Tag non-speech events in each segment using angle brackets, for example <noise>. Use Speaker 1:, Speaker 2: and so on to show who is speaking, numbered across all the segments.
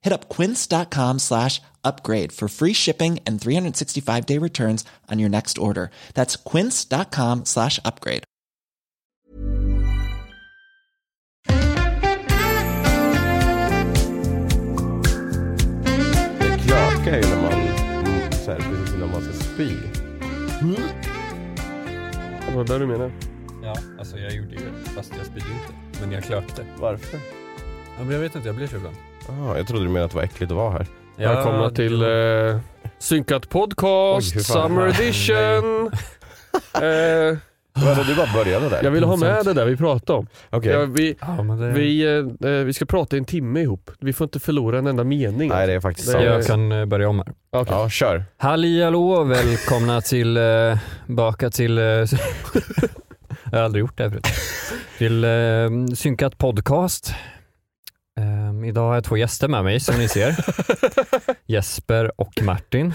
Speaker 1: Hit up quince.com slash upgrade for free shipping and 365 day returns on your next order. That's quince.com slash upgrade.
Speaker 2: Det knakar ju när man, mm, så här, precis innan man ska spy.
Speaker 3: Mm.
Speaker 2: Det var det du menade.
Speaker 4: Ja, alltså jag gjorde ju det, fast jag spydde inte. Men jag klökte.
Speaker 2: Varför?
Speaker 4: Ja, men jag vet inte, jag blir så ibland.
Speaker 2: Ah, jag trodde du menade att det var äckligt att vara här.
Speaker 4: Ja,
Speaker 3: Välkomna till eh, Synkat Podcast,
Speaker 2: Oj, hur fan.
Speaker 3: Summer Edition. <laughs> eh,
Speaker 2: Vadå, du bara började där?
Speaker 3: jag ville ha med det där vi pratade om.
Speaker 2: Okej.
Speaker 3: Ja, vi,
Speaker 4: Ja, men det...
Speaker 3: vi, eh, eh, vi ska prata i en timme ihop. Vi får inte förlora en enda mening.
Speaker 2: Nej, det är faktiskt
Speaker 3: Det
Speaker 2: sant.
Speaker 3: gör
Speaker 4: Jag kan eh, börja om här.
Speaker 3: Okej.
Speaker 2: Ja, kör.
Speaker 4: Halli hallå, välkomna till, eh, baka till, eh, <laughs> jag har aldrig gjort det här förut, till eh, Synkat Podcast. Ehm, idag har jag två gäster med mig som ni ser, <laughs> Jesper och Martin.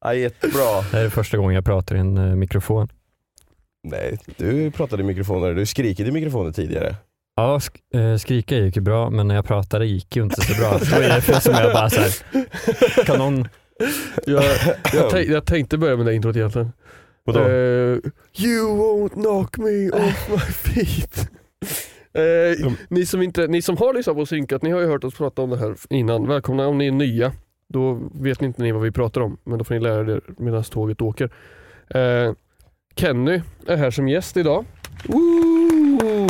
Speaker 2: Ja, jättebra.
Speaker 4: Det här är första gången jag pratar i en eh, mikrofon.
Speaker 2: Nej, du pratade i mikrofoner. Du skrikade i mikrofoner tidigare.
Speaker 4: Ja, sk- eh, skrika gick ju bra, men när jag pratade gick ju inte så bra. Det var ju därför som jag bara så här, kan någon...
Speaker 2: <laughs>
Speaker 3: Jag, jag, tänk, jag tänkte börja med det introt egentligen.
Speaker 2: Vadå?
Speaker 3: Eh, you won't knock me off
Speaker 2: <laughs>
Speaker 3: my feet. Eh, ni, som inte, ni som har lyssnat på Synkat, ni har ju hört oss prata om det här innan. Välkomna om ni är nya. Då vet ni inte ni vad vi pratar om, men då får ni lära er medan tåget åker. Eh, Kenny är här som gäst idag. Woo!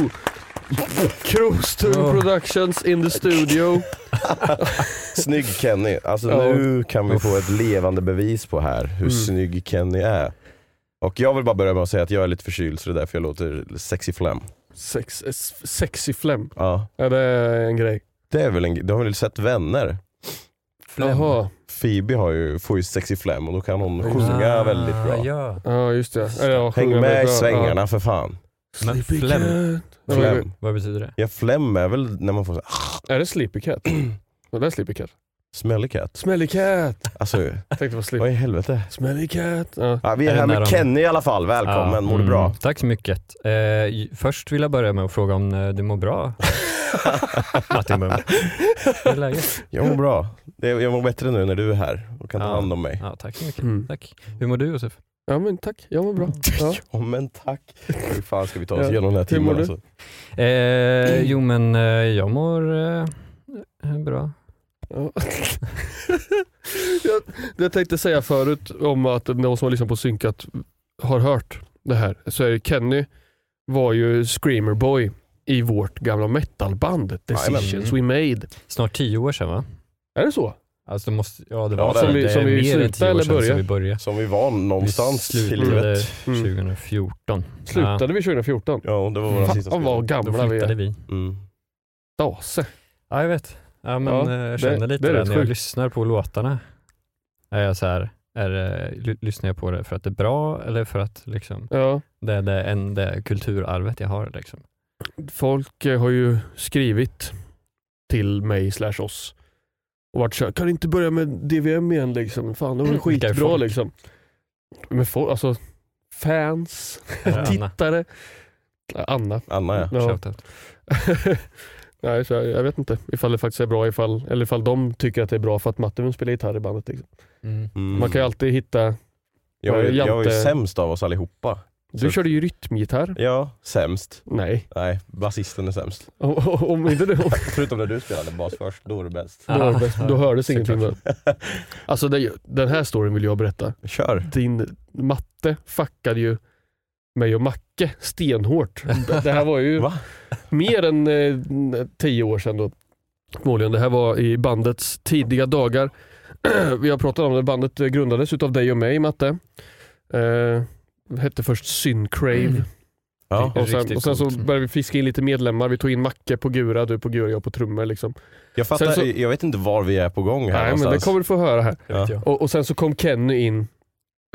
Speaker 3: Krostum
Speaker 4: Ja.
Speaker 3: Productions in the studio.
Speaker 2: Snygg Kenny. Alltså
Speaker 3: Ja.
Speaker 2: nu kan vi få ett levande bevis på här hur
Speaker 3: Mm.
Speaker 2: snygg Kenny är. Och jag vill bara börja med att säga att jag är lite förkyld så det är därför jag låter sexy flam.
Speaker 3: Sex, s- sexy flem.
Speaker 2: Ja.
Speaker 3: Är det en grej?
Speaker 2: Det är väl en, du har väl sett Vänner?
Speaker 3: Jaha,
Speaker 2: Phoebe har ju, får ju sexy flam och då kan hon sjunga
Speaker 4: Ah,
Speaker 2: väldigt bra.
Speaker 4: Ja.
Speaker 3: ja just det. Eller, ja,
Speaker 2: Häng
Speaker 3: sjunga
Speaker 2: med i
Speaker 3: bra.
Speaker 2: svängarna för fan.
Speaker 4: Men
Speaker 3: Sleepy
Speaker 4: flem,
Speaker 3: Ja.
Speaker 2: Flem.
Speaker 4: vad betyder det?
Speaker 2: Ja flem är väl när man får så här,
Speaker 3: Är det Sleepy <clears throat> Cat? Det där är Sleepy Cat.
Speaker 2: smelly cat.
Speaker 3: Smelly Cat!
Speaker 2: Alltså,
Speaker 3: Tänkte vara Sleepy.
Speaker 2: vad i helvete.
Speaker 3: Smelly Cat. Ja.
Speaker 2: Ja, vi är,
Speaker 4: Är det
Speaker 2: här
Speaker 4: nära
Speaker 2: med
Speaker 4: honom?
Speaker 2: Kenny i alla fall, välkommen,
Speaker 4: Ja,
Speaker 2: mår du
Speaker 4: mm.
Speaker 2: bra?
Speaker 4: Tack så mycket. Eh, j- först vill jag börja med att fråga om eh, du mår bra?
Speaker 2: <laughs>
Speaker 4: Martin Bum. Hur är läget?
Speaker 2: Jag mår bra. Det, jag mår bättre nu när du är här och kan ta
Speaker 4: Ja.
Speaker 2: hand om mig.
Speaker 4: Ja, tack så mycket.
Speaker 3: Mm.
Speaker 4: Tack. Hur mår du Josef?
Speaker 3: ja men tack, jag mår <laughs> bra. Ja.
Speaker 2: Ja men tack. Hur fan ska vi ta oss
Speaker 3: Ja.
Speaker 2: igenom den här
Speaker 3: Hur mår
Speaker 2: timmen
Speaker 3: du?
Speaker 2: alltså?
Speaker 4: Eh, jo men eh, jag mår eh, eh, bra.
Speaker 3: Ja. <laughs> jag, det jag tänkte säga förut om att någon som har lyssnat på Synkat har hört det här, så är det Kenny var ju screamerboy i vårt gamla metalband Decisions We Made.
Speaker 4: Snart tio år sedan va?
Speaker 3: Är det så?
Speaker 4: Alltså det måste, ja det
Speaker 2: Ja,
Speaker 4: var
Speaker 2: som vi-
Speaker 4: det är
Speaker 3: som vi
Speaker 4: mer
Speaker 3: slutade
Speaker 4: än tio år
Speaker 3: eller
Speaker 4: sedan
Speaker 3: började?
Speaker 4: som vi började.
Speaker 2: Som vi var någonstans
Speaker 4: vi
Speaker 2: i livet.
Speaker 3: Mm.
Speaker 4: 2014.
Speaker 3: Slutade vi 2014?
Speaker 2: Ja, det var våra sista
Speaker 3: Fan vad
Speaker 2: spelning.
Speaker 4: Ja, då
Speaker 3: gamla vi
Speaker 4: flyttade
Speaker 3: är.
Speaker 4: vi.
Speaker 2: Mm.
Speaker 3: Dase.
Speaker 4: Ja, jag vet. Ja, men
Speaker 3: Ja,
Speaker 4: eh, jag
Speaker 3: det-
Speaker 4: känner lite
Speaker 3: det är
Speaker 4: det,
Speaker 3: rätt
Speaker 4: när jag
Speaker 3: sjukt.
Speaker 4: lyssnar på låtarna. Är jag så här, är det, ly- lyssnar jag på det för att det är bra eller för att liksom,
Speaker 3: Ja.
Speaker 4: det är det, en, det är kulturarvet jag har? Liksom.
Speaker 3: folk eh, har ju skrivit till mig slash oss Och varit såhär, kan du inte börja med DVM igen liksom? Fan, det var ju
Speaker 5: Mm, Vilka är
Speaker 3: skitbra
Speaker 5: folk?
Speaker 3: liksom. Men folk, alltså fans,
Speaker 5: Anna.
Speaker 3: tittare. Anna. <laughs>
Speaker 2: Anna
Speaker 4: Mm,
Speaker 2: ja.
Speaker 3: Ja.
Speaker 5: Shoutout.
Speaker 3: Nej, så jag, jag vet inte ifall det faktiskt är bra, ifall, eller ifall de tycker att det är bra för att Mattevin spelar gitarr i bandet. Liksom.
Speaker 5: Mm.
Speaker 2: Mm.
Speaker 3: Man kan ju alltid hitta,
Speaker 2: jag, var ju, jag var ju
Speaker 3: Jante-
Speaker 2: sämst av oss allihopa.
Speaker 3: du
Speaker 2: Så-
Speaker 3: körde ju rytmgitarr.
Speaker 2: Ja, sämst.
Speaker 3: Nej, <laughs>
Speaker 2: Nej, basisten är sämst.
Speaker 3: om inte du
Speaker 2: Förutom när du spelade bas först, då är du bäst.
Speaker 3: Då,
Speaker 5: <laughs>
Speaker 3: hördes- då hördes ingenting.
Speaker 5: såklart.
Speaker 3: va? Alltså det, den här storyn vill jag berätta.
Speaker 2: Kör!
Speaker 3: Din matte fuckade ju mig och Macke stenhårt. Det- Det här var
Speaker 2: <laughs>
Speaker 3: ju
Speaker 2: Va?
Speaker 3: mer än eh, tio år sedan då. Förmodligen. Det här var i bandets tidiga dagar. <clears throat> Vi har pratat om det. Bandet eh, grundades utav dig och mig, Matte. Eh, hette först Syncrave.
Speaker 2: Ja.
Speaker 5: Det är
Speaker 3: Och sen,
Speaker 5: Mm. riktigt
Speaker 3: och sen så
Speaker 5: coolt.
Speaker 3: började vi fiska in lite medlemmar. Vi tog in Macke på Gura, du på Gura, jag på trummor. Liksom.
Speaker 2: Jag fattar,
Speaker 3: Sen så-
Speaker 2: jag vet inte var vi är på gång här
Speaker 3: Nej, men det
Speaker 2: någonstans.
Speaker 3: kommer du få höra här.
Speaker 5: Det vet
Speaker 2: Ja.
Speaker 5: jag.
Speaker 3: Och, och sen så kom Kenny in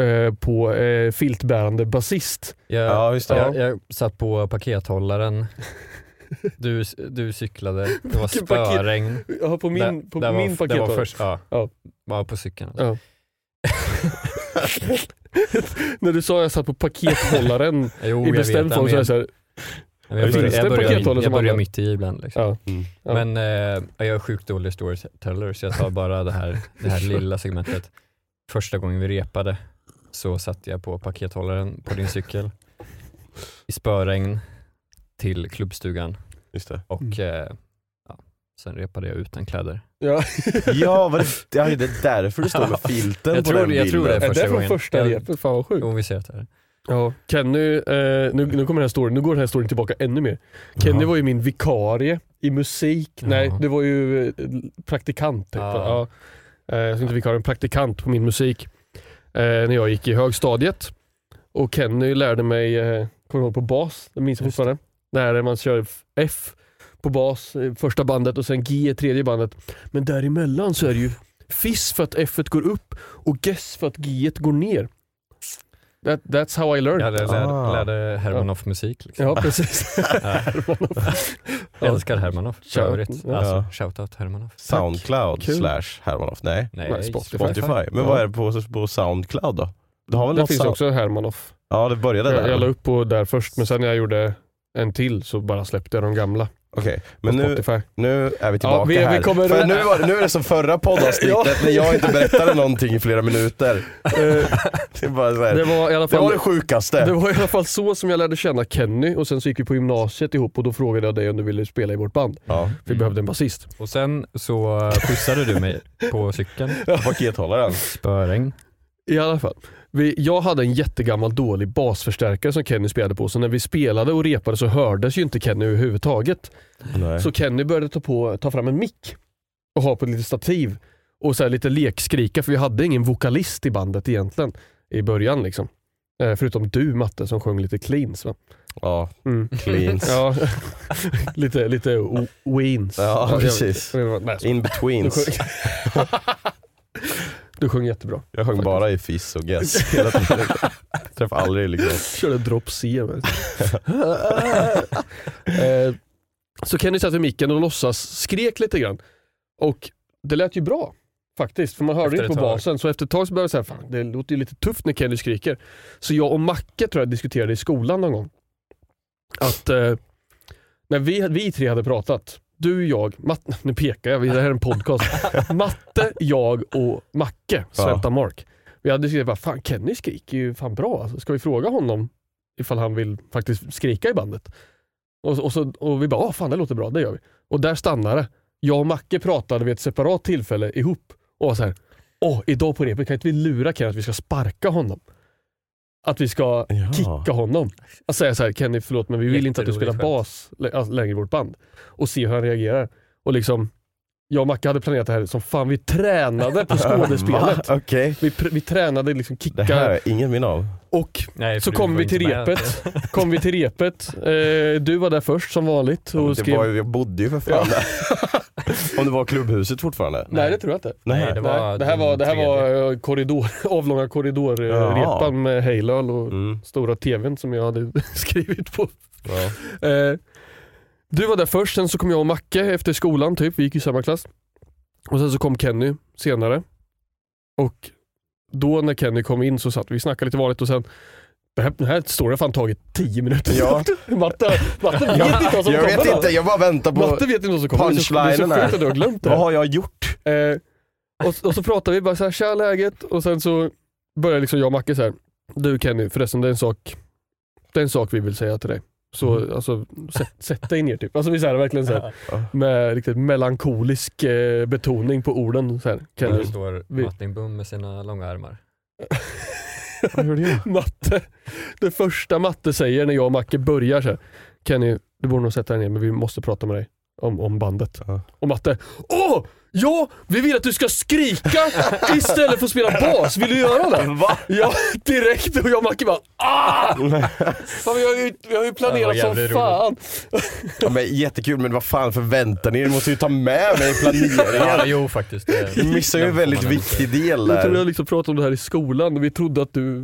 Speaker 3: eh, på eh, filtbärande basist.
Speaker 5: Jag,
Speaker 2: Ja, just det.
Speaker 5: jag, jag satt på
Speaker 3: <laughs>
Speaker 5: pakethållaren. Du, du cyklade, det var
Speaker 3: Vilken paket-
Speaker 5: spöregn.
Speaker 3: Ja, på min, på
Speaker 5: det
Speaker 3: min
Speaker 5: var,
Speaker 3: paket.
Speaker 5: Det var
Speaker 3: var det.
Speaker 5: först, ja.
Speaker 3: Ja.
Speaker 5: Bara på cykeln. alltså.
Speaker 4: <laughs>
Speaker 3: Ja. <laughs> När du sa jag satt
Speaker 5: <laughs>
Speaker 3: på pakethållaren
Speaker 5: Jo,
Speaker 3: i
Speaker 5: jag vet.
Speaker 3: bestämd
Speaker 5: det,
Speaker 3: form
Speaker 5: men
Speaker 3: så är
Speaker 5: jag,
Speaker 3: jag såhär,
Speaker 5: men jag,
Speaker 2: Just det,
Speaker 5: börjar, jag,
Speaker 3: bestämd
Speaker 5: börjar,
Speaker 3: pakethållare
Speaker 5: jag
Speaker 3: som
Speaker 5: börjar
Speaker 3: alla.
Speaker 5: mitt i ibland. Liksom.
Speaker 3: ja.
Speaker 2: Mm.
Speaker 3: Ja.
Speaker 5: Men eh, jag är sjukt dålig storyteller så jag tar bara det här, det
Speaker 3: <laughs>
Speaker 5: här lilla segmentet. Första gången vi repade så satt jag på pakethållaren på din cykel i spöregn till klubbstugan
Speaker 2: Just det.
Speaker 5: och eh, ja, sen repade jag utan kläder.
Speaker 3: Mm. Ja.
Speaker 2: <laughs> Ja, var det, ja, det är därför
Speaker 5: <laughs>
Speaker 2: det
Speaker 3: <laughs>
Speaker 2: står med filten
Speaker 5: Jag
Speaker 2: på
Speaker 5: tror-
Speaker 2: den
Speaker 5: jag tror
Speaker 2: bilden.
Speaker 5: det.
Speaker 3: Är
Speaker 5: första
Speaker 3: det från
Speaker 5: gången.
Speaker 3: första
Speaker 5: Ja.
Speaker 3: repet? Fan vad sjukt.
Speaker 5: Jo, vi ser att det här.
Speaker 3: Ja. Kenny, eh, nu, nu kommer den här storyn, nu går den här storyn tillbaka ännu mer. Kenny
Speaker 2: Jaha.
Speaker 3: var ju min vikarie i musik.
Speaker 5: Ja.
Speaker 3: Nej, det var ju eh, praktikant. Typ.
Speaker 5: Ja.
Speaker 3: Ja. Eh, jag ska inte vikarie, en praktikant på min musik. Eh, när jag gick i högstadiet. Och Kenny lärde mig, eh, kommer jag ihåg på bas, det minns jag
Speaker 5: Just
Speaker 3: fortfarande. När man kör F på bas, eh, första bandet och sen G i tredje bandet. Men däremellan så är det ju Fiss för att F går upp och Gess för att G går ner. That, that's how I learned.
Speaker 5: Jag lärde,
Speaker 2: Ah.
Speaker 5: lärde, lärde Hermanoff musik. Liksom.
Speaker 3: Ja,
Speaker 2: <laughs>
Speaker 3: precis.
Speaker 5: Ja. Älskar Hermanoff för
Speaker 3: Shout-
Speaker 5: övrigt.
Speaker 3: ja.
Speaker 5: Alltså, shoutout Hermanoff.
Speaker 2: Soundcloud
Speaker 3: Kul.
Speaker 2: slash Hermanoff. Nej,
Speaker 5: Nej,
Speaker 3: Nej, Spotify.
Speaker 2: Spotify. Men
Speaker 3: Ja.
Speaker 2: vad är det på, på Soundcloud då? Du har väl
Speaker 3: Det
Speaker 2: något
Speaker 3: finns
Speaker 2: sound...
Speaker 3: också Hermanoff.
Speaker 2: Ja, det började
Speaker 3: Jag,
Speaker 2: där.
Speaker 3: jag la
Speaker 2: Okej,
Speaker 3: upp på där först, men sen när jag gjorde en till så bara släppte jag de gamla
Speaker 2: men
Speaker 3: på
Speaker 2: nu,
Speaker 3: Spotify.
Speaker 2: <laughs> Nu är vi tillbaka
Speaker 3: vi- vi
Speaker 2: här.
Speaker 3: kommer-
Speaker 2: För nu, var, nu är det som förra poddavsnittet
Speaker 3: <laughs> Ja.
Speaker 2: när jag inte berättade någonting i flera minuter. Det, är bara så här.
Speaker 3: Det var i alla
Speaker 2: Eh, det var
Speaker 3: fall
Speaker 2: det sjukaste.
Speaker 3: det var i alla fall så som jag lärde känna Kenny och sen så gick vi på gymnasiet ihop och då frågade jag dig om du ville spela i vårt band.
Speaker 2: Ja,
Speaker 3: Vi behövde en basist.
Speaker 5: Och sen så pussade du mig på cykeln,
Speaker 2: pakethållaren.
Speaker 5: spöregn.
Speaker 3: I alla fall. Vi, jag hade en jättegammal dålig basförstärkare som Kenny spelade på, så när vi spelade och repade så hördes ju inte Kenny överhuvudtaget.
Speaker 2: Nej.
Speaker 3: Så Kenny började ta, på, ta fram en mick och ha på ett litet stativ och så här lite lekskrika för vi hade ingen vokalist i bandet egentligen i början. liksom. Eh, förutom du Matte som sjöng lite cleans. Va?
Speaker 2: Ja,
Speaker 3: Mm.
Speaker 2: cleans. ja.
Speaker 3: Ja, <laughs> lite, lite o- weens. jag-
Speaker 2: precis.
Speaker 3: jag- nej, så-
Speaker 2: In
Speaker 3: Du
Speaker 2: betweens.
Speaker 3: sjöng, <laughs> du sjöng jättebra.
Speaker 2: Jag sjöng bara i Fiss och
Speaker 3: <laughs>
Speaker 2: Guess hela tiden. Träffade aldrig liksom.
Speaker 5: <laughs>
Speaker 3: Körde drop C. men. <laughs> Eh, så Kenny satt vid micken och låtsas skrek lite grann. Och det lät ju bra faktiskt, för man hörde
Speaker 5: Efter
Speaker 3: inte på
Speaker 5: ett tag.
Speaker 3: basen. Så efter ett tag så började jag säga, fan det låter ju lite tufft när Kenny skriker. Så jag och Macke tror jag diskuterade i skolan någon gång. Att eh, när vi, vi tre hade pratat, du, jag, Matte, <laughs> nu pekar jag, det här är en podcast. Matte, jag och Macke, Sventa Mark. Vi hade skrivit bara, fan Kenny skriker ju fan bra. Alltså, ska vi fråga honom ifall han vill faktiskt skrika i bandet? Och, och, så, och vi bara, "Ah, fan det låter bra, det gör vi. Och där stannade det. Jag och Macke pratade vid ett separat tillfälle ihop och var så här, åh idag på repet kan inte vi lura Kenny att vi ska sparka honom? Att vi ska
Speaker 2: Ja.
Speaker 3: kicka honom. Att säga så här, Kenny förlåt men vi vill inte att du spelar
Speaker 5: Jätteroligt
Speaker 3: bas lä- alltså, längre i vårt band. Och se hur han reagerar. Och liksom, jag och Macke hade planerat det här som fan, vi
Speaker 2: <laughs>
Speaker 3: tränade på skådespelet.
Speaker 2: Va? Okej.
Speaker 3: Vi, pr- vi tränade liksom
Speaker 2: Det här
Speaker 3: kickar
Speaker 2: är ingen minne av.
Speaker 3: och
Speaker 5: Nej,
Speaker 3: så
Speaker 5: för du
Speaker 3: kom
Speaker 5: var
Speaker 3: vi
Speaker 5: inte
Speaker 3: till
Speaker 5: med.
Speaker 3: repet. kom vi till repet. Eh, du var där först som vanligt och
Speaker 2: Det
Speaker 3: skrev...
Speaker 2: var, ju- jag bodde ju för fan där. Om det var klubbhuset fortfarande.
Speaker 3: Nej det tror jag inte.
Speaker 5: Nej, det var
Speaker 3: Nej, det här var, det här
Speaker 5: den tredje.
Speaker 3: var eh, korridor, <laughs> avlånga
Speaker 2: Jaha.
Speaker 3: korridorrepan med Hejlöl och
Speaker 2: Mm,
Speaker 3: stora tvn som jag hade <laughs> skrivit på.
Speaker 2: ja.
Speaker 3: Eh, du var där först, sen så kom jag och Macke efter skolan typ, vi gick i samma klass. Och sen så kom Kenny senare. Och då när Kenny kom in så satt vi och snackade lite vanligt och sen det här, den här storyn har fan tagit 10 minuter.
Speaker 2: Ja.
Speaker 3: <laughs> Matte, Matte vet inte vad som
Speaker 2: Jag vet
Speaker 3: kommer.
Speaker 2: inte, jag bara väntar på...
Speaker 3: Matte vet inte vad som kommer. Det är så- Det är så
Speaker 2: punchlinen
Speaker 3: sjukt
Speaker 2: här.
Speaker 3: att du har glömt det.
Speaker 2: Vad
Speaker 3: här.
Speaker 2: har jag gjort?
Speaker 3: Eh, och, och så pratar vi bara så här, tja läget och sen så börjar liksom jag och Macke så här. Du Kenny, förresten det är en sak, det är en sak vi vill säga till dig. Så alltså, sätt, sätt dig ner typ. Alltså vi är så här, verkligen så här, med riktigt melankolisk eh, betoning på orden. Så här, Kenny.
Speaker 4: Där står
Speaker 3: vi-
Speaker 4: Martin Bum med sina långa armar.
Speaker 2: <laughs> Vad gjorde jag?
Speaker 3: Matte, det första Matte säger när jag och Macke börjar så här. Kenny, du borde nog sätta dig ner men vi måste prata med dig om, om bandet.
Speaker 2: Ja.
Speaker 3: Och Matte, åh! Ja, vi vill att du ska skrika istället för att spela bas. Vill du göra det?
Speaker 2: Va?
Speaker 3: Ja, <laughs> direkt. Och jag och Macke bara
Speaker 2: <laughs>
Speaker 3: ah! Fan, vi, har ju, vi har ju
Speaker 4: Det var
Speaker 3: planerat som
Speaker 4: jävligt
Speaker 3: fan.
Speaker 2: Ja, men, jättekul men vad fan förväntar ni er? Ni måste ju ta med mig i
Speaker 4: Ja,
Speaker 2: planeringen.
Speaker 4: jo faktiskt.
Speaker 2: Ni missar ju en väldigt viktig del
Speaker 3: Jag tror vi har
Speaker 2: där.
Speaker 3: liksom pratat om det här i skolan och vi trodde att du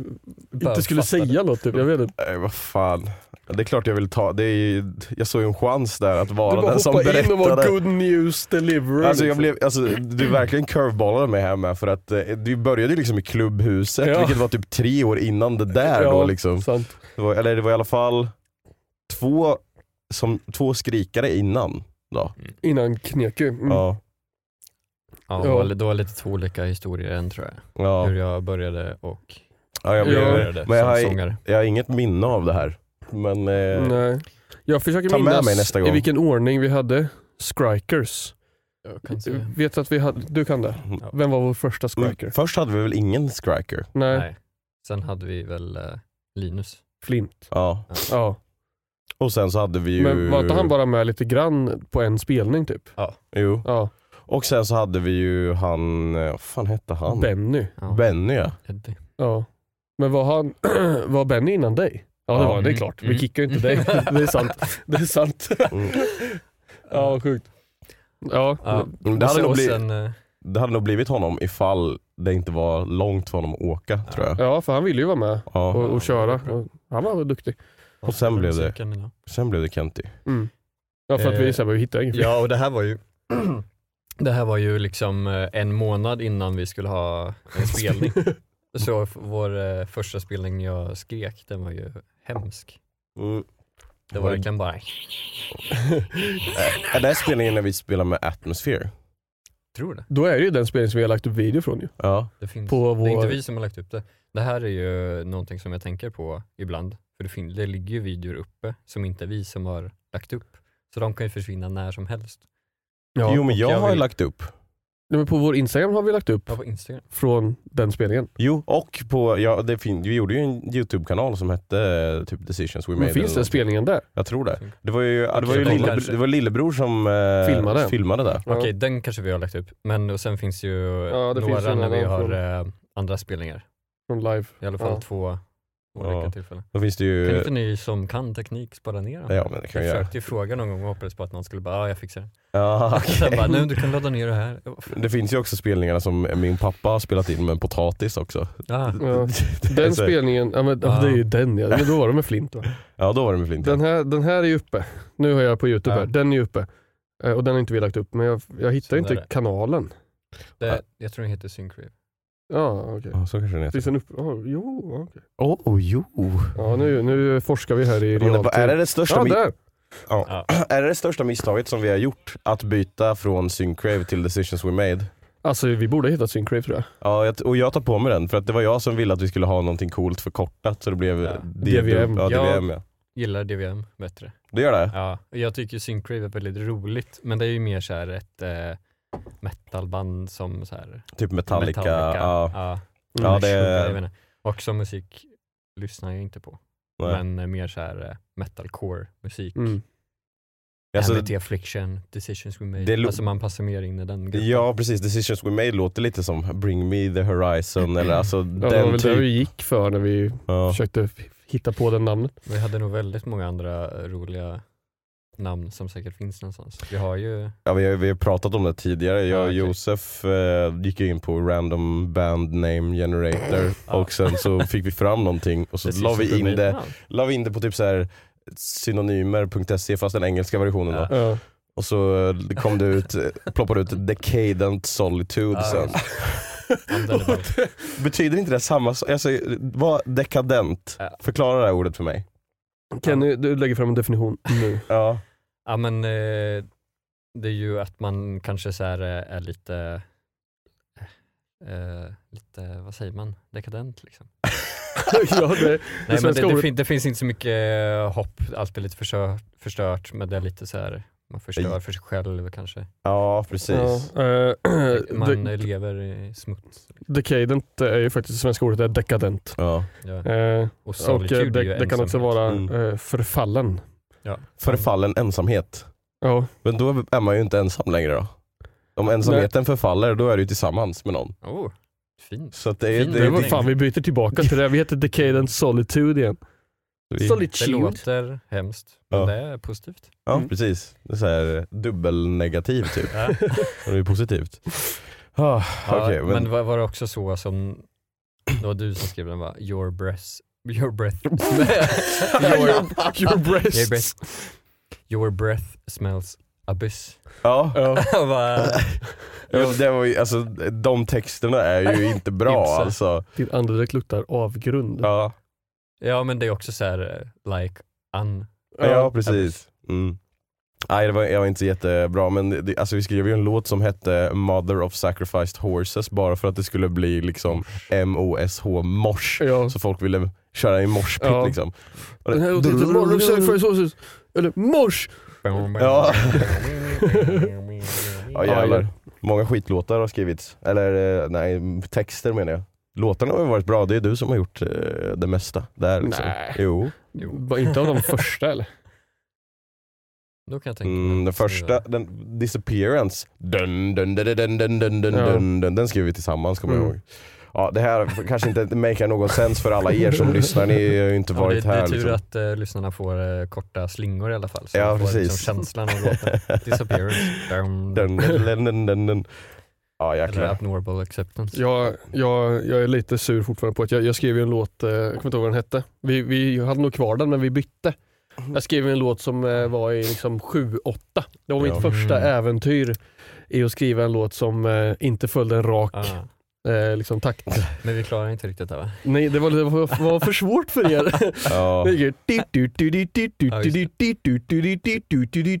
Speaker 3: inte skulle
Speaker 4: fattade.
Speaker 3: säga något. Typ. Jag vet inte.
Speaker 2: Nej, vad fan. Ja, Det är klart jag vill ta, det är ju, jag såg ju en chans där att
Speaker 3: Du
Speaker 2: vara
Speaker 3: bara
Speaker 2: den som
Speaker 3: hoppade in och
Speaker 2: berättade.
Speaker 3: var good news deliverer.
Speaker 2: Alltså, jag
Speaker 3: liksom.
Speaker 2: blev, alltså, du verkligen curveballade mig här med för att eh, du började ju liksom i klubbhuset
Speaker 3: Ja.
Speaker 2: vilket var typ tre år innan det där då
Speaker 3: Ja,
Speaker 2: liksom.
Speaker 3: sant.
Speaker 2: Det var, eller det var i alla fall två, som, två skrikare innan.
Speaker 3: Mm.
Speaker 2: Då.
Speaker 3: Innan Kneku. Mm.
Speaker 2: Ja,
Speaker 4: Ja, det var, det var lite två olika historier än tror jag.
Speaker 2: ja.
Speaker 4: Hur jag började och
Speaker 2: ja, jag,
Speaker 3: Ja.
Speaker 2: blev- Men jag,
Speaker 4: som
Speaker 2: har,
Speaker 4: sångare.
Speaker 2: jag har inget minne av det här. Men eh,
Speaker 3: Nej. Jag försöker
Speaker 2: Ta med
Speaker 3: minnas
Speaker 2: mig nästa gång.
Speaker 3: i vilken ordning vi hade Skrikers.
Speaker 4: Jag kan se.
Speaker 3: Vet att vi hade, du kan det?
Speaker 4: Ja.
Speaker 3: Vem var vår första
Speaker 2: men
Speaker 3: Skriker?
Speaker 2: mm, först hade vi väl ingen skriker?
Speaker 3: Nej.
Speaker 4: Nej. Sen hade vi väl eh, Linus.
Speaker 3: Flint.
Speaker 2: Ja.
Speaker 3: Ja.
Speaker 2: Och sen så hade vi ju...
Speaker 3: Men var inte han bara med lite grann på en spelning typ?
Speaker 2: Jo.
Speaker 3: Ja.
Speaker 2: Och sen så hade vi ju han, eh, vad fan hette han?
Speaker 3: Benny.
Speaker 4: Ja,
Speaker 2: Benny
Speaker 3: <laughs>
Speaker 2: ja.
Speaker 4: Eddie.
Speaker 3: Ja. Men var, han, <clears throat> var Benny innan dig? Ja det
Speaker 2: Ja.
Speaker 3: var han, det är
Speaker 4: Mm.
Speaker 3: klart.
Speaker 4: Mm.
Speaker 3: Vi kickar ju inte
Speaker 4: <laughs>
Speaker 3: dig. Det är sant. <laughs> Det är sant.
Speaker 2: Mm.
Speaker 3: Ja vad sjukt. Ja.
Speaker 4: Ja.
Speaker 2: Mm, Det hade, nog
Speaker 4: och
Speaker 2: blivit,
Speaker 4: sen, eh,
Speaker 2: det hade nog blivit honom ifall det inte var långt för honom att åka tror jag.
Speaker 3: ja för han ville ju vara med och,
Speaker 2: Ja.
Speaker 3: och köra. Och Han var väl duktig.
Speaker 2: Och sen blev det-
Speaker 4: musiken idag.
Speaker 2: Sen blev det Kenty.
Speaker 3: Mm. Ja för att vi,
Speaker 4: Eh,
Speaker 3: så här, vi hittade ingen.
Speaker 4: Ja, och det här var ju <clears throat> Det här var ju liksom eh, en månad innan vi skulle ha
Speaker 2: <laughs>
Speaker 4: en spelning. Så f- vår eh, första spelning jag skrek, den var ju hemsk.
Speaker 2: <laughs> Mm.
Speaker 4: Det var
Speaker 2: Var det-
Speaker 4: verkligen bara,
Speaker 2: Är det här spelningen när vi spelar med Atmosphere?
Speaker 4: tror det.
Speaker 3: Då är det ju den spelning som vi har lagt upp video från ju.
Speaker 2: Ja.
Speaker 4: Det, finns,
Speaker 3: På
Speaker 4: Mm. det är inte
Speaker 3: vår...
Speaker 4: vi som har lagt upp det. Det här är ju någonting som jag tänker på ibland. För det, fin- det ligger ju videor uppe som inte vi som har lagt upp. Så de kan ju försvinna när som helst.
Speaker 3: Ja.
Speaker 2: jo men
Speaker 4: och
Speaker 2: jag,
Speaker 4: jag
Speaker 2: har ju
Speaker 4: vill-
Speaker 2: lagt upp.
Speaker 3: Nej, men på vår Instagram har vi lagt upp
Speaker 4: Ja, på Instagram.
Speaker 3: från den spelningen.
Speaker 2: Jo och på, ja, det fin- vi gjorde ju en YouTube-kanal som hette eh, typ Decisions We Made.
Speaker 3: Men finns
Speaker 2: eller
Speaker 3: den
Speaker 2: något.
Speaker 3: spelningen där?
Speaker 2: Jag tror det. Det var ju, det var ju
Speaker 4: Okej,
Speaker 2: lillebror,
Speaker 4: kanske.
Speaker 2: det var lillebror som eh,
Speaker 3: Filmade.
Speaker 2: filmade det.
Speaker 3: Ja.
Speaker 4: Okej, den kanske vi har lagt upp. Men och sen finns ju
Speaker 3: Ja, det
Speaker 4: några
Speaker 3: finns ju
Speaker 4: när vi
Speaker 3: några
Speaker 4: har
Speaker 3: från-
Speaker 4: eh, andra spelningar.
Speaker 3: Från live.
Speaker 4: I alla fall
Speaker 3: Ja.
Speaker 4: två olika
Speaker 2: Ja.
Speaker 4: tillfällen.
Speaker 2: Då finns det ju...
Speaker 4: Kan inte ni som kan teknik spara ner dem?
Speaker 2: Ja men det kan
Speaker 4: Jag
Speaker 2: jag göra.
Speaker 4: försökte ju fråga någon gång och hoppades på att någon skulle bara, ja jag fixar det. <laughs>
Speaker 2: Ja, okej.
Speaker 4: Sen bara, nu du kan ladda ner
Speaker 2: <laughs>
Speaker 4: det här.
Speaker 2: Det finns ju också spelningarna som min pappa har spelat in med en potatis också.
Speaker 4: Ah,
Speaker 2: <laughs>
Speaker 3: Ja.
Speaker 2: Det är
Speaker 3: Den
Speaker 4: Alltså-
Speaker 2: så-
Speaker 3: spelningen, ja, men, ja.
Speaker 4: Ja.
Speaker 3: det är ju den ja. Men då var det med Flint va?
Speaker 2: Ja då var det med flint.
Speaker 3: Den här, den här är ju uppe. Nu har jag på youtube
Speaker 4: Ja.
Speaker 3: här. Den är ju uppe. Eh, Och den har inte vi lagt upp, men jag, jag hittar
Speaker 4: Så
Speaker 3: inte
Speaker 4: där är det.
Speaker 3: kanalen.
Speaker 4: det, jag tror den heter Syncrave.
Speaker 3: Ja, okej.
Speaker 2: Ja, så kanske den heter.
Speaker 3: Finns den uppe? Oh, jo, okej.
Speaker 2: Åh oh, jo.
Speaker 3: Ja, nu, nu forskar vi här
Speaker 2: Men
Speaker 3: i
Speaker 2: det,
Speaker 3: realtid.
Speaker 2: var- är, det det största
Speaker 3: ja,
Speaker 2: mi-
Speaker 3: där!
Speaker 2: ja. är det det största misstaget som vi har gjort? Att byta från Syncrave till Decisions We Made?
Speaker 3: Alltså vi borde ha hittat Syncrave tror jag.
Speaker 2: Ja, jag- och jag tar på mig den för att det var jag som ville att vi skulle ha någonting coolt förkortat så det blev
Speaker 4: Ja.
Speaker 2: D-
Speaker 3: DVM.
Speaker 2: Ja,
Speaker 4: Ja.
Speaker 2: DVM ja.
Speaker 4: Gillar DVM bättre.
Speaker 2: Det gör det?
Speaker 4: Ja, och jag tycker Syncrave är väldigt roligt, men det är ju mer så här ett eh, metalband som så här
Speaker 2: Typ Metallica.
Speaker 4: Metallica. Mm,
Speaker 2: Ja.
Speaker 4: Ja,
Speaker 2: Ja, det-
Speaker 4: jag vet inte. Och som musik lyssnar jag inte på,
Speaker 2: Nej.
Speaker 4: men eh, mer så här eh, metalcore musik.
Speaker 3: Mm.
Speaker 2: Alltså,
Speaker 4: Amity Affliction, Decisions We Made.
Speaker 2: Det lo-
Speaker 4: alltså man passar mer in i den gruppen.
Speaker 2: ja precis, Decisions We Made låter lite som Bring Me The
Speaker 4: <clears throat>
Speaker 2: Horizon eller alltså
Speaker 3: Ja, det var
Speaker 2: den
Speaker 3: väl det vi
Speaker 2: typen.
Speaker 3: gick för när vi
Speaker 2: Ja.
Speaker 3: försökte hitta på det namnet.
Speaker 4: Vi hade nog väldigt många andra eh, roliga namn som säkert finns någonstans. Vi har ju,
Speaker 2: Ja, vi, har, vi har pratat om det tidigare. Jag
Speaker 4: Ja,
Speaker 2: och
Speaker 4: okej.
Speaker 2: Josef eh, gick ju in på random band name generator
Speaker 4: Ja.
Speaker 2: och sen
Speaker 4: <laughs>
Speaker 2: så fick vi fram någonting och så la vi, in det,
Speaker 4: Ja.
Speaker 2: la vi in det på typ så här synonymer.se fast E, den engelska versionen
Speaker 4: Ja.
Speaker 2: då.
Speaker 3: Ja.
Speaker 2: Och så eh, kom det ut,
Speaker 4: <laughs>
Speaker 2: eh, ploppade ut Decadent Solitude
Speaker 6: Ja,
Speaker 2: sen.
Speaker 6: Underbar.
Speaker 2: Betyder inte det samma sak? Alltså, vad dekadent?
Speaker 4: Ja.
Speaker 2: Förklara det här ordet för mig.
Speaker 3: Kenny, du lägger fram en definition
Speaker 2: <laughs>
Speaker 3: nu.
Speaker 2: Ja.
Speaker 4: Ja men eh, det är ju att man kanske så här eh, är lite, eh, lite, vad säger man, dekadent
Speaker 2: <laughs>
Speaker 4: liksom.
Speaker 3: ja, det,
Speaker 4: Nej, men
Speaker 3: svenska
Speaker 4: det, det,
Speaker 3: ordet-
Speaker 4: fin- det finns inte så mycket eh, hopp, allt blir lite försö- förstört, men det är lite så här, man förstör för sig själv
Speaker 3: Eh,
Speaker 4: kanske.
Speaker 2: ja, precis.
Speaker 3: ja, eh,
Speaker 4: Man
Speaker 3: de-
Speaker 4: eh, lever i smuts.
Speaker 3: decadent är ju faktiskt det svenska ordet är dekadent.
Speaker 2: Ja.
Speaker 4: Ja.
Speaker 3: Eh,
Speaker 4: Och
Speaker 3: och
Speaker 4: solitude
Speaker 3: eh,
Speaker 4: är ju
Speaker 3: det, det kan också
Speaker 4: ensamhet.
Speaker 3: vara
Speaker 2: Mm.
Speaker 3: eh, förfallen.
Speaker 4: Ja.
Speaker 2: Förfallen ensamhet.
Speaker 3: Ja,
Speaker 2: Men då är man ju inte ensam längre då. Om ensamheten förfaller, då är du ju tillsammans med någon.
Speaker 4: Oh, fint.
Speaker 2: Så att det är,
Speaker 4: Fin
Speaker 2: det
Speaker 3: det
Speaker 2: är
Speaker 3: var
Speaker 4: mening.
Speaker 3: fan vi byter tillbaka till det. Vi heter decadent
Speaker 2: <laughs>
Speaker 3: solitude igen.
Speaker 2: vi-
Speaker 4: Det
Speaker 3: Solitude.
Speaker 4: låter hemskt, men
Speaker 2: Ja.
Speaker 4: det är positivt.
Speaker 2: Ja,
Speaker 3: Mm.
Speaker 2: precis. Det är så här eh, dubbelnegativ typ. <laughs>
Speaker 4: Ja.
Speaker 2: Och det är positivt. Ah,
Speaker 4: Ja,
Speaker 2: okej,
Speaker 4: men
Speaker 2: men,
Speaker 4: var, var det också så som, det var du som skrev den va? Your breath.
Speaker 2: <laughs>
Speaker 4: Your breath. <laughs>
Speaker 3: your,
Speaker 4: your,
Speaker 3: your breasts.
Speaker 4: your breath. Your breath smells abyss.
Speaker 2: ja.
Speaker 3: Ja.
Speaker 4: <laughs> Jag bara,
Speaker 2: Jo, det var ju, alltså, de texterna är ju inte bra
Speaker 4: Tipsa.
Speaker 2: alltså.
Speaker 3: Din andedräkt luktar avgrund.
Speaker 2: Ja,
Speaker 4: ja men det är också så här eh, like un...
Speaker 2: ja precis. Mm. Nej, det var, jag var inte så jättebra men det, alltså, vi skrev ju en låt som hette Mother of Sacrificed Horses bara för att det skulle bli liksom M-O-S-H, mosh.
Speaker 3: Ja.
Speaker 2: Så Alltså, folk ville köra i moshpit
Speaker 3: Ja.
Speaker 2: liksom. Och
Speaker 3: Den här
Speaker 2: det-
Speaker 3: låten
Speaker 4: typ
Speaker 3: heter Morgon och typ Sacrifice Horses. Eller Mors!
Speaker 4: <laughs>
Speaker 2: Ja. Ja jävlar. Många skitlåtar har skrivits. Eller eh, nej, texter menar jag. Låtarna har ju varit bra, det är du som har gjort eh, det mesta där liksom.
Speaker 3: Nej.
Speaker 2: Jo.
Speaker 3: Var inte av de första eller?
Speaker 4: Då kan jag tänka mig
Speaker 2: Mm, den
Speaker 4: att eh, skriva.
Speaker 2: första, den, Disappearance, dun, dun, dun, dun, dun, dun, dun, dun,
Speaker 3: Ja.
Speaker 2: dun, dun, den skrev vi tillsammans kommer jag
Speaker 3: Mm.
Speaker 2: ihåg. Ja, det här <laughs> kanske inte make någon sens för alla er
Speaker 4: <laughs>
Speaker 2: som lyssnar, ni har ju inte
Speaker 4: Ja, det,
Speaker 2: varit
Speaker 4: det är
Speaker 2: här.
Speaker 4: tur
Speaker 2: liksom.
Speaker 4: att eh, lyssnarna får eh, korta slingor i alla fall. Så
Speaker 2: Ja,
Speaker 4: de får liksom
Speaker 2: precis.
Speaker 4: känslan av
Speaker 2: <laughs>
Speaker 4: låten. Disappearance. Dum,
Speaker 2: Dun, dun, dun, dun, dun, dun. Ja
Speaker 4: Eller
Speaker 2: jäklar.
Speaker 4: abnormal acceptance.
Speaker 3: Jag, jag, jag är lite sur fortfarande på att jag, jag skrev ju en låt, eh, jag kommer inte ihåg vad den hette. Vi, vi hade nog kvar den men vi bytte. Jag skrev ju en låt som eh, var i liksom 7-8. Det var mitt
Speaker 2: Ja.
Speaker 3: första
Speaker 4: Mm.
Speaker 3: äventyr i att skriva en låt som eh, inte följde en rak
Speaker 4: Ah,
Speaker 3: eh, liksom, takt.
Speaker 4: men vi klarar inte riktigt det va?
Speaker 3: Nej, det var, det var, var för svårt för er.
Speaker 4: <laughs>
Speaker 2: Ja.
Speaker 3: Det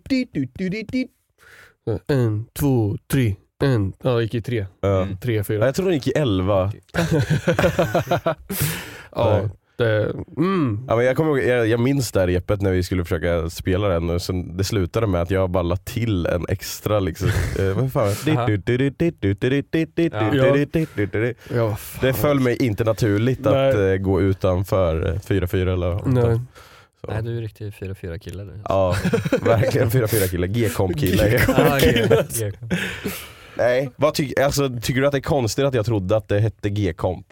Speaker 3: gick ju-
Speaker 4: Ja, just
Speaker 3: En, två, tre. En. Ja, det gick i tre.
Speaker 2: Ja.
Speaker 4: Mm.
Speaker 3: Tre,
Speaker 2: Ja,
Speaker 3: fyra.
Speaker 2: Jag tror den gick i 11.
Speaker 3: Ja, <laughs> det, mm.
Speaker 2: Ja, men jag, kommer ihåg, jag, jag minns det här repet när vi skulle försöka spela den och sen det slutade med att jag bara la till en extra liksom.
Speaker 3: <laughs>
Speaker 2: eh, vad fan?
Speaker 4: Aha.
Speaker 3: Ja, vad fan.
Speaker 2: Det föll mig inte naturligt att
Speaker 3: Nej.
Speaker 2: eh, gå utanför eh, 4-4 eller åtta.
Speaker 3: Nej.
Speaker 2: Så.
Speaker 4: Nej, du är riktigt 4-4 kille du.
Speaker 2: Ja, verkligen
Speaker 4: <laughs>
Speaker 2: 4-4 kille. G-komp kille.
Speaker 4: Ah, okej.
Speaker 2: <laughs> Nej, vad tyck, alltså, tycker du att det är konstigt att jag trodde att det hette G-komp?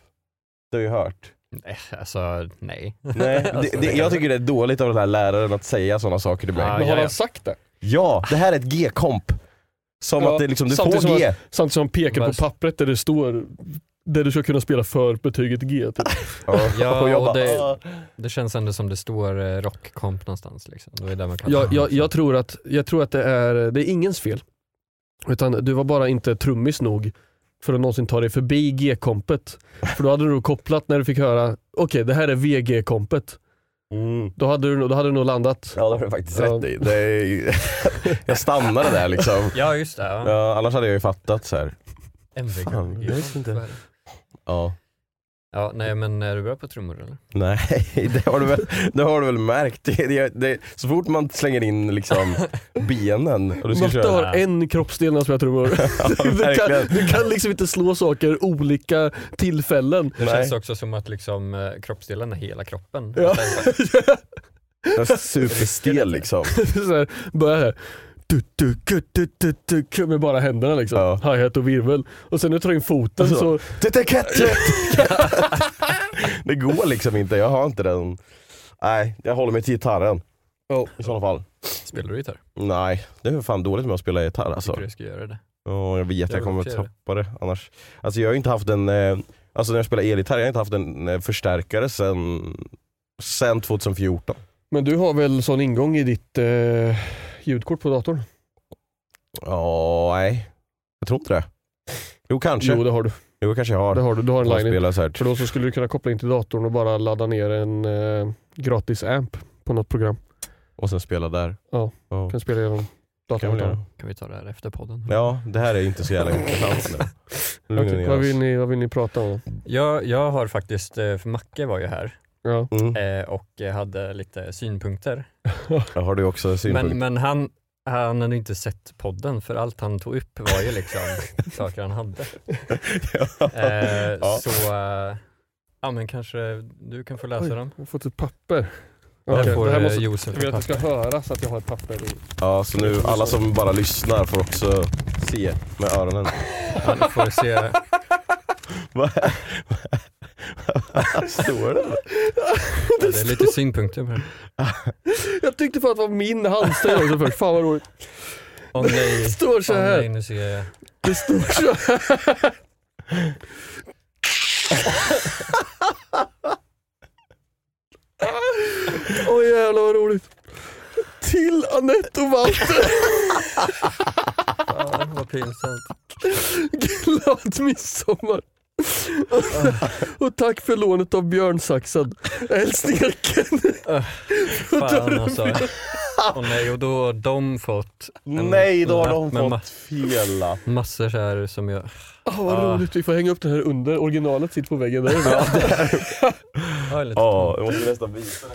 Speaker 2: Det har ju hört.
Speaker 4: Nej, Alltså, nej.
Speaker 2: Nej, det, det, jag tycker det är dåligt av den här läraren att säga sådana saker till mig.
Speaker 4: Ja,
Speaker 3: Men
Speaker 4: Ah, ja,
Speaker 3: har
Speaker 4: ja.
Speaker 3: han sagt det?
Speaker 2: Ja, det här är ett G-komp. Som
Speaker 3: Ja,
Speaker 2: att det liksom, du
Speaker 3: samtidigt
Speaker 2: får
Speaker 3: som
Speaker 2: G.
Speaker 3: Samtidigt som han pekar
Speaker 4: Bara-
Speaker 3: på pappret där det står där du ska kunna spela för betyget G.
Speaker 2: <laughs>
Speaker 3: Typ.
Speaker 4: Ja,
Speaker 2: och jag
Speaker 4: och
Speaker 2: bara,
Speaker 4: det-
Speaker 2: "Ah."
Speaker 4: Det känns ändå som det står eh, rockkomp någonstans liksom. Då är det där man kan
Speaker 3: Jag, jag, jag tror att, jag tror att det, är, det är ingens fel. Utan du var bara inte trummis nog för att någonsin ta dig förbi G-kompet. För då hade du kopplat när du fick höra, okej det här är VG-kompet. Då hade du, nog- då hade du nog landat.
Speaker 2: Mm. Ja, det har du faktiskt
Speaker 3: Ja.
Speaker 2: rätt i. Det är, ju- <laughs> jag stannade där liksom.
Speaker 4: <laughs> Ja, just det. Ja.
Speaker 2: Ja, annars hade jag ju fattat så här.
Speaker 4: MVG.
Speaker 2: Fan, jag visste inte. Ja.
Speaker 4: Ja, nej men är du bra på trummor eller?
Speaker 2: Nej, <laughs> det har du väl, det har du väl märkt. <laughs> Det, det, det, så fort man slänger in
Speaker 4: <laughs>
Speaker 2: liksom benen och du ska
Speaker 3: Matte
Speaker 2: köra.
Speaker 3: har en kroppsdel när han spelar trummor. <laughs> du,
Speaker 2: verkligen.
Speaker 3: kan, du kan liksom inte slå saker olika tillfällen.
Speaker 4: Det
Speaker 2: Nej.
Speaker 4: känns också som att liksom, eh, kroppsdelen är hela kroppen.
Speaker 3: Ja.
Speaker 2: Den är Superstel liksom.
Speaker 3: så här, börja här. Du, du, ku, du, du, du, ku, med bara händerna liksom.
Speaker 2: Ja. Alltså.
Speaker 3: Hi-hat och virvel. Och sen när du tar in foten
Speaker 2: Så.
Speaker 3: så
Speaker 2: Det är katt- <laughs> Det går liksom inte, jag har inte den. Nej, jag håller mig till gitarren.
Speaker 3: Oh.
Speaker 2: I sådana fall.
Speaker 4: Spelar du gitarr?
Speaker 2: Nej, det är fan dåligt med att spela gitarr alltså.
Speaker 4: Tycker du jag ska göra det?
Speaker 2: Ja, jag vet, jag,
Speaker 4: vill
Speaker 2: kommer
Speaker 4: också göra det.
Speaker 2: tappa det annars. Alltså jag har ju inte haft en, eh, alltså när jag spelar elgitarr, jag har inte haft en eh, förstärkare sen, sen 2014.
Speaker 3: Men du har väl sån ingång i ditt eh, ljudkort på datorn?
Speaker 2: Ja, nej. Jag tror inte det. Jo, kanske.
Speaker 3: Jo
Speaker 2: Jo,
Speaker 3: det har du.
Speaker 2: jag kanske jag har.
Speaker 3: Det har du. Du har en
Speaker 2: Jag
Speaker 3: line
Speaker 2: spelar så här.
Speaker 3: För då så skulle du kunna koppla in till datorn och bara ladda ner en eh, gratis amp på något program.
Speaker 2: Och sen spela där.
Speaker 3: Ja.
Speaker 2: ja.
Speaker 3: Du kan spela genom
Speaker 2: Kan väl
Speaker 3: datorn.
Speaker 2: göra.
Speaker 4: Kan vi ta det här efter podden?
Speaker 2: Ja, det här är inte så jävla intressant nu. Lugna
Speaker 3: Okej,
Speaker 2: ner
Speaker 3: vad,
Speaker 2: oss.
Speaker 3: vill ni, vad vill ni prata om?
Speaker 4: Jag, jag har faktiskt, eh, för Macke var ju här
Speaker 3: Ja.
Speaker 2: Mm.
Speaker 4: eh, och eh, hade lite synpunkter.
Speaker 2: <laughs> Jag har du också en synpunkt?
Speaker 4: Men, men han, han hade inte sett podden för allt han tog upp var ju liksom <laughs> saker han hade.
Speaker 2: <laughs> ja.
Speaker 3: <laughs>
Speaker 4: Eh,
Speaker 2: Ja.
Speaker 4: Så eh, ja, men kanske du kan få läsa
Speaker 3: Oj.
Speaker 4: dem.
Speaker 3: Jag har fått ett papper.
Speaker 4: Där
Speaker 3: Okej,
Speaker 4: får
Speaker 3: det här
Speaker 4: eh,
Speaker 3: måste
Speaker 4: Josef
Speaker 3: jag vill
Speaker 4: ett
Speaker 3: att det ska
Speaker 4: papper.
Speaker 3: höras att jag har ett papper. i.
Speaker 2: ja, så nu alla som bara lyssnar får också se med öronen.
Speaker 4: Ja, du får
Speaker 3: <laughs>
Speaker 4: se.
Speaker 2: Vad <laughs> står det?
Speaker 4: Det är lite synpunkter på det.
Speaker 3: Jag tyckte för att det var min handstil också först. Fan vad roligt.
Speaker 4: Om nej,
Speaker 3: Det står så
Speaker 4: om nej,
Speaker 3: här.
Speaker 4: nu ser jag.
Speaker 3: Det står så här. Åh oh, jävlar vad roligt. Till Anette och Walter.
Speaker 4: Fan vad pinsamt.
Speaker 3: Glad midsommar! och tack för lånet av björnsaxen. Hälsningar Kenneth.
Speaker 4: Fan alltså. Och nej, och då har de fått en
Speaker 2: Nej, då har de
Speaker 4: lapp med
Speaker 2: fått fel lapp.
Speaker 4: ma- massor så här som jag...
Speaker 3: Oh, vad
Speaker 4: Ah.
Speaker 3: roligt, vi får hänga upp den här under. Originalet sitter på väggen där. Åh
Speaker 4: Ja, lite.
Speaker 2: Ja, jag måste nästan visa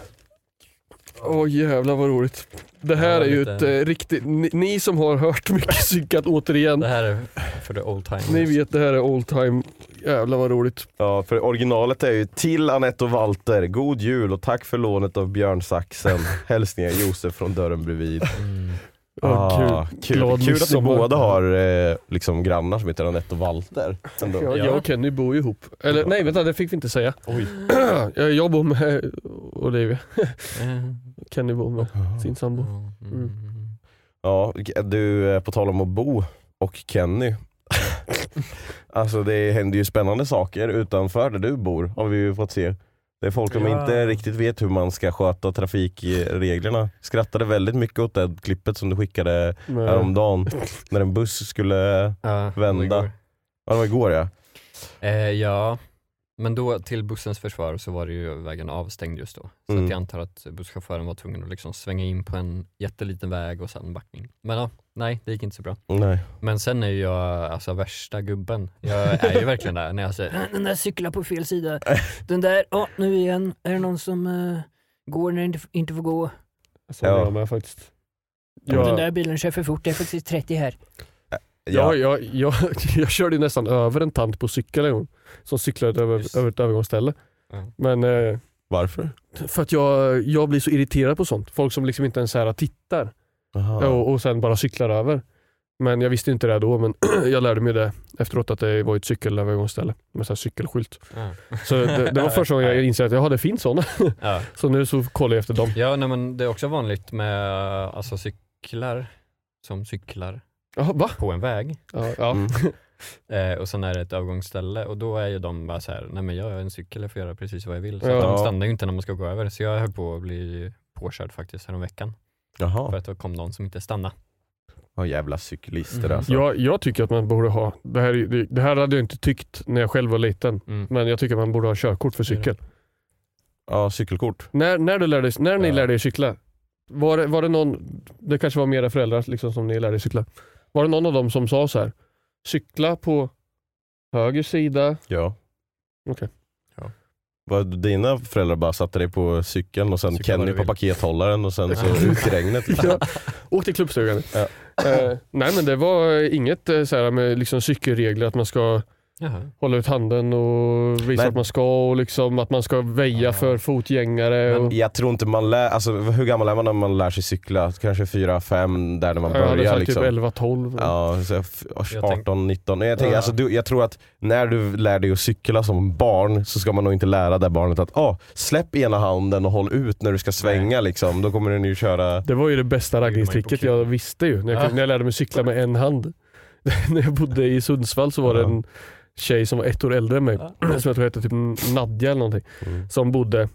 Speaker 2: det.
Speaker 3: jävlar vad roligt. Det här
Speaker 4: Ja,
Speaker 3: är ju
Speaker 4: lite-
Speaker 3: ett eh, riktigt, ni, ni som har hört mycket synkat återigen.
Speaker 4: Det här är för the old timers.
Speaker 3: Ni vet det här är old time. Jävlar vad roligt.
Speaker 2: Ja, för originalet är ju till Anette och Walter. God jul och tack för lånet av björnsaxen. Hälsningar Josef från dörren bredvid.
Speaker 4: Mm.
Speaker 3: Ja,
Speaker 2: Ah, kul
Speaker 3: Glad
Speaker 2: kul att ni
Speaker 3: midsommar.
Speaker 2: båda har eh, liksom grannar som heter Anette och Walter. Ändå.
Speaker 3: Ja,
Speaker 4: Ja.
Speaker 3: jag och Kenny bor ju ihop. Eller nej vänta, det fick vi inte säga.
Speaker 2: Oj.
Speaker 3: Jag- Jag bor med Olivia. Mm.
Speaker 4: Eh,
Speaker 3: Kenny bor med sin sambo.
Speaker 4: ja, mm.
Speaker 2: Ja, du, eh, på tal om att bo och Kenny. <laughs> alltså det händer ju spännande saker utanför där du bor har vi ju fått se. Det är folk som
Speaker 4: Ja.
Speaker 2: inte riktigt vet hur man ska sköta trafikreglerna. Skrattade väldigt mycket åt det klippet som du skickade
Speaker 3: Med-
Speaker 2: häromdagen. När en buss skulle,
Speaker 4: Ja,
Speaker 2: Vända.
Speaker 4: det går.
Speaker 2: ja det var igår ja.
Speaker 4: Eh, ja, men då till bussens försvar så var det ju vägen avstängd just då. Så
Speaker 2: Mm.
Speaker 4: att jag antar att busschauffören var tvungen att liksom svänga in på en jätteliten väg och sen backning. Men ja, nej det gick inte så bra.
Speaker 2: Nej.
Speaker 4: Men sen är ju jag alltså värsta gubben. Jag är ju verkligen där när jag säger den där cyklar på
Speaker 2: <laughs>
Speaker 4: fel sida. Den där, ja nu igen. Är det någon som eh, går när den inte får gå?
Speaker 3: Sån är
Speaker 2: Ja.
Speaker 3: Alltså, jag med faktiskt.
Speaker 2: Ja, men
Speaker 3: Jag, jag,
Speaker 4: bilen kör för fort, det är faktiskt 30 här.
Speaker 3: jag,
Speaker 2: Ja.
Speaker 3: jag, <laughs> jag, körde ju nästan över en tant på cykel en gång. Som cyklade
Speaker 4: Just.
Speaker 3: över, över ett övergångsställe.
Speaker 4: Ja.
Speaker 3: Men eh,
Speaker 2: Varför?
Speaker 3: för att jag, jag blir så irriterad på sånt. Folk som liksom inte ens så här tittar
Speaker 2: Aha.
Speaker 3: och, och sen bara cyklar över. Men jag visste inte det då, men <clears throat> jag lärde mig det efteråt att det var ett cykelövergångsställe med så här cykelskylt.
Speaker 4: Ja,
Speaker 3: Så det, det var första gången jag insåg att jaha, det finns sådana.
Speaker 4: ja.
Speaker 3: <laughs> Så nu så kollar jag efter dem.
Speaker 4: ja nej, men det är också vanligt med alltså, cyklar som cyklar
Speaker 3: Jaha, va?
Speaker 4: på en väg.
Speaker 3: Ja, ja.
Speaker 2: Mm.
Speaker 4: Eh, och sen är det ett övergångsställe och då är ju de bara så här, nej men jag är en cykel, jag får göra precis vad jag vill. Så
Speaker 3: Ja.
Speaker 4: att de stannar ju inte när man ska gå över. Så jag höll på att bli påkörd faktiskt häromveckan. För
Speaker 2: Jaha.
Speaker 4: att då kom någon som inte stannade.
Speaker 2: Ja, jävla cyklister
Speaker 4: Mm.
Speaker 2: alltså.
Speaker 3: Jag, jag tycker att man borde ha, det här, är- det- det här hade jag inte tyckt när jag själv var liten.
Speaker 4: Mm.
Speaker 3: Men jag tycker man borde ha körkort för cykel.
Speaker 2: Ja, cykelkort.
Speaker 3: När, när, du lärde, när ni
Speaker 2: Ja.
Speaker 3: lärde er cykla, var det, var det någon, det kanske var mera föräldrar liksom som ni lärde er cykla. Var det någon av dem som sa så här, cykla på
Speaker 2: <laughs>
Speaker 3: höger sida?
Speaker 2: Ja.
Speaker 3: Okej.
Speaker 4: Ja.
Speaker 2: Var dina föräldrar bara satte dig på cykeln och sen
Speaker 4: Cykla var
Speaker 2: Kenny
Speaker 4: du
Speaker 2: på
Speaker 4: vill.
Speaker 2: pakethållaren och sen så
Speaker 4: Ja.
Speaker 2: ut i regnet.
Speaker 3: Ja. <laughs> Åk till klubbstugan.
Speaker 2: Ja.
Speaker 3: Eh, nej men det var inget eh, så här med liksom cykelregler att man ska
Speaker 4: Jaha.
Speaker 3: hålla ut handen och visa
Speaker 2: Nej.
Speaker 3: att man ska och liksom att man ska väja
Speaker 4: Ja.
Speaker 3: för fotgängare.
Speaker 4: Men-
Speaker 3: och...
Speaker 2: Jag tror inte man lär, alltså hur gammal är man när man lär sig cykla? Kanske 4, 5 där när man
Speaker 3: Ja, Jag hade
Speaker 2: börjar
Speaker 3: sagt
Speaker 2: liksom.
Speaker 3: typ 11-12.
Speaker 2: Ja, så f-
Speaker 4: tänk-
Speaker 2: 18, 19. Nej, Jag, tänker,
Speaker 4: Ja.
Speaker 2: alltså, du, jag tror att när du lär dig att cykla som barn så ska man nog inte lära det barnet att ah, släpp ena handen och håll ut när du ska svänga liksom. Då kommer den ju köra...
Speaker 3: Det var ju det bästa
Speaker 4: man ju på
Speaker 3: raggningstricket
Speaker 4: kul.
Speaker 3: jag visste ju. När jag,
Speaker 4: Ja.
Speaker 3: kunde- när jag lärde mig cykla med en hand. <laughs> när jag bodde i Sundsvall så var det
Speaker 2: Ja.
Speaker 3: en tjej som var ett år äldre än mig. Som jag tror hette typ Nadja eller någonting.
Speaker 2: Mm.
Speaker 3: Som bodde,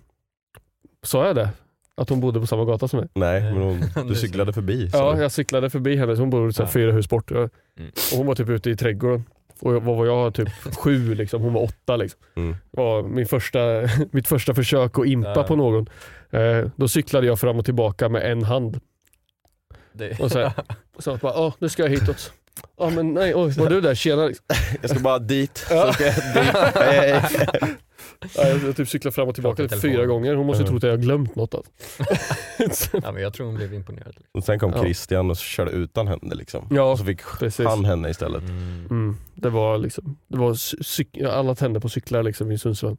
Speaker 3: sa jag det? Att hon bodde på samma gata som mig.
Speaker 2: Nej, men
Speaker 4: <laughs>
Speaker 2: hon, du cyklade förbi. Så.
Speaker 3: Ja, jag cyklade förbi henne, så hon bor så här
Speaker 4: Ja.
Speaker 3: fyra hus bort. Jag-
Speaker 4: Mm.
Speaker 3: Och hon var typ ute i trädgården. Och jag, vad var jag?
Speaker 4: <laughs>
Speaker 3: Typ sju liksom. Hon var åtta liksom.
Speaker 2: Mm.
Speaker 3: Det var min första, <laughs> mitt första försök att impa
Speaker 4: Ja.
Speaker 3: på någon. Eh, då cyklade jag fram och tillbaka med en hand.
Speaker 4: Det,
Speaker 3: Och
Speaker 2: <laughs>
Speaker 3: så här, så jag bara, "Ah, nu ska jag hitåt. Ja men nej, oj, var du där? Tjena. Liksom.
Speaker 2: Jag ska bara
Speaker 3: <laughs>
Speaker 2: dit.
Speaker 3: Ja.
Speaker 2: Så ska jag dit. Hej, hej.
Speaker 3: Ja, jag, jag typ cyklade fram och
Speaker 4: Prata i
Speaker 3: tillbaka typ
Speaker 4: telefon.
Speaker 3: fyra gånger. Hon måste ju
Speaker 2: Ja.
Speaker 3: tro att jag har glömt något. Alltså.
Speaker 4: <laughs> ja, men jag tror hon blev imponerad.
Speaker 2: <laughs> Och sen kom
Speaker 3: Ja.
Speaker 2: Christian och så körde utan henne liksom.
Speaker 3: Ja,
Speaker 2: och så fick
Speaker 3: precis.
Speaker 2: han henne istället.
Speaker 4: Mm.
Speaker 3: Mm, det var liksom, det var cy- cyk- alla tänder på cyklar liksom i Sundsvall.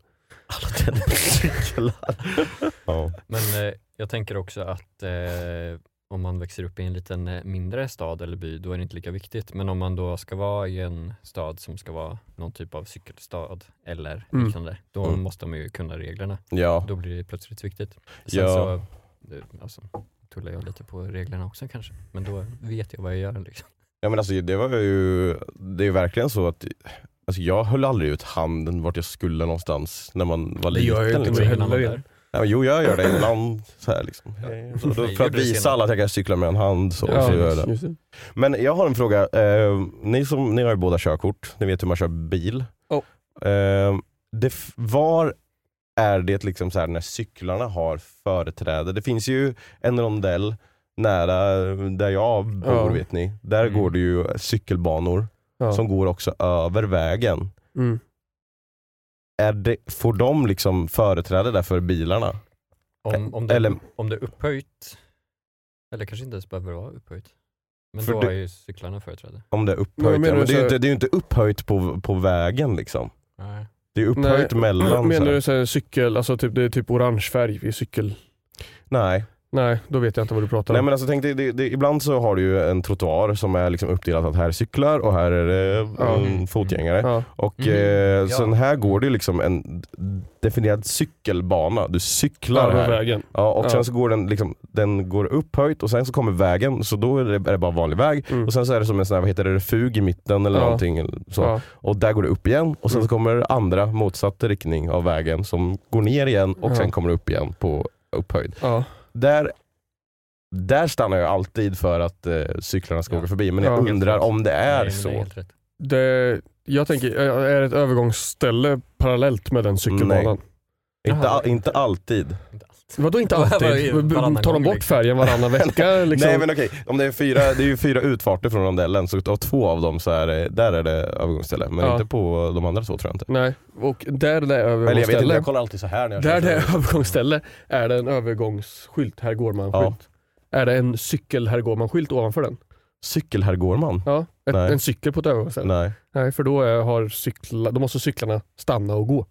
Speaker 2: Alla tänder på
Speaker 4: <laughs>
Speaker 2: cyklar. ja.
Speaker 4: Men eh, jag tänker också att eh, om man växer upp i en liten eh, mindre stad eller by, då är det inte lika viktigt. Men om man då ska vara i en stad som ska vara någon typ av cykelstad eller
Speaker 3: Mm.
Speaker 4: liknande, då
Speaker 2: Mm.
Speaker 4: måste man ju kunna reglerna.
Speaker 2: ja,
Speaker 4: Då blir det plötsligt viktigt. Sen
Speaker 2: Ja.
Speaker 4: så eh, alltså, tullar jag lite på reglerna också kanske, men då vet jag vad jag gör. Liksom.
Speaker 2: Ja men alltså det var ju, det är ju verkligen så att alltså, jag höll aldrig ut handen vart jag skulle någonstans när man var
Speaker 3: Det gör
Speaker 2: liten.
Speaker 3: jag ju inte
Speaker 2: liksom.
Speaker 3: med.
Speaker 4: Innan man
Speaker 3: heller
Speaker 4: där.
Speaker 2: ja, men, jo jag gör det ibland. Så här, liksom. så, då,
Speaker 4: Nej,
Speaker 2: för
Speaker 4: gör
Speaker 2: att
Speaker 4: du det
Speaker 2: visa
Speaker 4: senare.
Speaker 2: alla att jag kan cykla med en hand så, så gör jag det.
Speaker 3: just det.
Speaker 2: Men jag har en fråga. Eh, ni, som, ni har ju båda körkort, ni vet hur man kör bil.
Speaker 3: Ja.
Speaker 2: Eh, det, f- var är det liksom så här när cyklarna har företräde? Det finns ju en rondell nära där jag bor
Speaker 3: Ja.
Speaker 2: vet ni. Där
Speaker 4: Mm.
Speaker 2: går det ju cykelbanor
Speaker 3: Ja.
Speaker 2: som går också över vägen.
Speaker 3: Mm.
Speaker 2: Är det, får de liksom företräde där för bilarna?
Speaker 4: Om, om, det,
Speaker 2: Eller-
Speaker 4: om det är upphöjt, eller kanske inte ens behöver vara upphöjt, men
Speaker 2: För
Speaker 4: då
Speaker 2: det-
Speaker 4: har ju cyklarna företräde.
Speaker 2: Om det är
Speaker 3: Men jag
Speaker 2: upphöjt?
Speaker 3: menar
Speaker 2: Ja, men det,
Speaker 3: så
Speaker 2: är ju
Speaker 3: här-
Speaker 2: inte, det är ju inte upphöjt på, på vägen liksom.
Speaker 4: Nej.
Speaker 2: Det är ju upphöjt
Speaker 3: Nej.
Speaker 2: mellan. så
Speaker 3: <clears throat> Menar
Speaker 2: här.
Speaker 3: du så här, cykel, alltså typ, det är typ orange färg i cykel?
Speaker 2: Nej.
Speaker 3: Nej, då vet jag inte vad du pratar om.
Speaker 2: Nej men alltså tänk dig, det, det, ibland så har du ju en trottoar som är liksom uppdelad att här är cyklar och här är det
Speaker 3: Ja.
Speaker 2: mm, fotgängare.
Speaker 3: ja.
Speaker 2: Och
Speaker 4: Mm,
Speaker 2: eh,
Speaker 4: ja.
Speaker 2: sen här går det ju liksom en definierad cykelbana. Du cyklar
Speaker 3: Klar
Speaker 2: här.
Speaker 3: vägen.
Speaker 2: Ja, och sen
Speaker 3: Ja.
Speaker 2: så går den, liksom, den går upphöjt och sen så kommer vägen så då är det, är det bara vanlig väg.
Speaker 3: Mm.
Speaker 2: Och sen så är det som en sån här, vad heter det, refug i mitten eller
Speaker 3: Ja.
Speaker 2: någonting. eller Så.
Speaker 3: Ja. Mm.
Speaker 2: Och där går det upp igen och sen så kommer andra motsatt riktning av vägen som går ner igen och
Speaker 3: Ja.
Speaker 2: sen kommer det upp igen på upphöjd.
Speaker 3: Ja.
Speaker 2: Där, där stannar jag alltid för att eh, cyklarna ska
Speaker 4: Ja.
Speaker 2: åka förbi men jag
Speaker 3: Ja.
Speaker 2: undrar om det är
Speaker 4: Nej, men
Speaker 2: så.
Speaker 4: Det är helt rätt.
Speaker 3: Det, jag tänker, är det ett övergångsställe parallellt med den cykelbanan?
Speaker 2: Nej. Inte,
Speaker 4: Jaha.
Speaker 2: all, inte alltid.
Speaker 4: Inte alls.
Speaker 3: Vadå inte
Speaker 4: Vad- vad
Speaker 3: alltid?
Speaker 4: är- varannan
Speaker 3: Tar de
Speaker 4: gång,
Speaker 3: bort
Speaker 4: liksom?
Speaker 2: <laughs>
Speaker 3: färgen varannan vecka? Liksom?
Speaker 2: Nej men okej, om det, är fyra, det är ju fyra utfarter från rondellen så av två av dem så är det, där är det övergångsställe men
Speaker 3: Ja.
Speaker 2: inte på de andra två tror jag inte.
Speaker 3: Nej, och där det är
Speaker 2: Eller jag vet inte,
Speaker 3: övergångsställe,
Speaker 2: jag kollar alltid så här när jag kör.
Speaker 3: där det <laughs> är övergångsställe är det en övergångsskylt, här går man
Speaker 2: Ja.
Speaker 3: skylt. Är det en cykel, här går man skylt ovanför den?
Speaker 2: Cykel här går man?
Speaker 3: Ja, ett,
Speaker 2: Nej.
Speaker 3: en cykel på ett övergångsställe. Nej.
Speaker 2: Nej.
Speaker 3: för då, är, har cykla, då måste cyklarna stanna och gå.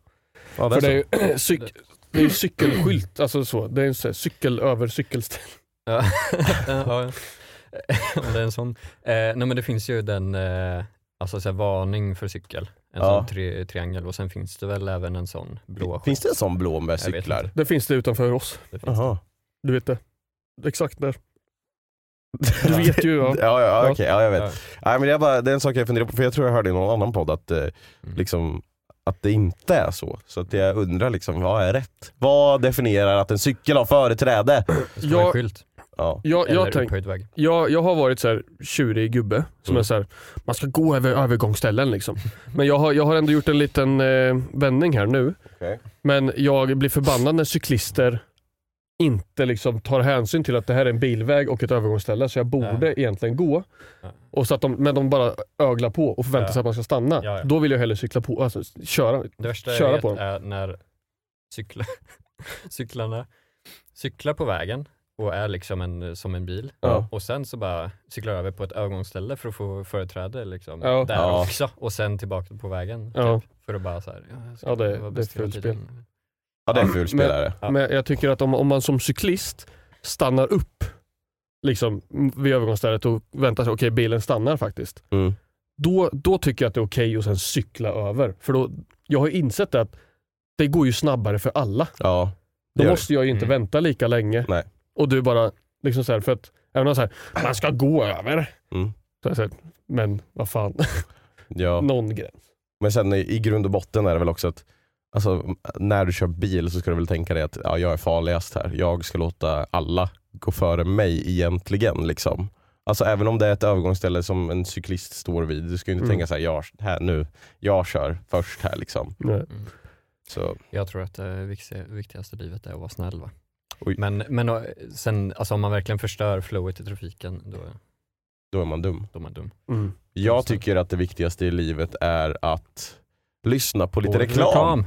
Speaker 2: Ja, det
Speaker 3: För
Speaker 2: är
Speaker 3: det är,
Speaker 2: så.
Speaker 3: ju, <clears throat> cyk, det är ju cykelskylt, alltså så. Det är en så här, cykel över cykelställe.
Speaker 4: Ja. <laughs> ja, <laughs> ja. Om det är en sån. Eh, nej men det finns ju den, eh, alltså så här, varning för cykel, en
Speaker 2: Ja.
Speaker 4: sån tri triangel och sen finns det väl även en sån blå
Speaker 2: Finns det
Speaker 4: skylt.
Speaker 2: en sån blå med
Speaker 4: Jag vet
Speaker 2: cyklar?
Speaker 4: inte.
Speaker 3: Det finns det utanför oss.
Speaker 4: Det finns
Speaker 2: Jaha.
Speaker 3: Du vet det. Exakt där. Du vet ju, ja.
Speaker 2: Ja, ja, ja
Speaker 3: Ja.
Speaker 2: okej, ja jag vet. Mm.
Speaker 4: Ja.
Speaker 2: Nej, men det, är bara, det är en sak jag funderar på, för jag tror jag hörde i någon annan podd att, eh,
Speaker 4: Mm.
Speaker 2: liksom, att det inte är så. Så att jag undrar liksom, vad är rätt? Vad definierar att en cykel har företräde?
Speaker 4: Det ska vara en
Speaker 3: Jag-
Speaker 4: skylt
Speaker 2: Ja.
Speaker 3: Jag, jag,
Speaker 4: eller
Speaker 3: tänk,
Speaker 4: upphöjd väg.
Speaker 3: jag, jag har varit så här tjurig gubbe som
Speaker 2: Mm.
Speaker 3: är så här, man ska gå över övergångsställen liksom. Men jag har, jag har ändå gjort en liten eh, vändning här nu.
Speaker 2: Okej.
Speaker 3: Men jag blir förbannad när cyklister inte liksom tar hänsyn till att det här är en bilväg och ett övergångsställe så jag borde
Speaker 4: Nej.
Speaker 3: egentligen gå.
Speaker 4: Ja.
Speaker 3: Och så att de, men de bara öglar på och förväntar
Speaker 4: Ja.
Speaker 3: sig att man ska stanna.
Speaker 4: Ja, ja.
Speaker 3: Då vill jag hellre cykla på, alltså köra.
Speaker 4: Det värsta
Speaker 3: Köra
Speaker 4: jag vet
Speaker 3: på dem.
Speaker 4: är eh, när cykla, <laughs> cyklarna cyklar på vägen och är liksom en, som en bil
Speaker 3: Ja.
Speaker 4: och sen så bara cyklar över på ett övergångsställe för att få företräde liksom,
Speaker 3: Ja.
Speaker 4: där
Speaker 2: Ja.
Speaker 4: också och sen tillbaka på vägen.
Speaker 3: Ja.
Speaker 4: Typ, för att bara så här, ja, jag ska
Speaker 3: Ja, det- det
Speaker 4: vara bäst
Speaker 3: är
Speaker 4: hela
Speaker 3: fult
Speaker 4: tiden.
Speaker 2: Ja det är en ful spelare.
Speaker 4: Ja.
Speaker 3: Men jag tycker att om, om man som cyklist stannar upp liksom, vid övergångsstället och väntar sig, okej bilen stannar faktiskt.
Speaker 2: Mm.
Speaker 3: Då, då tycker jag att det är okej att sen cykla över. För då, jag har insett att det går ju snabbare för alla.
Speaker 2: Ja. Det
Speaker 3: Då
Speaker 2: gör
Speaker 3: måste jag ju inte
Speaker 4: Mm.
Speaker 3: vänta lika länge.
Speaker 2: Nej.
Speaker 3: Och du bara, liksom så här, för att även om så här, man ska gå över.
Speaker 2: Mm.
Speaker 3: Så här, så här, men vad fan,
Speaker 2: det. ja.
Speaker 3: <laughs> någon gräns.
Speaker 2: Men sen i, i grund och botten är det väl också att Alltså, när du kör bil så ska du väl tänka dig att ja, jag är farligast här. Jag ska låta alla gå före mig egentligen. Liksom. Alltså även om det är ett övergångsställe som en cyklist står vid. Du ska ju inte
Speaker 3: Mm.
Speaker 2: tänka så här, jag, här nu, jag kör först här liksom.
Speaker 3: Nej.
Speaker 2: Så,
Speaker 4: Jag tror att det vik- viktigaste i livet är att vara snäll. Va?
Speaker 2: Oj.
Speaker 4: Men, men eh, sen, alltså, om man verkligen förstör flowet i trafiken, då,
Speaker 2: då är man dum.
Speaker 4: då är man dum.
Speaker 3: Mm.
Speaker 2: Jag
Speaker 4: Just det.
Speaker 2: tycker att det viktigaste i livet är att lyssna på lite
Speaker 4: Och
Speaker 2: reklam.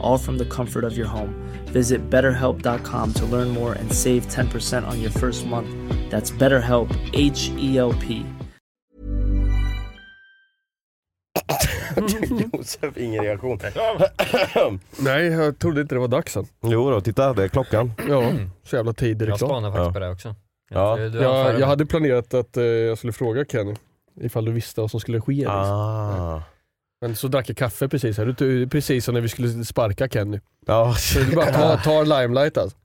Speaker 7: all from the comfort of your home. Visit betterhelp.com to learn more and save 10% on your first month. That's BetterHelp, H E L P.
Speaker 2: <laughs> Josef, ingen reaktion.
Speaker 3: Nej, jag trodde inte det var dags än.
Speaker 2: jo då, titta det är klockan.
Speaker 3: Ja, så jävla tidig
Speaker 4: Jag
Speaker 3: reklam.
Speaker 4: spanar faktiskt
Speaker 2: Ja.
Speaker 4: på det också.
Speaker 2: Ja.
Speaker 4: Du, du
Speaker 3: Jag,
Speaker 4: anför-
Speaker 3: jag hade planerat att eh, jag skulle fråga Kenny ifall du visste vad som skulle ske. liksom.
Speaker 2: Ah.
Speaker 3: Men så drack jag kaffe precis här. Du- Precis som när vi skulle sparka Kenny.
Speaker 2: Ja,
Speaker 3: <laughs> Så
Speaker 2: <laughs>
Speaker 3: du bara tar, tar limelight alltså.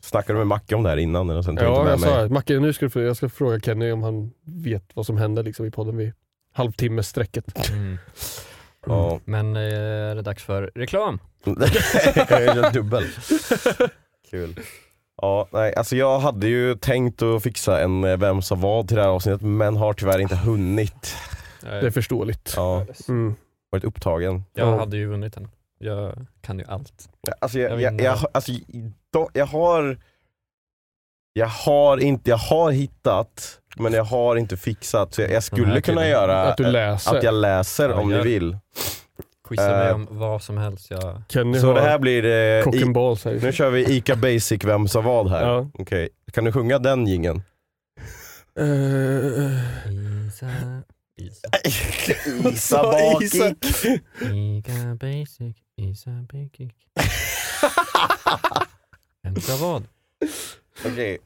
Speaker 2: snackade du med Macke om det här innan? Eller? Sen tog du inte
Speaker 3: Ja,
Speaker 2: med
Speaker 3: jag
Speaker 2: mig?
Speaker 3: sa Macke, nu ska du, få- jag ska fråga Kenny om han vet vad som händer liksom, i podden vid halvtimmesstrecket.
Speaker 2: <laughs>
Speaker 4: Mm.
Speaker 2: Ja.
Speaker 4: Men eh, är det dags för
Speaker 2: <laughs>
Speaker 4: reklam?
Speaker 3: Mm.
Speaker 2: jag gör dubbel. Kul. Ja, nej, alltså jag hade ju tänkt att fixa en eh, Vem sa vad till det här avsnittet men har tyvärr inte hunnit.
Speaker 3: Det är förståeligt.
Speaker 2: Ja,
Speaker 3: Mm.
Speaker 2: varit upptagen.
Speaker 4: Jag hade ju vunnit den. Jag kan ju allt.
Speaker 2: Alltså jag,
Speaker 4: Jag
Speaker 2: jag,
Speaker 4: vinner.
Speaker 2: jag, alltså, de- jag har jag har inte, jag har hittat men jag har inte fixat. Så jag, jag
Speaker 4: Den
Speaker 2: skulle
Speaker 4: här
Speaker 2: kunna
Speaker 4: tiden.
Speaker 2: göra
Speaker 3: Mm. Att du
Speaker 2: eh,
Speaker 3: läser.
Speaker 2: att jag läser
Speaker 4: Ja,
Speaker 2: om ni
Speaker 4: gör.
Speaker 2: vill.
Speaker 4: Quizza mig
Speaker 2: Eh.
Speaker 4: om vad som helst. Jag...
Speaker 3: Kenny
Speaker 2: Så
Speaker 3: har
Speaker 2: det här blir... eh,
Speaker 3: cock and
Speaker 2: I,
Speaker 3: balls här.
Speaker 2: nu kör vi Ica Basic Vem sa vad här.
Speaker 3: Ja.
Speaker 2: Okej, kan du sjunga den gingen?
Speaker 3: Eh,
Speaker 4: Isa, Isa,
Speaker 2: Äh, Isa
Speaker 3: <laughs>
Speaker 2: Bakik.
Speaker 4: Ica Basic, Isa Basic. Vem ska vad?
Speaker 2: <laughs> Okej.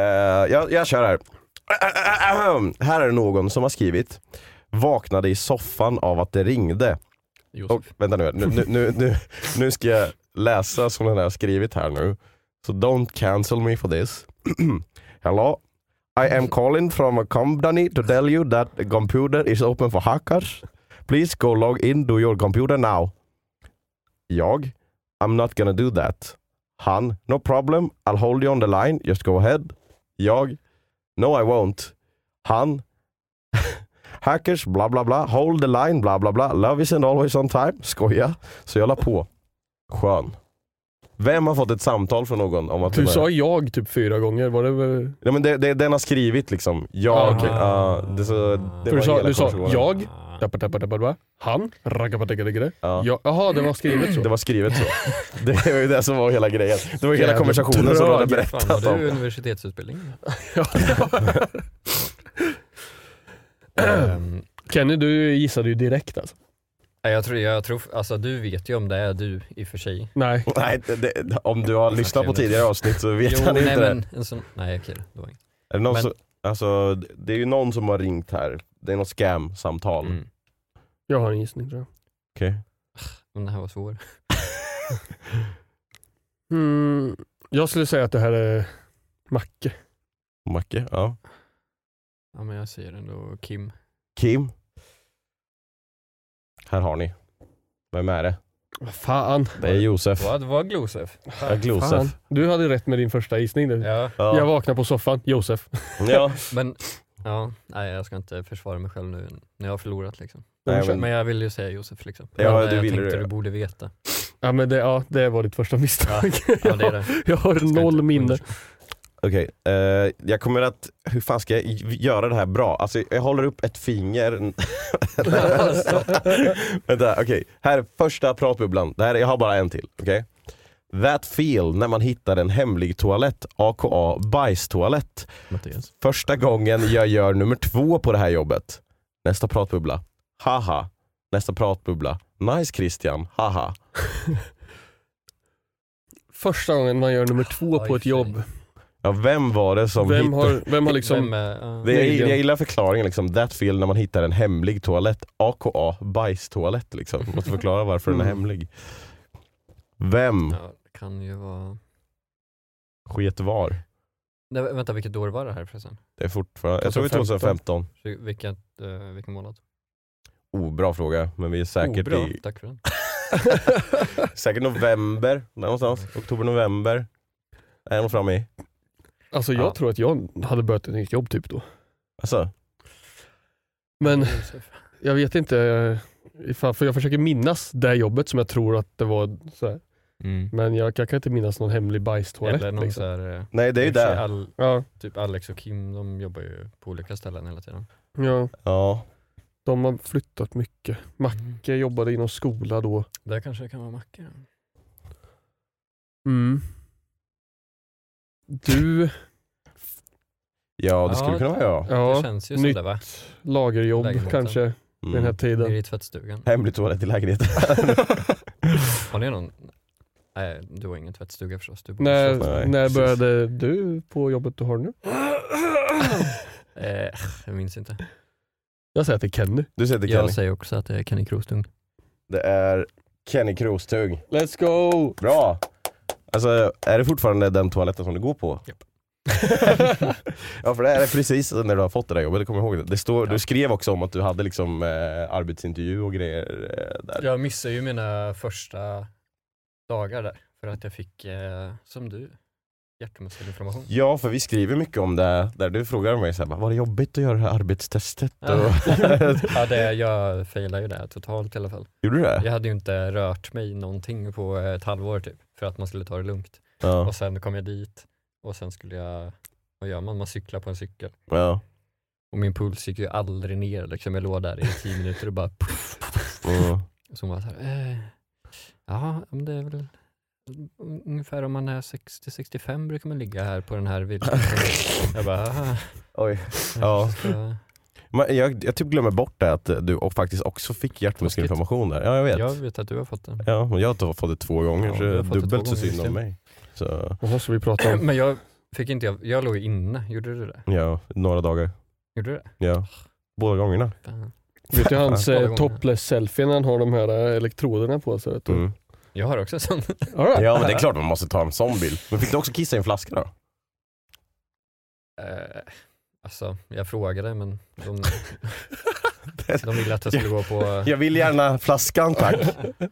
Speaker 2: Eh, jag, jag kör här. Ahem. här är någon som har skrivit. Vaknade i soffan av att det ringde. Och,
Speaker 4: Josef.
Speaker 2: vänta nu, nu, nu, nu, nu, nu ska jag läsa som den har skrivit här nu. So don't cancel me for this. <clears throat> Hello. I am calling from a company to tell you that the computer is open for hackers. Please go log in to your computer now. Jag. I'm not gonna do that. Han. No problem. I'll hold you on the line. Just go ahead. Jag. No I won't. Han. <laughs> Hackers, bla bla bla. Hold the line, bla bla bla. Love isn't always on time. Skoja. Så jag la på. Skön. Vem har fått ett samtal från någon om att
Speaker 3: Du
Speaker 2: den är-
Speaker 3: sa jag typ fyra gånger. Var det, väl-
Speaker 2: Ja, men det, det, den har skrivit liksom.
Speaker 3: Ah,
Speaker 2: Jag,
Speaker 3: okej.
Speaker 2: ja, det, så, det
Speaker 3: För
Speaker 2: var
Speaker 3: du sa,
Speaker 2: hela
Speaker 3: du sa
Speaker 2: konversationen.
Speaker 3: jag,
Speaker 4: Ah.
Speaker 3: tappa, tappa, tappa, tappa. han, raggabadiggadigga.
Speaker 2: Ja.
Speaker 3: Ja. Jaha, det var
Speaker 2: <clears throat>
Speaker 3: skrivet så.
Speaker 2: Det var skrivet
Speaker 3: <laughs>
Speaker 2: så. det var ju det som var hela grejen. Det var ju hela
Speaker 3: Jävla
Speaker 2: konversationen som du hade
Speaker 3: drag.
Speaker 4: Fan,
Speaker 2: berättat
Speaker 4: har du
Speaker 2: om.
Speaker 4: universitetsutbildning?
Speaker 3: Ja.
Speaker 4: Ehm,
Speaker 3: Kenny, du gissade ju direkt alltså.
Speaker 4: nej, jag tror, jag tror, alltså du vet ju om det är du i och för sig.
Speaker 3: Nej.
Speaker 2: Nej, det, det, om du har lyssnat på
Speaker 4: Okej, men-
Speaker 2: tidigare avsnitt så vet
Speaker 4: jo,
Speaker 2: han inte
Speaker 4: nej,
Speaker 2: det.
Speaker 4: men en sån, nej okej, det var inget.
Speaker 2: Är det, någon
Speaker 4: men-
Speaker 2: som, alltså, det är ju någon som har ringt här. Det är något scam-samtal.
Speaker 4: Mm.
Speaker 3: Jag har en gissning tror jag.
Speaker 2: Okej.
Speaker 4: Men det här var svår.
Speaker 3: Mm, jag skulle säga att det här är Macke.
Speaker 2: Macke? Ja.
Speaker 4: Ja men jag säger ändå Kim.
Speaker 2: Kim? Här har ni. Vem är det?
Speaker 3: Vad fan.
Speaker 2: Det är Josef.
Speaker 4: Vad var Glosef?
Speaker 2: Ja, Glosef.
Speaker 3: fan. Du hade rätt med din första gissning. Du.
Speaker 4: Ja,
Speaker 3: Jag
Speaker 2: Ja.
Speaker 3: vaknar på soffan, <laughs> Josef.
Speaker 4: <laughs>
Speaker 2: Ja.
Speaker 4: men ja, nej jag ska inte försvara mig själv nu när jag har förlorat liksom.
Speaker 2: Nej, men-
Speaker 4: Men jag ville ju säga Josef liksom.
Speaker 2: Ja,
Speaker 4: men,
Speaker 2: du
Speaker 4: jag
Speaker 2: ville
Speaker 4: tänkte
Speaker 2: det.
Speaker 4: du borde veta.
Speaker 3: Ja, men det, ja, det var ditt första misstag.
Speaker 4: Ja, det är det.
Speaker 3: <laughs>
Speaker 4: <laughs>
Speaker 3: Jag har
Speaker 4: Ska
Speaker 3: noll
Speaker 4: inte
Speaker 3: minne.
Speaker 4: underskatta.
Speaker 2: Okej, eh, jag kommer att, hur fan ska jag göra det här bra? Alltså jag håller upp ett
Speaker 3: <laughs>
Speaker 2: finger.
Speaker 3: Alltså.
Speaker 2: Vänta, okej. Här är första pratbubblan. Det här, jag har bara en till. Okej? That feel när man hittar en hemlig toalett, aka bajstoalett.
Speaker 8: Mattias.
Speaker 2: Första gången jag gör nummer två på det här jobbet. Nästa pratbubbla. Haha. Nästa pratbubbla. Nice Christian. Haha.
Speaker 3: <laughs> Första gången man gör nummer två på ett jobb.
Speaker 2: Ja, vem var det som
Speaker 3: Vem
Speaker 2: hittade...
Speaker 3: har, vem har
Speaker 4: Vem,
Speaker 3: liksom...
Speaker 4: eh,
Speaker 2: Det, jag,
Speaker 3: Möjligen.
Speaker 2: jag gillar förklaringen, liksom. that feel när man hittar en hemlig toalett, aka bajstoalett. Liksom. Måste förklara varför den är
Speaker 3: Mm.
Speaker 2: hemlig. Vem
Speaker 4: ja, det kan ju vara...
Speaker 2: sket var?
Speaker 4: Nej, vä- vänta, vilket år var det här förresten?
Speaker 2: Det är fortfarande, jag tror det är 2015.
Speaker 3: 2015.
Speaker 4: Så Vilket, eh, vilken månad?
Speaker 2: Oh, bra fråga, men vi är säkert
Speaker 4: Oh, bra,
Speaker 2: i
Speaker 4: tack för den.
Speaker 2: säkert november, någonstans. Oktober, november. Är de framme i?
Speaker 3: Alltså jag
Speaker 2: Ja.
Speaker 3: tror att jag hade börjat ett nytt jobb typ då.
Speaker 2: Alltså,
Speaker 3: <laughs> Men
Speaker 4: Josef.
Speaker 3: jag vet inte eh, ifall, för jag försöker minnas det jobbet som jag tror att det var så här.
Speaker 4: Mm.
Speaker 3: Men jag, jag kan inte minnas någon hemlig bajstoalett.
Speaker 4: Eller någon
Speaker 3: liksom.
Speaker 4: så här, eh,
Speaker 2: nej det är ju
Speaker 4: i och för sig
Speaker 2: det.
Speaker 4: Al,
Speaker 3: ja,
Speaker 4: typ Alex och Kim, de jobbar ju på olika ställen hela tiden.
Speaker 3: ja,
Speaker 2: Ja.
Speaker 3: de har flyttat mycket.
Speaker 4: Mm.
Speaker 3: Macke jobbade inom skola då.
Speaker 4: Där kanske det kan vara Macke. då.
Speaker 3: Mm.
Speaker 2: <laughs>
Speaker 3: Du,
Speaker 2: ja, det skulle
Speaker 4: Ja,
Speaker 2: kunna vara jag.
Speaker 4: Det
Speaker 3: ja,
Speaker 4: känns ju som
Speaker 3: nytt
Speaker 4: det va?
Speaker 3: lagerjobb
Speaker 4: Lägenheten.
Speaker 3: kanske vid den här
Speaker 2: Mm.
Speaker 4: Nere
Speaker 3: tiden.
Speaker 4: i tvättstugan.
Speaker 2: Hemlig toalett i lägenheten.
Speaker 4: Har ni någon? Nej, du har ingen tvättstuga förstås. Du bor i
Speaker 3: När,
Speaker 4: Stockholm.
Speaker 2: Nej,
Speaker 3: när
Speaker 2: precis.
Speaker 3: började du på jobbet du
Speaker 2: <coughs>
Speaker 3: har nu?
Speaker 4: Eh, jag minns inte.
Speaker 3: Jag säger att det är Kenny.
Speaker 2: Du säger till Kenny.
Speaker 4: Jag säger också att det är Kenny Krostung.
Speaker 2: Det är Kenny Krostug.
Speaker 3: Let's go!
Speaker 2: Bra! Alltså, är det fortfarande den toaletten som du går på?
Speaker 4: Japp.
Speaker 2: <laughs> ja, för det är det precis när du har fått det där jobbet, jag kommer ihåg det. det står,
Speaker 4: Ja.
Speaker 2: Du skrev också om att du hade liksom, eh, arbetsintervju och grejer eh, där.
Speaker 4: Jag missade ju mina första dagar där för att jag fick, eh, som du, hjärtmuskelinflammation.
Speaker 2: Ja, för vi skriver mycket om det, där du frågar mig såhär, var det jobbigt att göra det här arbetstestet?
Speaker 4: Ja.
Speaker 2: Och-
Speaker 4: <laughs> ja, det, jag failade ju det totalt i alla fall.
Speaker 2: <laughs> Gjorde du det?
Speaker 4: Jag hade ju inte rört mig någonting på ett halvår typ, för att man skulle ta det lugnt.
Speaker 2: Ja.
Speaker 4: Och sen kom jag dit och sen skulle jag, vad gör man? Man cyklar på en cykel.
Speaker 2: ja.
Speaker 4: Och min puls gick ju aldrig ner liksom. Jag låg där i tio minuter och bara
Speaker 2: Mm.
Speaker 4: Så hon var så här, eh, ja men det är väl un- ungefär om man är 60-65 brukar man ligga här på den
Speaker 2: <laughs>
Speaker 4: här villan. <laughs> jag bara, aha,
Speaker 2: Oj.
Speaker 4: jag
Speaker 2: Ja.
Speaker 4: ska-
Speaker 2: Men jag, jag typ glömmer bort det att du och faktiskt också fick hjärtmuskelinflammation där. Ja, jag vet.
Speaker 4: jag vet att du har fått den.
Speaker 2: Ja, men jag har fått det två gånger,
Speaker 4: Ja,
Speaker 2: så
Speaker 4: du
Speaker 2: det
Speaker 4: har
Speaker 2: är
Speaker 4: fått det
Speaker 2: dubbelt så
Speaker 4: två gånger,
Speaker 2: synd om mig. Så,
Speaker 3: Jaha, så vi pratar
Speaker 2: <coughs>
Speaker 3: om...
Speaker 4: Men jag fick inte, jag, jag låg ju inne, gjorde du det?
Speaker 2: ja, några dagar.
Speaker 4: Gjorde du det?
Speaker 2: Ja. Båda gångerna.
Speaker 4: Fan.
Speaker 3: Vet
Speaker 2: <laughs>
Speaker 3: du hans
Speaker 4: Båda
Speaker 3: eh,
Speaker 4: gångerna.
Speaker 3: topless-selfie när han har de här eh, elektroderna på sig? vet du?
Speaker 2: Mm.
Speaker 4: Jag har också en sån.
Speaker 3: All right.
Speaker 2: Ja men det är klart man måste ta en sån bild. Men fick du också kissa i en flaska
Speaker 4: Mm.
Speaker 2: då?
Speaker 4: Eh, alltså, jag frågade men de, de ville att jag skulle gå på...
Speaker 2: <laughs> Jag vill gärna flaskan tack.
Speaker 4: <laughs>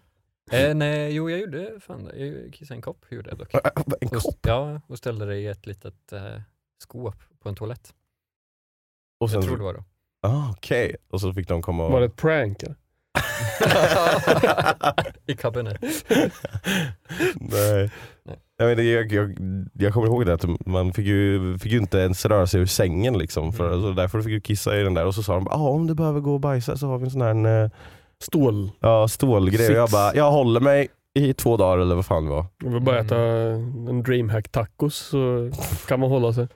Speaker 4: Eh, nej, jo jag gjorde fan det. Jag kissade i en kopp, gjorde jag dock.
Speaker 2: En
Speaker 4: Och-
Speaker 2: kopp.
Speaker 4: Ja, och ställde det i ett litet eh, skåp på en toalett.
Speaker 2: Och
Speaker 4: Jag
Speaker 2: sen,
Speaker 4: tror det
Speaker 2: <laughs>
Speaker 4: var då. <laughs>
Speaker 2: ah, okej. Och så fick de komma och...
Speaker 3: Var det ett prank? eller?
Speaker 4: I kabinett.
Speaker 2: Nej.
Speaker 4: Nej.
Speaker 2: Jag, vet, inte, jag, jag, jag kommer ihåg det att man fick ju, fick ju inte ens röra sig ur sängen liksom. För,
Speaker 4: Mm.
Speaker 2: så därför fick du kissa i den där och så sa de bara, ah, om du behöver gå och bajsa så har vi en sån här eh,
Speaker 3: Stål.
Speaker 2: ja, stålgrej. Och jag
Speaker 3: Sits.
Speaker 2: bara, jag håller mig i två dagar eller vad fan det var.
Speaker 3: Om vi bara
Speaker 4: Mm.
Speaker 3: äta en DreamHack tacos så kan man hålla sig.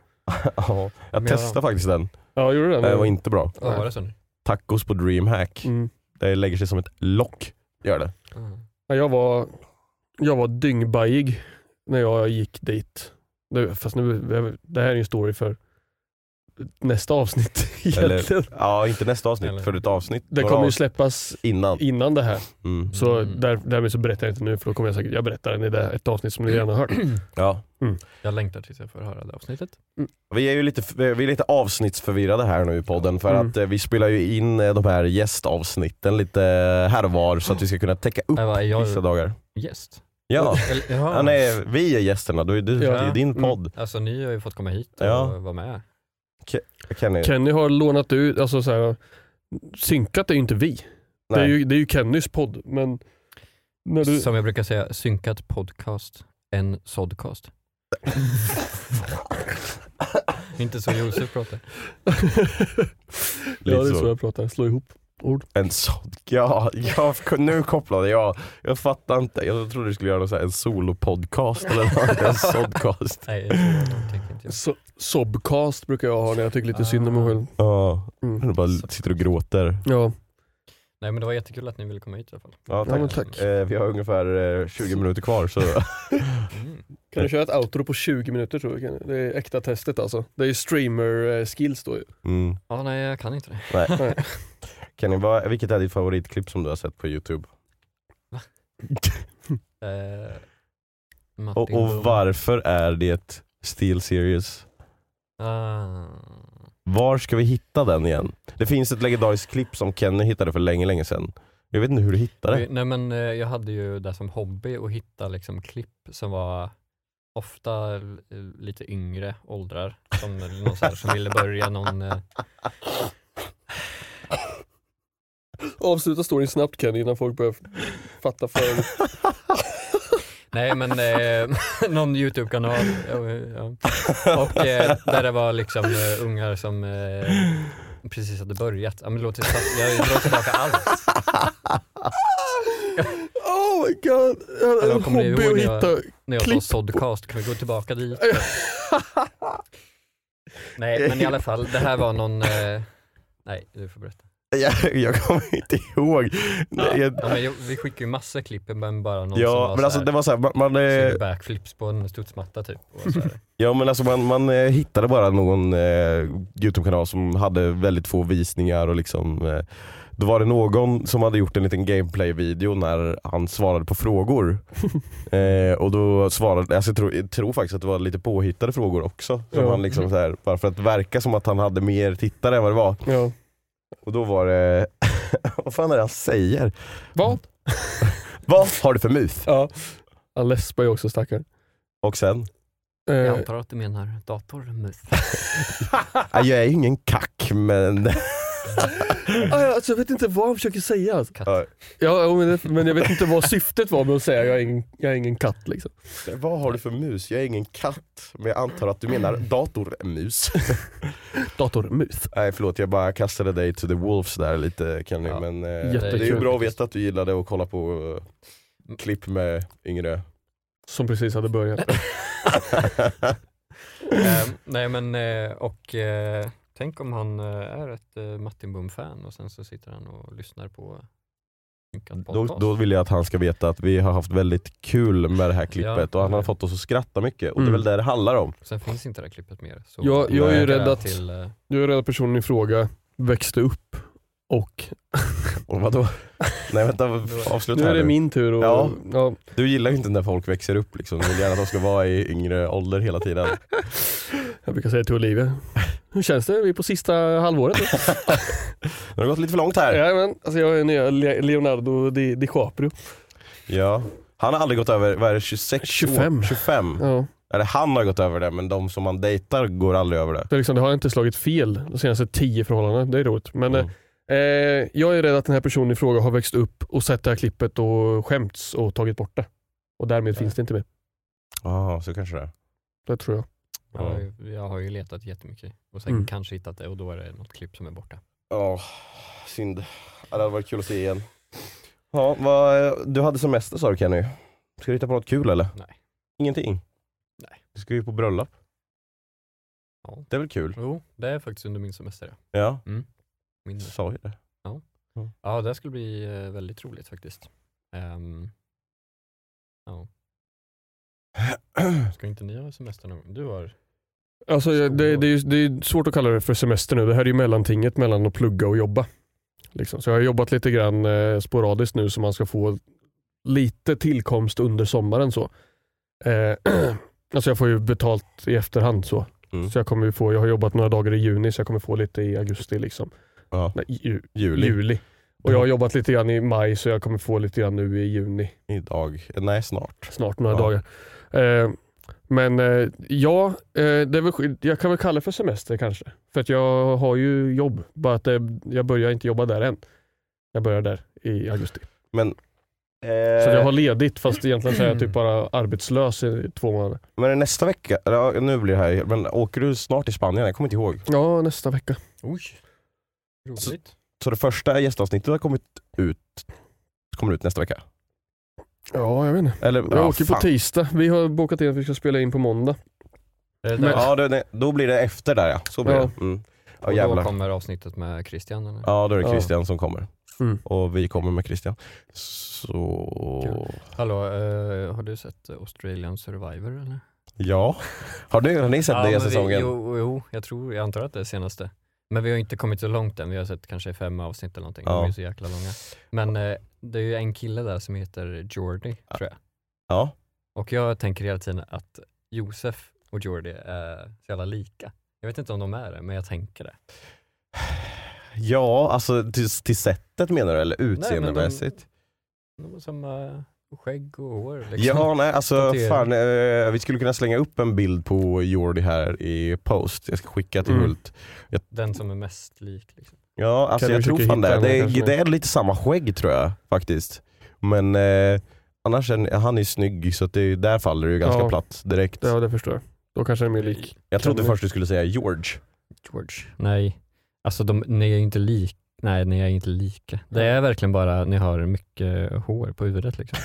Speaker 2: ja, jag
Speaker 4: Men-
Speaker 2: testade faktiskt den.
Speaker 3: Ja, gjorde du
Speaker 2: Det
Speaker 3: det?
Speaker 2: var inte bra.
Speaker 4: Vad var det så nu?
Speaker 2: Tacos på DreamHack.
Speaker 3: Mm.
Speaker 2: Det lägger sig som ett lock. Gör det.
Speaker 3: Ja, jag var, jag var dyngbajig när jag gick dit. Nu, fast nu, det här är ju en story för nästa avsnitt <laughs> egentligen.
Speaker 2: Ja, inte nästa avsnitt,
Speaker 4: Eller-
Speaker 2: för ett avsnitt.
Speaker 3: Det
Speaker 2: några
Speaker 3: kommer ju
Speaker 2: avsnitt
Speaker 3: släppas
Speaker 2: innan.
Speaker 3: innan det här.
Speaker 2: Mm.
Speaker 3: Så
Speaker 4: Mm.
Speaker 3: där, därmed så berättar jag inte nu för då kommer jag säkert, jag berättar den i det, ett avsnitt som ni redan har hört.
Speaker 2: Ja.
Speaker 4: Jag längtar tills jag får höra det avsnittet.
Speaker 2: Vi är ju lite, vi är lite avsnittsförvirrade här nu i podden för
Speaker 3: Mm.
Speaker 2: att eh, vi spelar ju in eh, de här gästavsnitten lite här och var så att vi ska kunna täcka upp
Speaker 4: Nej, va, är
Speaker 2: vissa
Speaker 4: jag
Speaker 2: dagar.
Speaker 4: gäst?
Speaker 2: Ja,
Speaker 4: Eller, jaha.
Speaker 2: ja nej, vi är gästerna, du, du,
Speaker 3: Ja.
Speaker 2: det är din
Speaker 3: Mm.
Speaker 2: podd.
Speaker 4: Alltså ni har ju fått komma hit och
Speaker 2: Ja.
Speaker 4: vara med.
Speaker 2: Kenny,
Speaker 3: Kenny har lånat ut, alltså så här, synkat är ju inte vi. Det är,
Speaker 2: <laughs> nej.
Speaker 3: ju, det är ju Kennys podd, men när du,
Speaker 4: Som jag brukar säga, synkat podcast, en sodcast. Inte så Josef pratar.
Speaker 3: Ja,
Speaker 2: Lite
Speaker 3: det är
Speaker 2: så.
Speaker 3: så jag pratar. Slå ihop ord.
Speaker 2: En sån, ja, jag, nu kopplade jag. Jag fattar inte. Jag trodde du skulle göra någon så här, en solopodcast eller något, en
Speaker 3: <laughs>
Speaker 2: sådcast.
Speaker 4: Nej, jag tror att de tänker inte jag.
Speaker 3: So sobcast brukar jag ha när jag tycker
Speaker 4: Ah.
Speaker 3: lite synd om mig själv.
Speaker 2: Ja,
Speaker 3: Mm.
Speaker 2: du bara sitter och gråter.
Speaker 3: Ja,
Speaker 4: Nej men det var jättekul att ni ville komma hit i alla fall.
Speaker 2: Ja,
Speaker 3: ja men
Speaker 2: tack.
Speaker 3: tack.
Speaker 2: Eh, vi har ungefär eh, 20 minuter kvar så
Speaker 4: <laughs> Mm.
Speaker 3: Kan du köra ett outro på 20 minuter tror jag? Kan- Det är äkta testet alltså. Det är ju streamer eh, skills då ju.
Speaker 2: mm,
Speaker 4: Ja, nej jag kan inte det.
Speaker 2: <laughs> nej. Kan ni, vad, vilket är ditt favoritklipp som du har sett på youtube?
Speaker 4: <laughs> Eh, Martin
Speaker 2: Och, och
Speaker 4: Blom.
Speaker 2: varför är det Steel Series?
Speaker 4: Ah.
Speaker 2: Var ska vi hitta den igen? Det finns ett legendariskt klipp som Kenny hittade för länge, länge sedan. Jag vet inte hur du hittade det.
Speaker 4: Nej men eh, jag hade ju det som hobby att hitta liksom klipp som var ofta eh, lite yngre åldrar som, någon så här, som ville börja
Speaker 2: <laughs>
Speaker 4: någon eh,
Speaker 3: Avsluta storyn snabbt Kenny innan folk börjar fatta för
Speaker 4: Nej men eh, <laughs> någon YouTube-kanal. Ja, ja. Och eh, där det var liksom eh, ungar som eh, precis hade börjat. Ja, men låt oss ta- jag drar tillbaka allt.
Speaker 3: Oh my god, jag hade
Speaker 4: Eller
Speaker 3: en
Speaker 4: kommer ni
Speaker 3: hobby
Speaker 4: ihåg
Speaker 3: att
Speaker 4: när jag-
Speaker 3: hitta.
Speaker 4: När jag
Speaker 3: Klipp.
Speaker 4: sa podcast, kan vi gå tillbaka dit? Nej men i alla fall, det här var någon... Eh, nej, du får berätta.
Speaker 2: Jag, jag kommer inte ihåg. Nej, jag,
Speaker 4: Ja, men jag, vi skickar ju massa klipp men bara någon som
Speaker 2: ja
Speaker 4: var
Speaker 2: men alltså det var så här, man, man,
Speaker 4: så
Speaker 2: eh,
Speaker 4: här, backflips på en studsmatta typ. Och
Speaker 2: <laughs>
Speaker 4: så här.
Speaker 2: ja, men alltså man, man eh, hittade bara någon eh, Youtube-kanal som hade väldigt få visningar och liksom eh, då var det någon som hade gjort en liten gameplay-video när han svarade på frågor. Eh, och då svarade, alltså jag, tror, jag tror faktiskt att det var lite påhittade frågor också. Som
Speaker 3: Ja.
Speaker 2: han liksom så här, bara för att verka som att han hade mer tittare än vad det var.
Speaker 3: <laughs> Ja.
Speaker 2: Och då var det, <laughs> vad fan är det han säger?
Speaker 3: Vad?
Speaker 2: Vad har du för mus?
Speaker 3: Ja. Han läspar ju också stackaren.
Speaker 2: Och sen?
Speaker 3: Eh,
Speaker 4: Jag antar att du menar datormus.
Speaker 2: Nej, jag är ju ingen kack men...
Speaker 3: ah, ja, alltså, jag vet inte vad han försöker säga. Alltså.
Speaker 4: Katt.
Speaker 2: Ja.
Speaker 3: Ja, jo, men, det, men jag vet inte vad syftet var med att säga jag är ingen, jag är ingen katt liksom.
Speaker 2: Vad har du för mus? Jag är ingen katt, men jag antar att du menar datormus. <laughs>
Speaker 3: Datormus.
Speaker 2: Nej förlåt, jag bara kastade dig to the wolves där lite Kenny,
Speaker 4: Ja.
Speaker 2: men eh,
Speaker 3: Jättekul.
Speaker 2: det är ju bra att veta att du gillade att kolla på eh, klipp med yngre. <laughs>
Speaker 3: Som precis hade börjat.
Speaker 4: <laughs> Ehm, nej men eh, och eh, tänk om han eh, är ett eh, Martin Boom-fan och sen så sitter han och lyssnar på Synkat
Speaker 2: Då,
Speaker 4: podcast.
Speaker 2: då vill jag att han ska veta att vi har haft väldigt kul med det här klippet
Speaker 4: Ja.
Speaker 2: och han har fått oss att skratta mycket och det
Speaker 3: Mm.
Speaker 2: är väl det det handlar om.
Speaker 4: Sen finns inte det här klippet mer. Så
Speaker 3: Jag, jag är
Speaker 2: Nej.
Speaker 3: ju
Speaker 4: Det
Speaker 3: rädd att,
Speaker 4: Till, eh,
Speaker 3: jag är rädd att personen i fråga växte upp och...
Speaker 2: Och
Speaker 3: <laughs>
Speaker 2: vadå? Nej vänta, avsluta
Speaker 3: Nu är
Speaker 2: här
Speaker 3: det
Speaker 2: nu.
Speaker 3: min tur och,
Speaker 2: Ja.
Speaker 3: ja.
Speaker 2: Du gillar ju inte när folk växer upp liksom, du vill gärna att de ska vara i yngre ålder hela tiden.
Speaker 3: Jag brukar säga till Olivia, hur känns det? Vi är på sista halvåret. nu."
Speaker 2: Det har gått lite för långt här.
Speaker 3: Jajamän, alltså jag är nya Le- Leonardo Di, DiCaprio.
Speaker 2: Ja. Han har aldrig gått över, vad är det, 26
Speaker 3: 25.
Speaker 2: År? 25.
Speaker 3: Ja.
Speaker 2: Eller han har gått över det, men de som man dejtar går aldrig över det.
Speaker 3: Det, är liksom, det har inte slagit fel de senaste tio förhållandena. Det är roligt. Men
Speaker 2: Mm.
Speaker 3: eh, jag är rädd att den här personen i fråga har växt upp och sett det här klippet och skämts och tagit bort det. Och därmed finns det inte mer.
Speaker 2: Ja, Ah, så kanske det är.
Speaker 3: Det tror jag.
Speaker 4: jag, har ju, jag har ju letat jättemycket och sen
Speaker 3: Mm.
Speaker 4: kanske hittat det och då är det något klipp som är borta.
Speaker 2: Ja, synd. Ja, Det hade varit kul att se igen. Ja, vad, eh, du hade semester sa du Kenny. Ska du hitta på något kul eller?
Speaker 4: Nej.
Speaker 2: Ingenting?
Speaker 4: Nej.
Speaker 2: Du ska ju på bröllop.
Speaker 4: Ja.
Speaker 2: Det är väl kul?
Speaker 4: Jo, det är faktiskt under min semester. ja.
Speaker 2: Ja,
Speaker 4: Min,
Speaker 2: du sa ju
Speaker 3: <clears throat>
Speaker 2: det.
Speaker 4: ja, det skulle bli eh, väldigt roligt faktiskt. Ehm, ska inte ni ha semester någon gång? Du har...
Speaker 3: Alltså, jag- det, det, är, ju- det är svårt att kalla det för semester nu. Det här är ju mellantinget mellan att plugga och jobba. Liksom. Så jag har jobbat lite grann eh, sporadiskt nu så man ska få lite tillkomst under sommaren. så. Eh, <clears throat> alltså jag får ju betalt i efterhand så.
Speaker 2: Mm.
Speaker 3: Så jag, kommer ju få, jag har jobbat några dagar i juni så jag kommer få lite i augusti. Liksom.
Speaker 2: Ja.
Speaker 3: Nej, ju,
Speaker 2: Juli.
Speaker 3: juli. Och jag har jobbat lite grann i maj så jag kommer få lite grann nu i juni.
Speaker 2: Idag. Nej, snart.
Speaker 3: Snart några
Speaker 2: Ja.
Speaker 3: dagar. Eh, men eh, ja, eh, det är väl, sk- jag kan väl kalla det för semester kanske. För att jag har ju jobb. Bara att det, jag börjar inte jobba där än. Jag börjar där i augusti.
Speaker 2: Men Eh,
Speaker 3: Så jag har ledigt fast egentligen så är jag typ bara arbetslös i två månader.
Speaker 2: Men är det nästa vecka? Eller, Ja, nu blir det här. Men åker du snart till Spanien? Jag kommer inte ihåg.
Speaker 3: Ja, nästa vecka.
Speaker 4: Oj. Roligt.
Speaker 2: Så det första gästavsnittet har kommit ut, kommer ut nästa vecka?
Speaker 3: Ja, jag vet inte.
Speaker 2: Eller,
Speaker 3: Jag
Speaker 2: ja,
Speaker 3: åker
Speaker 2: fan.
Speaker 3: på tisdag. Vi har bokat in att vi ska spela in på måndag.
Speaker 4: Är det
Speaker 3: Men-
Speaker 4: där?
Speaker 2: Ja, det, nej, då blir det efter där ja. Så blir
Speaker 3: Ja.
Speaker 2: det. Mm. Ja,
Speaker 4: och då
Speaker 2: jävlar.
Speaker 4: kommer avsnittet med Christian eller?
Speaker 2: Ja, då är det
Speaker 3: Ja.
Speaker 2: Christian som kommer.
Speaker 3: Mm.
Speaker 2: Och vi kommer med Christian. Så...
Speaker 4: Hallå, eh, har du sett Australian Survivor eller?
Speaker 2: Ja. Har, du, har <laughs> ni sett det i
Speaker 4: men
Speaker 2: säsongen?
Speaker 4: Vi, jo, jo, jag tror, jag antar att det är senaste. Men vi har inte kommit så långt än, vi har sett kanske fem avsnitt eller någonting.
Speaker 2: Ja.
Speaker 4: De är ju så jäkla långa. Men eh, det är ju en kille där som heter Jordi, tror jag.
Speaker 2: Ja.
Speaker 4: Och jag tänker hela tiden att Josef och Jordi är så jävla lika. Jag vet inte om de är det, men jag tänker det.
Speaker 2: Ja, alltså till, till sättet menar du? Eller
Speaker 4: men de-
Speaker 2: utseendemässigt?
Speaker 4: De har samma skägg och hår liksom.
Speaker 2: Ja, nej alltså
Speaker 4: Tatuering.
Speaker 2: fan. Eh, vi skulle kunna slänga upp en bild på Jordi här i post. Jag ska skicka till
Speaker 3: Mm.
Speaker 2: Hult.
Speaker 4: <laughs> Den som är mest lik liksom.
Speaker 2: Ja, alltså
Speaker 3: Kan
Speaker 2: jag
Speaker 3: du
Speaker 2: tror
Speaker 3: försöka
Speaker 2: fan det.
Speaker 3: hitta
Speaker 2: Det
Speaker 3: henne
Speaker 2: är,
Speaker 3: kanske?
Speaker 2: det är lite samma skägg tror jag faktiskt. Men eh, annars, är, han är ju snygg så att det, där faller det ju ganska
Speaker 3: Ja.
Speaker 2: platt direkt.
Speaker 3: Ja, det förstår jag. Då kanske den är mer lik.
Speaker 2: Jag trodde
Speaker 3: Kan-
Speaker 2: först du skulle säga
Speaker 3: <laughs>
Speaker 2: George.
Speaker 4: George. Nej, alltså de, ni är ju inte lika. Nej, ni är inte lika. Det är verkligen bara, ni har mycket hår på huvudet liksom.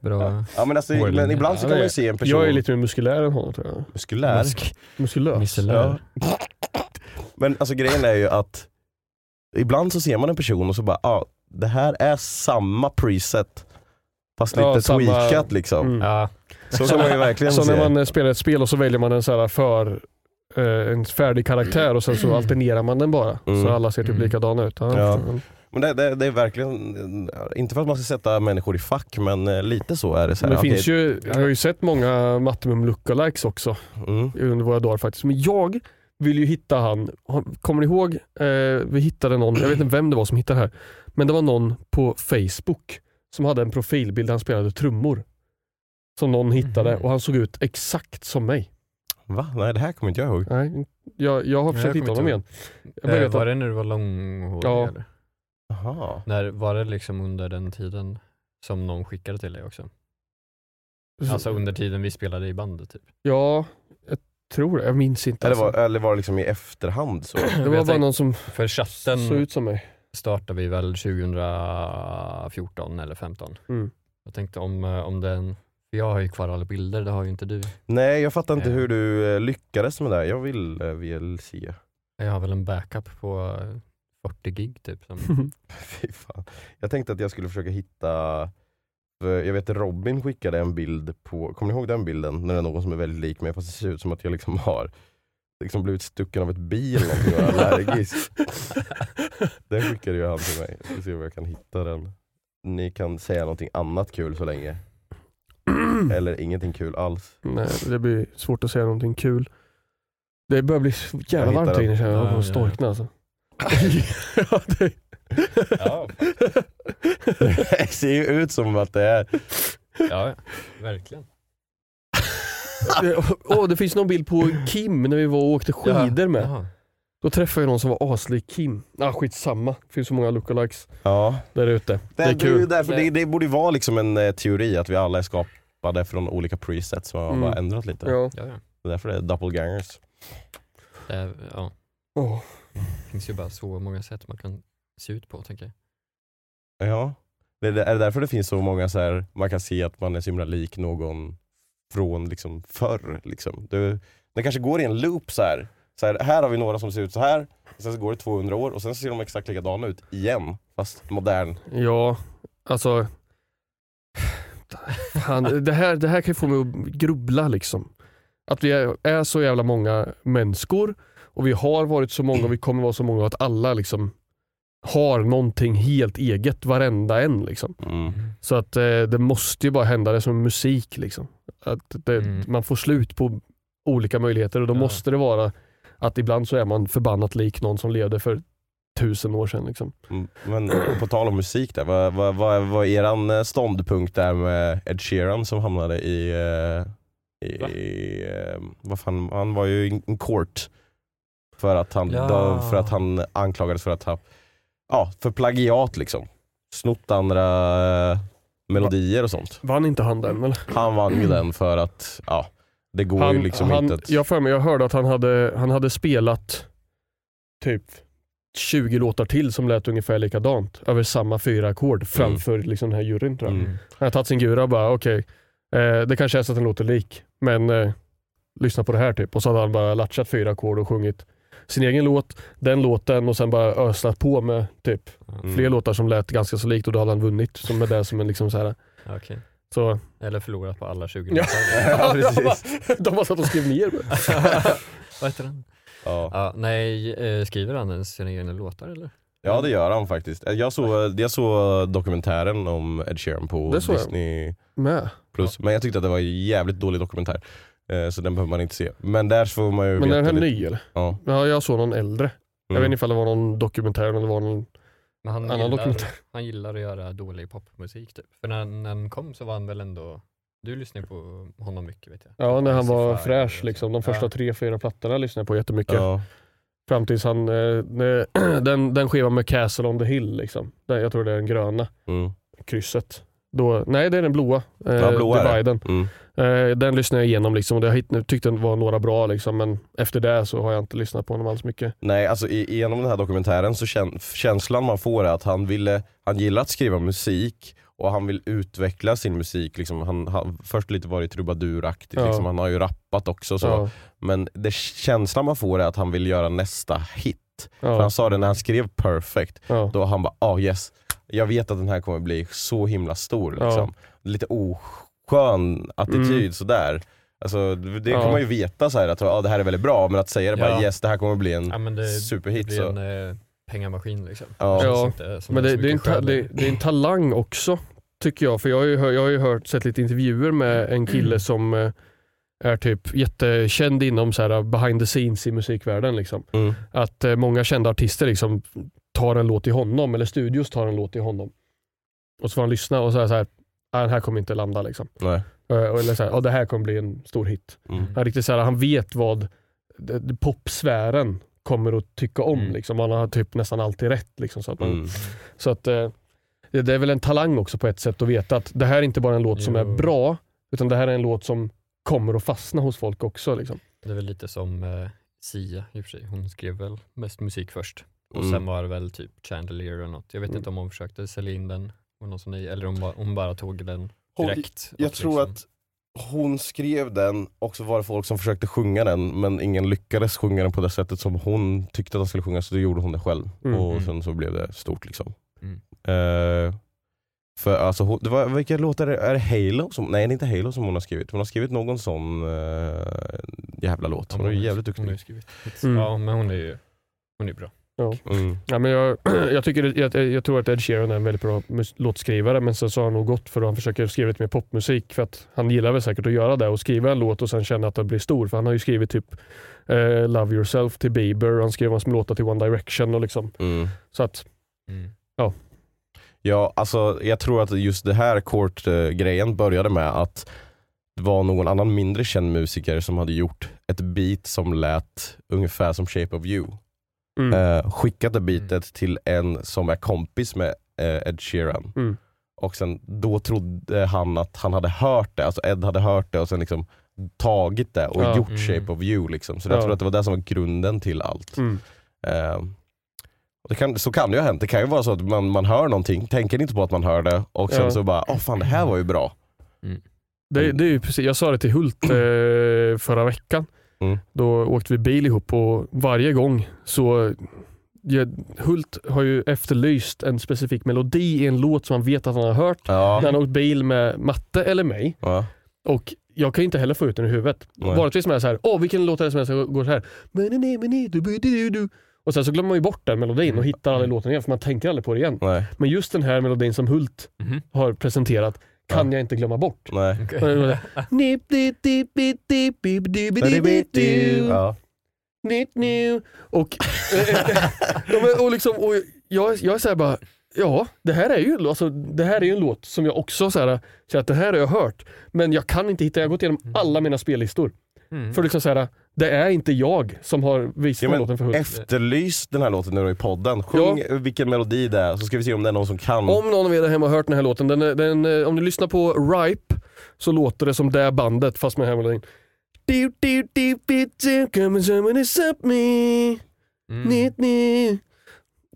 Speaker 4: Bra
Speaker 2: Ja men, alltså,
Speaker 4: Hårlinje.
Speaker 2: men ibland så
Speaker 3: Ja,
Speaker 2: kan man
Speaker 3: det
Speaker 2: ju
Speaker 3: är-
Speaker 2: se en person
Speaker 3: Jag är lite mer muskulär än honom tror jag.
Speaker 2: muskulär.
Speaker 4: Musk-
Speaker 3: Muskulös.
Speaker 2: Mm.
Speaker 4: miscelär.
Speaker 2: Men alltså grejen är ju att ibland så ser man en person och så bara, ah, det här är samma preset fast lite
Speaker 3: Ja, samma-
Speaker 2: tweakat liksom.
Speaker 3: Mm.
Speaker 4: Ja,
Speaker 2: Så kan man ju verkligen
Speaker 3: <laughs> Så
Speaker 2: se.
Speaker 3: när man eh, spelar ett spel och så väljer man en så här för eh, en färdig karaktär och sen så alternerar man den bara.
Speaker 2: Mm.
Speaker 3: Så alla ser typ
Speaker 4: Mm.
Speaker 3: likadana ut. Ja,
Speaker 2: Ja.
Speaker 3: fan.
Speaker 2: Men det, det, det är verkligen, inte för att man ska sätta människor i fack men eh, lite så är det. Så
Speaker 3: Men
Speaker 2: här,
Speaker 3: det
Speaker 2: okej,
Speaker 3: finns ju, jag har ju sett många Mattemum lookalikes också
Speaker 2: mm,
Speaker 3: under våra dagar faktiskt. Men jag vill ju hitta han, har- kommer ni ihåg? Eh, vi hittade någon, jag vet inte vem det var som hittade det här. Men det var någon på Facebook som hade en profilbild där han spelade trummor. Som någon hittade
Speaker 4: Mhm.
Speaker 3: och han såg ut exakt som mig.
Speaker 2: va? Nej det här kommer inte jag ihåg.
Speaker 3: Nej, jag, jag har
Speaker 4: jag
Speaker 3: försökt
Speaker 4: kommer
Speaker 3: hitta
Speaker 4: inte
Speaker 3: honom
Speaker 4: ihåg.
Speaker 3: igen. Jag bara
Speaker 4: Eh,
Speaker 3: vet
Speaker 4: var
Speaker 3: att,
Speaker 4: det när du var långhårig?
Speaker 3: Ja.
Speaker 4: eller?
Speaker 2: Jaha.
Speaker 4: När, var det liksom under den tiden som någon skickade till dig också? Alltså under tiden vi spelade i bandet typ?
Speaker 3: Ja, jag tror det. Jag minns inte.
Speaker 2: Eller var,
Speaker 3: alltså.
Speaker 2: eller var det liksom i efterhand så?
Speaker 3: Det var bara någon som
Speaker 4: För chatten
Speaker 3: såg ut som mig.
Speaker 4: startade vi väl 2014 eller 15.
Speaker 3: Mm.
Speaker 4: Jag tänkte om, eh, om den, för jag har ju kvar alla bilder, det har ju inte du.
Speaker 2: Nej jag fattar inte
Speaker 4: Ja.
Speaker 2: hur du eh, lyckades med det där. Jag vill eh, väl se.
Speaker 4: Jag har väl en backup på eh, 40 gig typ.
Speaker 3: <laughs>
Speaker 4: Som,
Speaker 2: <laughs> Fy fan. Jag tänkte att jag skulle försöka hitta, för jag vet att Robin skickade en bild på, kommer ni ihåg den bilden? När det är någon som är väldigt lik mig fast det ser ut som att jag liksom har liksom blivit stucken av ett bi eller någonting och är allergisk. Den skickade ju han till mig. Jag ska se om jag kan hitta den. Ni kan säga någonting annat kul så länge. Eller ingenting kul alls.
Speaker 3: <laughs> Nej, det blir svårt att säga någonting kul. Det börjar bli så
Speaker 2: Jag
Speaker 3: jävla
Speaker 2: hittar
Speaker 3: varmt här
Speaker 2: den.
Speaker 3: inne känner jag. Jag
Speaker 4: Ja,
Speaker 3: håller på att
Speaker 4: ja.
Speaker 3: storkna alltså. ja, det...
Speaker 4: <laughs> Ja.
Speaker 2: <laughs> Det ser ju ut som att det är...
Speaker 4: ja, ja, verkligen.
Speaker 3: Åh, det finns någon bild på Kim när vi var och åkte skidor med.
Speaker 4: Jaha.
Speaker 3: Då träffade jag någon som var aslik Kim. Ah, skitsamma. Det finns så många lookalikes
Speaker 2: Ja.
Speaker 3: där ute.
Speaker 2: Det,
Speaker 3: Det är
Speaker 2: det, är ju
Speaker 3: kul.
Speaker 2: därför, det, det borde ju vara liksom en eh, teori att vi alla är skapade från olika presets som har
Speaker 3: Mm.
Speaker 2: bara ändrat lite.
Speaker 3: Ja.
Speaker 4: Ja, ja.
Speaker 2: Det är därför det är doppelgangers.
Speaker 4: Det är, ja.
Speaker 3: Åh.
Speaker 4: Det finns ju bara så många sätt man kan se ut på tänker jag.
Speaker 2: Ja. Det, det, är det därför det finns så många så här, man kan se att man är så himla lik någon från liksom förr? Liksom. Det, det kanske går i en loop så här. Så här. Här har vi några som ser ut så här, och sen så går det 200 år och sen så ser de exakt likadana ut igen. Fast modern.
Speaker 3: Ja, alltså. Han, det, här, det här kan ju få mig att grubbla liksom. Att vi är, är så jävla många människor och vi har varit så många och vi kommer vara så många att alla liksom har någonting helt eget, varenda en. Liksom.
Speaker 2: Mm.
Speaker 3: Så att eh, det måste ju bara hända, det är som musik. Liksom. Att det,
Speaker 4: Mm.
Speaker 3: Man får slut på olika möjligheter och då
Speaker 4: Ja.
Speaker 3: måste det vara att ibland så är man förbannat lik någon som levde för tusen år sedan. Liksom.
Speaker 2: Mm, Men på tal om musik där, vad, vad, vad, vad är eran eh, ståndpunkt där med Ed Sheeran som hamnade i, eh, i, eh, vad fan, han var ju i en court för att han,
Speaker 4: Ja.
Speaker 2: då, för att han anklagades för att ha, ja, för plagiat liksom. snott andra eh, melodier och sånt.
Speaker 3: Vann inte han den eller?
Speaker 2: Han vann ju den för att, ja, det går ju liksom
Speaker 3: han,
Speaker 2: inte att...
Speaker 3: Jag har för mig, jag hörde att han hade, han hade spelat typ 20 låtar till som lät ungefär likadant över samma fyra ackord framför liksom den här juryn tror jag.
Speaker 2: Mm.
Speaker 3: Han har tagit sin gura och bara okej, eh, det kanske är så att den låter lik, men eh, lyssna på det här typ. Och så hade han bara latchat fyra ackord och sjungit sin egen låt, den låten och sen bara öslat på med typ
Speaker 2: Mm.
Speaker 3: fler låtar som lät ganska så likt och då hade han vunnit. Som med det som en liksom så här.
Speaker 4: Mm, Okej.
Speaker 2: <laughs>
Speaker 3: Så,
Speaker 4: Eller förlorat på alla 20
Speaker 3: <laughs> Ja.
Speaker 2: Ja,
Speaker 4: minuter.
Speaker 2: precis.
Speaker 3: de har satt och skrivit ner.
Speaker 4: Vad heter den?
Speaker 2: Ja.
Speaker 4: Ja, nej, eh, skriver han ens sina egna låtar eller?
Speaker 2: ja, det gör han faktiskt. Jag såg, jag såg dokumentären om Ed Sheeran på
Speaker 3: Det såg jag.
Speaker 2: Disney
Speaker 3: Med.
Speaker 2: plus, men jag tyckte att det var en jävligt dålig dokumentär. Eh, Så den behöver man inte se. Men där får man ju
Speaker 3: Men är den här
Speaker 2: lite-
Speaker 3: ny eller?
Speaker 2: Ja.
Speaker 3: Ja, jag såg någon äldre. Jag
Speaker 2: Mm.
Speaker 3: vet inte ifall det var någon dokumentär eller var någon
Speaker 4: Men han,
Speaker 3: annan
Speaker 4: gillar,
Speaker 3: dokumentär.
Speaker 4: han gillar att göra dålig popmusik typ. För när, när han kom så var han väl ändå, du lyssnar ju på honom mycket vet jag.
Speaker 3: Ja, när han var
Speaker 4: Sci-fi
Speaker 3: fräsch
Speaker 4: och
Speaker 3: liksom.
Speaker 4: så.
Speaker 3: De första
Speaker 4: Ja.
Speaker 3: tre, fyra plattorna lyssnade jag på jättemycket.
Speaker 2: Ja.
Speaker 3: Fram tills han, eh, när- <clears throat> den, den skivan med Castle on the Hill liksom. Den, jag tror det är den gröna,
Speaker 2: Mm.
Speaker 3: krysset. Då, nej, det är den blåa. Eh,
Speaker 2: Ja, blåa är det.
Speaker 3: Dividen.
Speaker 2: Mm.
Speaker 3: Eh, den lyssnade jag igenom liksom, och jag hit- tyckte den var några bra liksom, men efter det så har jag inte lyssnat på honom alls mycket.
Speaker 2: Nej, alltså i, genom den här dokumentären så kän, känslan man får är att han, ville, han gillar att skriva musik och han vill utveckla sin musik. Liksom, han har först lite varit trubaduraktigt,
Speaker 3: Ja.
Speaker 2: liksom, han har ju rappat också. Så.
Speaker 3: Ja,
Speaker 2: Men det, känslan man får är att han vill göra nästa hit. För
Speaker 3: ja,
Speaker 2: han sa det när han skrev Perfect,
Speaker 3: ja.
Speaker 2: då han bara ah yes, jag vet att den här kommer bli så himla stor. Liksom. Lite oskön attityd
Speaker 3: Mm.
Speaker 2: sådär. Alltså, det
Speaker 3: Ja.
Speaker 2: kan man ju veta så här, att ah, det här är väldigt bra, men att säga det bara
Speaker 4: Ja.
Speaker 2: yes, det här kommer bli en
Speaker 3: Mm.
Speaker 4: Ja, men det
Speaker 2: Superhit,
Speaker 4: blir
Speaker 2: så.
Speaker 4: en eh, pengamaskin liksom.
Speaker 2: Ja.
Speaker 4: Det känns
Speaker 3: Ja,
Speaker 4: inte som
Speaker 3: Men det,
Speaker 4: så
Speaker 3: det, är en
Speaker 4: mycket
Speaker 3: ta,
Speaker 4: själ i
Speaker 3: det, det är en talang också, tycker jag. För jag har ju, hör- jag har ju hört, sett lite intervjuer med en
Speaker 4: Mm.
Speaker 3: kille som eh, är typ jättekänd inom så här eh, behind the scenes i musikvärlden. Liksom.
Speaker 2: Mm.
Speaker 3: Att eh, många kända artister liksom tar en låt till honom, eller studios tar en låt till honom. Och så får han lyssna och så är det så här, "Ah, den här kommer inte landa. Liksom.
Speaker 2: Nej.
Speaker 3: Eh, Eller så här, "Ja, det här kommer bli en stor hit.
Speaker 2: Mm.
Speaker 3: Han, är riktigt så här, han vet vad det- det- popsfären kommer att tycka om.
Speaker 4: Mm.
Speaker 3: Liksom. Han har typ nästan alltid rätt. Liksom, så att man,
Speaker 2: Mm.
Speaker 3: så att, eh, det det är väl en talang också på ett sätt att veta att det här är inte bara en låt som är
Speaker 4: Jo.
Speaker 3: bra, utan det här är en låt som kommer att fastna hos folk också. Liksom.
Speaker 4: Det är väl lite som eh, Sia i och för sig. Hon skrev väl mest musik först. Och
Speaker 2: Mm.
Speaker 4: sen var det väl typ Chandelier eller något. Jag vet inte om hon försökte sälja in den och något sånt, där, eller om ba- hon bara tog den
Speaker 2: Hon-
Speaker 4: direkt.
Speaker 2: Jag tror
Speaker 4: liksom-
Speaker 2: att hon skrev den och så var det folk som försökte sjunga den men ingen lyckades sjunga den på det sättet som hon tyckte att den skulle sjungas så då gjorde hon det själv.
Speaker 3: Mm.
Speaker 2: Och sen så blev det stort liksom.
Speaker 4: Mm.
Speaker 2: Eh, för alltså, hon, det var, vilka låtar är det? Är det Halo? Som, nej det är inte Halo som hon har skrivit. Hon har skrivit någon sån eh, jävla låt.
Speaker 4: Ja,
Speaker 2: Hon är ju
Speaker 4: ju-
Speaker 2: jävligt
Speaker 4: Hon har ju
Speaker 2: duktig.
Speaker 4: skrivit.
Speaker 3: Mm.
Speaker 4: Ja, men hon är ju hon är bra.
Speaker 2: Mm.
Speaker 3: Ja, men jag, <clears throat> jag, tycker, jag, jag tror att Ed Sheeran är en väldigt bra mus- låtskrivare, men sen så har han nog gått för att han försöker skriva lite mer popmusik. För att han gillar väl säkert att göra det och skriva en låt och sen känna att den blir stor. För han har ju skrivit typ eh, Love Yourself till Bieber, och han skrev hans låtar till One Direction. Och liksom,
Speaker 2: Mm.
Speaker 3: så att,
Speaker 4: Mm.
Speaker 2: Ja, alltså jag tror att just det här Court-grejen började med att det var någon annan mindre känd musiker som hade gjort ett beat som lät ungefär som Shape of You.
Speaker 3: mm,
Speaker 2: Eh, skickade beatet till en som är kompis med eh, Ed Sheeran.
Speaker 3: Mm.
Speaker 2: Och sen då trodde han att han hade hört det, alltså Ed hade hört det och sen liksom tagit det och
Speaker 3: Ja.
Speaker 2: gjort
Speaker 4: Mm.
Speaker 2: Shape of You. Liksom. Så
Speaker 3: Ja.
Speaker 2: jag tror att det var det som var grunden till allt.
Speaker 3: mm,
Speaker 2: Eh, och det kan, så kan det ju ha hänt. Det kan ju vara så att man, man hör någonting, tänker inte på att man hör det och sen
Speaker 3: Ja.
Speaker 2: så bara, åh fan det här var ju bra.
Speaker 3: det, det är ju precis, jag sa det till Hult eh, förra veckan.
Speaker 2: Mm.
Speaker 3: Då åkte vi bil ihop och varje gång så ja, Hult har ju efterlyst en specifik melodi i en låt som han vet att han har hört
Speaker 2: Ja.
Speaker 3: när han har åkt bil med Matte eller mig.
Speaker 2: Ja.
Speaker 3: Och jag kan ju inte heller få ut den ur huvudet.
Speaker 2: Nej.
Speaker 3: Vanligtvis med så här, åh vilken låt är det som helst som går så här. "Menene, meni, du, bu, du, du, du." Och sen så glömmer man ju bort den melodin
Speaker 2: Mm.
Speaker 3: och hittar aldrig låten igen för man tänker aldrig på det igen.
Speaker 2: Nej.
Speaker 3: Men just den här melodin som Hult
Speaker 2: Mm-hmm.
Speaker 4: Mhm.
Speaker 3: har presenterat kan jag inte glömma bort.
Speaker 2: Nej.
Speaker 3: Och det var så här, <laughs> "Nip, dip, dip, dip, dip, dip, dip, dip, dip, dip."
Speaker 2: Ja.
Speaker 3: nytt nu. Och, <laughs> ja, men, och, liksom, och jag, jag är såhär bara, ja det här är ju, en lå- alltså, det här är ju en låt som jag också så här,
Speaker 2: Mm.
Speaker 3: känner att det här har jag hört. Men jag kan inte hitta, jag har gått igenom alla mina spellistor. För liksom så här, Det är inte jag som har visat
Speaker 2: Ja,
Speaker 3: den
Speaker 2: men
Speaker 3: låten för Hult.
Speaker 2: efterlys den här låten nu då i podden. Sjung vilken melodi det är så ska vi se om det är någon som kan.
Speaker 3: Om någon av er där hemma har hört den här låten, den, är- den, eh, om ni lyssnar på Ripe så låter det som det bandet fast med den här melodin. Do, do, do, do, do, come and someone and stop me.
Speaker 4: Mm.
Speaker 3: Ni, ni.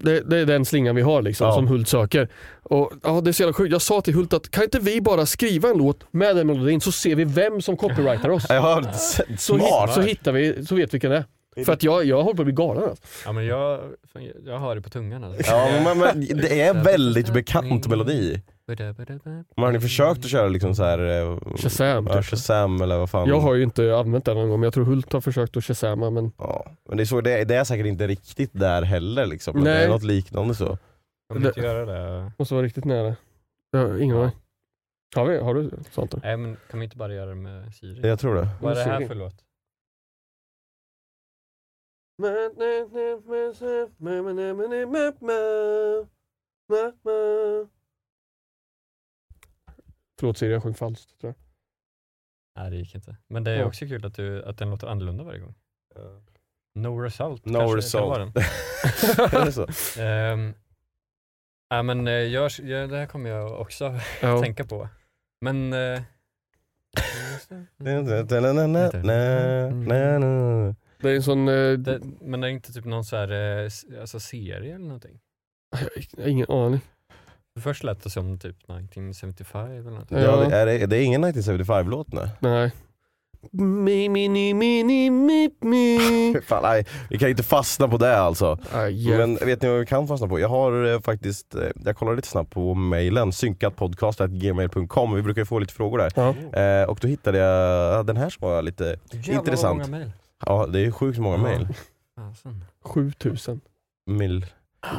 Speaker 3: Det, det är den slingan vi har liksom,
Speaker 2: Ja.
Speaker 3: som Hult söker. Och, ja, det är så jävla sjukt. Jag sa till Hult att kan inte vi bara skriva en låt med den melodin så ser vi vem som copyrightar <laughs> oss.
Speaker 2: Jag har s-
Speaker 3: Så, hit,
Speaker 2: smart.
Speaker 3: så hittar vi, så vet vi vilken det är. För att jag, jag håller på att bli galen alltså.
Speaker 4: Ja men jag, fan, jag har det på tungan alltså.
Speaker 2: Ja, men, men, det är en väldigt bekant melodi. Men har ni försökt att köra liksom så här, eh,
Speaker 3: Shazam,
Speaker 2: ja,
Speaker 3: typ.
Speaker 2: Shazam eller vad fan?
Speaker 3: Jag har ju inte använt den någon gång, men jag tror Hult har försökt att shazama men
Speaker 2: Ja, men det är, så, det, är, det är säkert inte riktigt där heller liksom. Men
Speaker 3: Nej.
Speaker 2: det är något liknande så.
Speaker 4: Kommer ni inte göra det?
Speaker 3: Måste vara riktigt nära. Jag har ingen aning. Har, vi, har du sånt? Där?
Speaker 4: Nej men kan vi inte bara göra det med Siri?
Speaker 2: Jag tror det.
Speaker 4: Vad är det här
Speaker 3: Siri.
Speaker 4: för låt?
Speaker 3: Förlåt Siri, jag sjöng falskt tror jag.
Speaker 4: Nej det gick inte. Men det är
Speaker 3: Ja.
Speaker 4: också kul att, du, att den låter annorlunda varje gång. No result
Speaker 2: No
Speaker 4: kanske det kan
Speaker 2: result.
Speaker 4: vara den.
Speaker 2: <laughs> är det så?
Speaker 4: Ehm, ja, men eh, jag, jag, det här kommer jag också <laughs>
Speaker 3: Ja.
Speaker 4: tänka på. Men... eh,
Speaker 3: Det är en sån... Eh,
Speaker 4: det, men det är inte typ någon så här, eh, s- alltså serie eller någonting?
Speaker 3: jag har ingen aning.
Speaker 4: Först lät det som typ 1975 eller något.
Speaker 2: Ja, det, är, det- det är ingen 1975-låt nu.
Speaker 3: Nej. Mi, mi, ni, mi, ni, mi, mi.
Speaker 2: Fan, nej, vi kan inte fastna på det alltså.
Speaker 3: Aj, eh,
Speaker 2: Men vet ni vad vi kan fastna på? Jag har eh, faktiskt, eh, jag kollade lite snabbt på mejlen, synkatpodcast.gmail.com, vi brukar ju få lite frågor där.
Speaker 3: Ja.
Speaker 2: Eh, och då hittade jag ja, den här som var lite, Intressant.
Speaker 4: många mejl.
Speaker 2: ja det är sjukt många
Speaker 4: Ja.
Speaker 2: mejl.
Speaker 4: Fasen.
Speaker 3: 7000.
Speaker 2: Mil-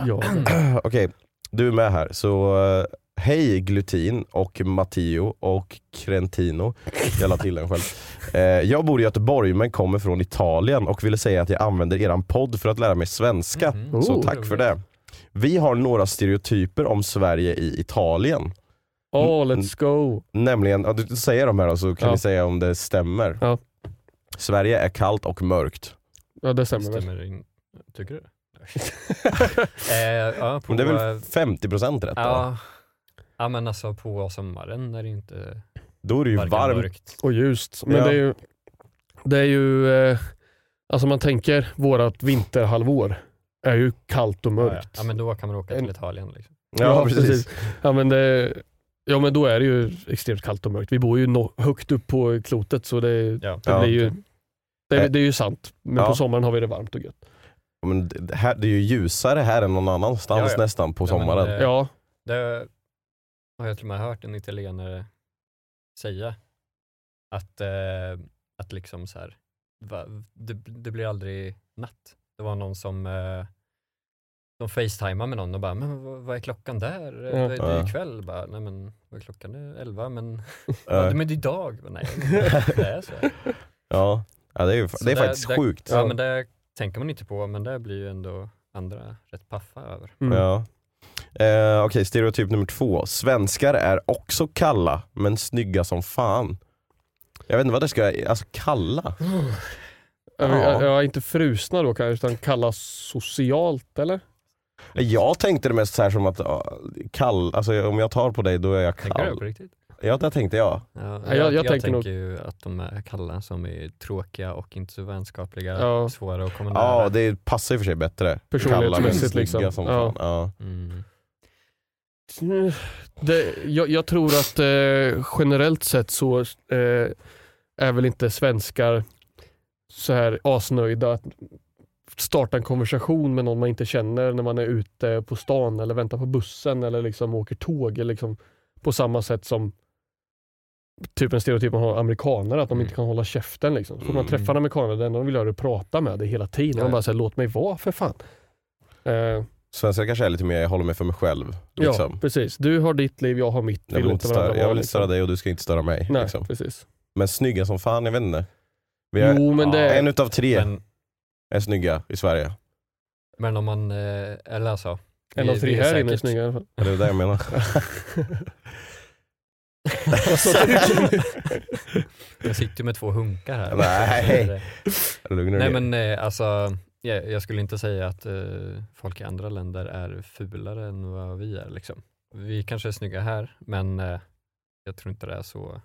Speaker 3: Ja.
Speaker 2: Mm. <clears throat> Okej, du är med här. Så eh, hej Glutin och Matteo och Crentino. Jag la till den själv. Eh, jag bor i Göteborg men kommer från Italien och ville säga att jag använder eran podd för att lära mig svenska.
Speaker 4: Mhm.
Speaker 2: Så
Speaker 3: Oh.
Speaker 2: tack för det. Vi har några stereotyper om Sverige i Italien.
Speaker 3: Oh, let's go.
Speaker 2: Nämligen, ja, du säger de här då, så kan
Speaker 3: Ja.
Speaker 2: ni säga om det stämmer.
Speaker 3: Ja.
Speaker 2: Sverige är kallt och mörkt.
Speaker 3: Ja, det stämmer väl.
Speaker 4: Stämmer det in? Tycker du det? <laughs> eh, ja, på,
Speaker 2: Men det är väl 50% rätt? va?
Speaker 4: ja, ja men alltså på sommaren när det inte
Speaker 2: Då är det ju
Speaker 4: varken
Speaker 2: varmt.
Speaker 4: mörkt.
Speaker 3: Och ljust. Men
Speaker 2: Ja.
Speaker 3: det är ju... Det är ju eh, alltså man tänker vårat vinterhalvår är ju kallt och
Speaker 4: Ja, ja.
Speaker 3: mörkt.
Speaker 4: ja men då kan man åka
Speaker 3: En-
Speaker 4: till Italien liksom.
Speaker 2: Ja, precis.
Speaker 3: Ja, men det, ja men då är det ju extremt kallt och mörkt. Vi bor ju no, högt upp på klotet så det, det
Speaker 4: Ja.
Speaker 2: Ja.
Speaker 3: blir ju det, det är ju sant. Men
Speaker 2: Ja.
Speaker 3: på sommaren har vi det varmt och gött.
Speaker 2: Ja, Men det, här, det är ju ljusare här än någon annanstans
Speaker 4: Ja, ja.
Speaker 2: nästan på
Speaker 4: Ja, men,
Speaker 2: sommaren.
Speaker 4: eh,
Speaker 3: Ja,
Speaker 4: Det har jag till och med hört en italienare säga. Att, eh, att liksom så här, va, det, det blir aldrig natt. Det var någon som eh, de facetimade med någon och bara, men vad, vad är klockan där?
Speaker 3: Ja.
Speaker 4: Det, det är
Speaker 2: Ja.
Speaker 4: ju kväll. Bara, Nej men, vad är klockan? Det är elva, men,
Speaker 2: ja.
Speaker 4: ja. men det är dag. Bara, Nej, det är så.
Speaker 2: ja. ja, det är, ju,
Speaker 4: Så
Speaker 2: det är
Speaker 4: där-
Speaker 2: faktiskt
Speaker 4: där-
Speaker 2: sjukt.
Speaker 4: Ja, men det tänker man inte på, men det blir ju ändå andra rätt paffa över.
Speaker 3: Mm.
Speaker 2: Ja.
Speaker 4: Mm.
Speaker 2: Eh, Okej, stereotyp nummer två. Svenskar är också kalla, men snygga som fan. Jag vet inte vad det ska, alltså kalla?
Speaker 3: ja. vi-
Speaker 2: Ja.
Speaker 3: ja, inte frusna då kanske utan kalla socialt eller?
Speaker 2: Jag tänkte det mest så här som att ja, kall, alltså om jag tar på dig då är jag
Speaker 4: Tänker du det
Speaker 2: kall.
Speaker 4: på riktigt?
Speaker 2: Ja, det tänkte jag.
Speaker 4: Ja,
Speaker 3: jag- jag tänker nog-
Speaker 4: ju att de är kalla som är tråkiga och inte så vänskapliga,
Speaker 3: Ja.
Speaker 4: svåra att komma
Speaker 2: Ja,
Speaker 4: nära.
Speaker 2: det passar ju för sig bättre. Kalla men
Speaker 3: Personlighetsmässigt
Speaker 2: snygga
Speaker 3: liksom.
Speaker 2: som
Speaker 3: Ja.
Speaker 2: fan. Ja.
Speaker 4: Mm.
Speaker 3: Det, jag, jag tror att eh, generellt sett så eh, är väl inte svenskar så här asnöjda att starta en konversation med någon man inte känner när man är ute på stan eller väntar på bussen eller liksom åker tåg. Eller liksom, på samma sätt som typ en stereotyp man har amerikaner, att de inte kan hålla käften. Liksom. Så man
Speaker 2: Mm.
Speaker 3: träffar en amerikaner, det enda de vill göra är att prata med dig hela tiden. Man
Speaker 4: Ja.
Speaker 3: bara säger låt mig vara för fan. Eh,
Speaker 2: Svenskar kanske är lite mer, jag håller mig för mig själv. Liksom.
Speaker 3: Ja, precis. Du har ditt liv, jag har mitt.
Speaker 2: Jag vill, inte
Speaker 3: låter
Speaker 2: störa,
Speaker 3: varandra
Speaker 2: jag
Speaker 3: vara, liksom.
Speaker 2: vill inte
Speaker 4: liksom.
Speaker 2: störa dig och du ska inte störa mig.
Speaker 3: Nej,
Speaker 2: Liksom.
Speaker 3: precis.
Speaker 2: Men snygga som fan, jag vet inte. Vi är,
Speaker 3: Jo, men
Speaker 4: Ja,
Speaker 3: det är...
Speaker 2: En utav tre
Speaker 4: Men,
Speaker 2: är snygga i Sverige.
Speaker 4: men om man, eh, eller alltså,
Speaker 3: En av
Speaker 4: vi-
Speaker 3: tre
Speaker 4: vi
Speaker 3: <laughs>
Speaker 4: är
Speaker 3: här inne är
Speaker 4: säkert-
Speaker 3: snygga i alla fall.
Speaker 2: Är det det jag menar?
Speaker 4: <laughs> <laughs> Jag sitter ju med två hunkar här.
Speaker 2: Nej. Lugna
Speaker 4: Nej
Speaker 2: ner
Speaker 4: men eh, alltså, jag, jag skulle inte säga att eh, folk i andra länder är fulare än vad vi är. Liksom. Vi kanske är snygga här, men eh, jag tror inte det är så.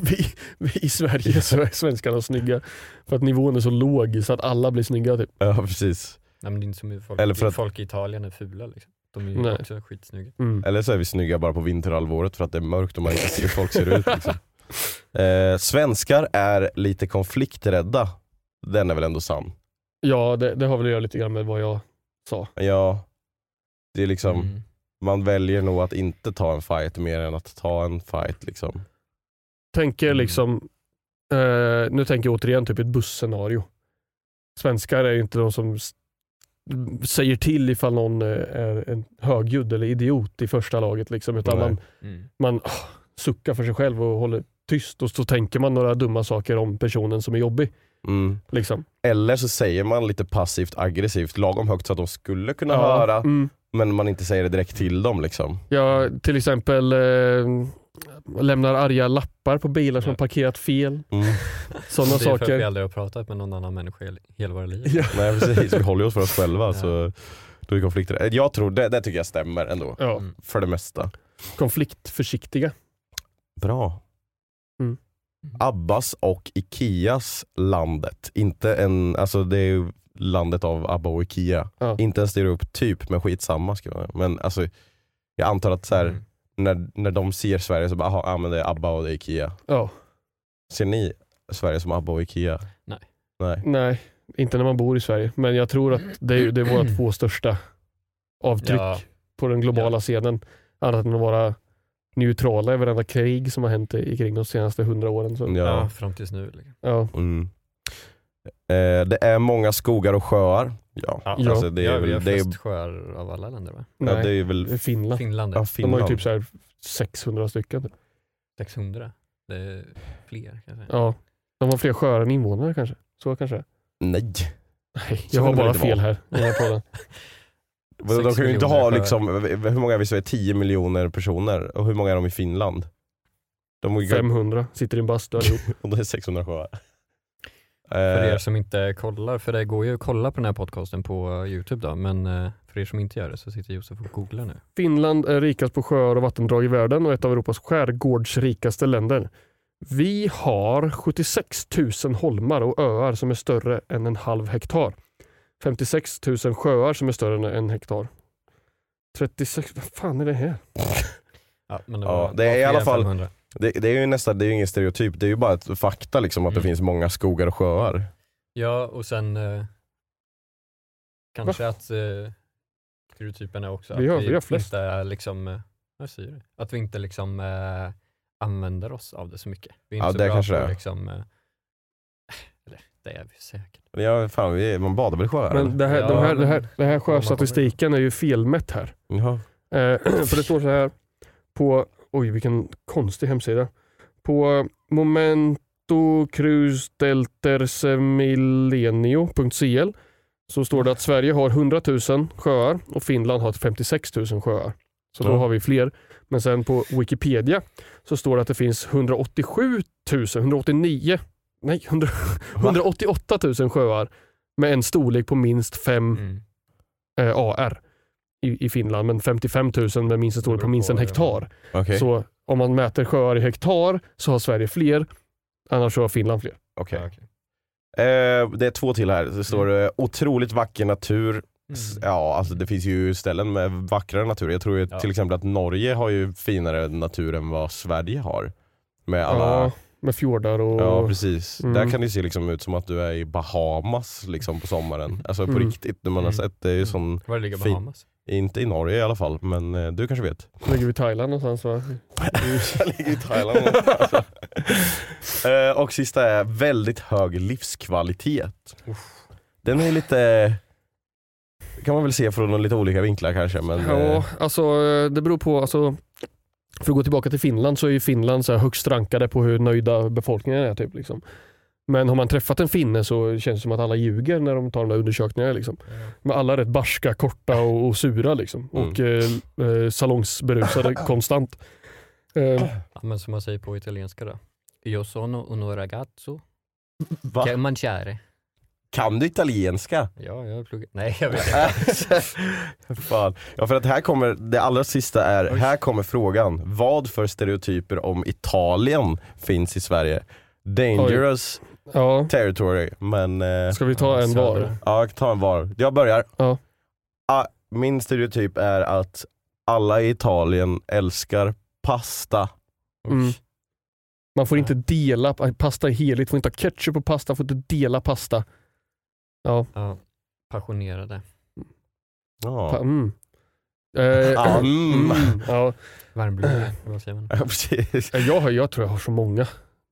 Speaker 3: Vi, vi I Sverige så är svenskarna snygga för att nivån är så låg så att alla blir snygga. Typ.
Speaker 2: Ja precis.
Speaker 4: Nej, men det är inte som hur folk,
Speaker 2: Eller för att-
Speaker 4: folk i Italien är fula. Liksom. De är ju
Speaker 3: Nej.
Speaker 4: också skitsnygga.
Speaker 3: Mm.
Speaker 2: Eller så är vi snygga bara på vinterhalvåret för att det är mörkt och man inte ser hur folk ser ut.
Speaker 4: <laughs>
Speaker 2: Liksom. Eh, svenskar är lite konflikträdda. Den är väl ändå sann?
Speaker 3: <laughs> Ja, det, det har väl att göra lite grann med vad jag sa.
Speaker 2: Ja. Det är liksom,
Speaker 4: Mm.
Speaker 2: man väljer nog att inte ta en fight mer än att ta en fight liksom. Mm.
Speaker 3: Tänker liksom, eh, nu tänker jag återigen typ ett busscenario. Svenskar är ju inte de som s- säger till ifall någon eh, är en högljudd eller idiot i första laget. Liksom, utan
Speaker 2: Nej.
Speaker 3: man,
Speaker 4: Mm.
Speaker 3: man åh, suckar för sig själv och håller tyst och så tänker man några dumma saker om personen som är jobbig.
Speaker 2: Mm.
Speaker 3: Liksom.
Speaker 2: Eller så säger man lite passivt aggressivt, lagom högt så att de skulle kunna höra,
Speaker 3: Mm.
Speaker 2: men man inte säger det direkt till dem liksom.
Speaker 3: Jag till exempel eh, lämnar arga lappar på bilar som
Speaker 4: Ja.
Speaker 3: parkerat fel.
Speaker 2: Mm.
Speaker 3: Sådana
Speaker 4: det är för att vi
Speaker 3: saker.
Speaker 4: aldrig har pratat med någon annan människa i hela våra liv.
Speaker 3: <laughs> Ja.
Speaker 2: Nej precis, vi håller ju oss för oss själva så då är konflikter. Eh, Jag tror, det, det tycker jag stämmer ändå.
Speaker 3: Ja,
Speaker 4: Mm.
Speaker 2: För det mesta.
Speaker 3: konfliktförsiktiga.
Speaker 2: Bra.
Speaker 3: Mm.
Speaker 2: Abbas och Ikeas landet. Inte en, alltså det är ju landet av Abba och Ikea.
Speaker 3: Ja.
Speaker 2: Inte en stereotyp typ, men skitsamma. Ska man. Men alltså, jag antar att så här,
Speaker 4: Mm.
Speaker 2: när, när de ser Sverige så bara, aha, ja, men det är Abba och det är Ikea.
Speaker 3: Ja.
Speaker 2: Ser ni Sverige som Abba och Ikea?
Speaker 4: Nej.
Speaker 2: Nej.
Speaker 3: Nej, inte när man bor i Sverige. Men jag tror att det är, ju- det är våra två största avtryck
Speaker 4: Ja.
Speaker 3: på den globala scenen. Annat än att vara neutrala i varenda krig som har hänt i, kring de senaste hundra åren. Så,
Speaker 2: Ja.
Speaker 4: Ja, fram tills nu. Liksom.
Speaker 3: Mm. ja.
Speaker 2: Mm. Eh, det är många skogar och sjöar. Ja,
Speaker 3: Ja.
Speaker 2: Alltså, det är
Speaker 4: ja, vi har
Speaker 2: väl, det är,
Speaker 4: flest sjöar av alla länder va?
Speaker 3: Nej,
Speaker 2: ja, det är
Speaker 3: det är
Speaker 2: väl
Speaker 3: Finland.
Speaker 4: Finland är
Speaker 2: ja,
Speaker 3: De
Speaker 2: Finland.
Speaker 3: har ju typ så här 600 stycken.
Speaker 4: 600. Det är fler kanske.
Speaker 3: Ja. De har fler sjöar än invånare kanske. Så kanske det är.
Speaker 2: Nej.
Speaker 3: Nej,
Speaker 2: Så
Speaker 3: jag har
Speaker 2: kan det väl
Speaker 3: bara
Speaker 2: inte
Speaker 3: fel
Speaker 2: vara.
Speaker 3: här. i den här <laughs> podden.
Speaker 2: Men de
Speaker 4: Sex
Speaker 2: kan ju inte
Speaker 4: miljoner
Speaker 2: ha
Speaker 4: för-
Speaker 2: liksom, hur många är vi i Sverige? 10 miljoner personer. Och hur många är de i Finland? De är,
Speaker 3: 500 sitter i en bastu allihop.
Speaker 2: <laughs> Och det är 600 sjöar.
Speaker 4: För
Speaker 2: Eh,
Speaker 4: er som inte kollar, för det går ju att kolla på den här podcasten på Youtube då, men eh, för er som inte gör det så sitter Josef och googlar nu.
Speaker 3: Finland är rikast på sjöar och vattendrag i världen och ett av Europas skärgårdsrikaste länder. Vi har 76 000 holmar och öar som är större än en halv hektar. 56 000 sjöar som är större än en hektar. 36... Vad fan är det här?
Speaker 4: Ja, men
Speaker 2: Ja,
Speaker 4: var-
Speaker 2: det är i
Speaker 4: var
Speaker 2: alla
Speaker 4: fler än
Speaker 2: fall-
Speaker 4: 500.
Speaker 2: det, det är ju nästan, det är ju ingen stereotyp, det är ju bara ett fakta liksom att det
Speaker 4: Mm.
Speaker 2: finns många skogar och sjöar.
Speaker 4: Ja, och sen eh, kanske att eh, stereotypen är också att
Speaker 3: Vi har- vi har flest.
Speaker 4: inte är liksom, eh, jag säger det, att vi inte liksom eh, använder oss av det så mycket. Vi är inte
Speaker 2: Ja,
Speaker 4: så
Speaker 2: det
Speaker 4: bra
Speaker 2: kanske
Speaker 4: på
Speaker 2: det är.
Speaker 4: liksom, eh, <laughs> eller det är vi säkert.
Speaker 2: Men Ja, fan, vi, man badar väl i sjöar?
Speaker 3: Men det här,
Speaker 4: Ja,
Speaker 3: de här,
Speaker 4: men-
Speaker 3: det här, det här sjöstatistiken är ju felmätt här.
Speaker 2: Jaha.
Speaker 3: Eh, <clears throat> för det står så här på, oj vilken konstig hemsida. På momento cruz deltersemillenio.cl så står det att Sverige har 100 000 sjöar och Finland har 56 000 sjöar. Så då
Speaker 2: Ja.
Speaker 3: har vi fler. Men sen på Wikipedia så står det att det finns 187 000, 189, nej 100, 188 000 sjöar med en storlek på minst fem
Speaker 4: Mm.
Speaker 3: eh, AR i, i Finland, men 55 000 med minst en storlek på minst en hektar.
Speaker 2: Okej.
Speaker 3: Så om man mäter sjöar i hektar så har Sverige fler, annars så har Finland fler.
Speaker 2: Okej.
Speaker 4: Ja, okej.
Speaker 2: Eh, det är två till här. Det står eh, otroligt vacker natur. S-
Speaker 4: Mm.
Speaker 2: Ja, alltså det finns ju ställen med vackrare natur. Jag tror ju
Speaker 4: Ja.
Speaker 2: till exempel att Norge har ju finare natur än vad Sverige har. Med alla...
Speaker 3: Ja,
Speaker 2: Ja.
Speaker 3: med fjordar och...
Speaker 2: precis.
Speaker 3: Mm.
Speaker 2: Där kan det ju se liksom ut som att du är i Bahamas liksom på sommaren. Alltså på
Speaker 3: Mm.
Speaker 2: riktigt, när man har
Speaker 4: Mm.
Speaker 2: sett det. är ju sån,
Speaker 4: Var ligger
Speaker 2: Fin-
Speaker 4: Bahamas?
Speaker 2: inte i Norge i alla fall, men eh, du kanske vet?
Speaker 3: ligger vi i Thailand någonstans va?
Speaker 2: Jag ligger i Thailand alltså. Eh, Och sista är väldigt hög livskvalitet. Den är ju lite... kan man väl se från lite olika vinklar kanske. Men, eh,
Speaker 3: Ja, alltså eh, det beror på. Alltså, för att gå tillbaka till Finland så är ju Finland så här högst rankade på hur nöjda befolkningen är. Typ, liksom. Men har man träffat en finne så känns det som att alla ljuger när de tar de där undersökningarna. Liksom. Men alla är rätt barska, korta och, och sura liksom.
Speaker 2: Mm. <laughs>
Speaker 3: och eh, eh, salongsberusade konstant. Eh,
Speaker 4: Ja, men som man säger på italienska då. Io sono un ragazzo
Speaker 2: Va?
Speaker 4: che mangiare.
Speaker 2: Kan du italienska?
Speaker 4: Ja, jag har pluggat. Nej,
Speaker 2: <laughs>
Speaker 4: jag vet inte.
Speaker 2: Fan. Ja för att här kommer, det allra sista är, här kommer frågan. Vad för stereotyper om Italien finns i Sverige? Dangerous
Speaker 3: ja,
Speaker 2: territory, men... Eh,
Speaker 3: ska vi ta en var?
Speaker 4: Södra.
Speaker 2: ja, ta en var. Jag börjar.
Speaker 3: Ja.
Speaker 2: Ah, min stereotyp är att alla i Italien älskar pasta.
Speaker 3: Mm. Man får inte dela, pasta är heligt, får inte ha ketchup på pasta, får inte dela pasta. Ja,
Speaker 4: Ja, passionerade,
Speaker 3: pa-
Speaker 2: Ja, <laughs>
Speaker 3: mm. Eh,
Speaker 2: Ah, mm.
Speaker 3: mm, ja.
Speaker 4: varmblodiga, vad säger man?
Speaker 2: <laughs> ja precis.
Speaker 3: Eh, jag, har- jag tror jag har så många.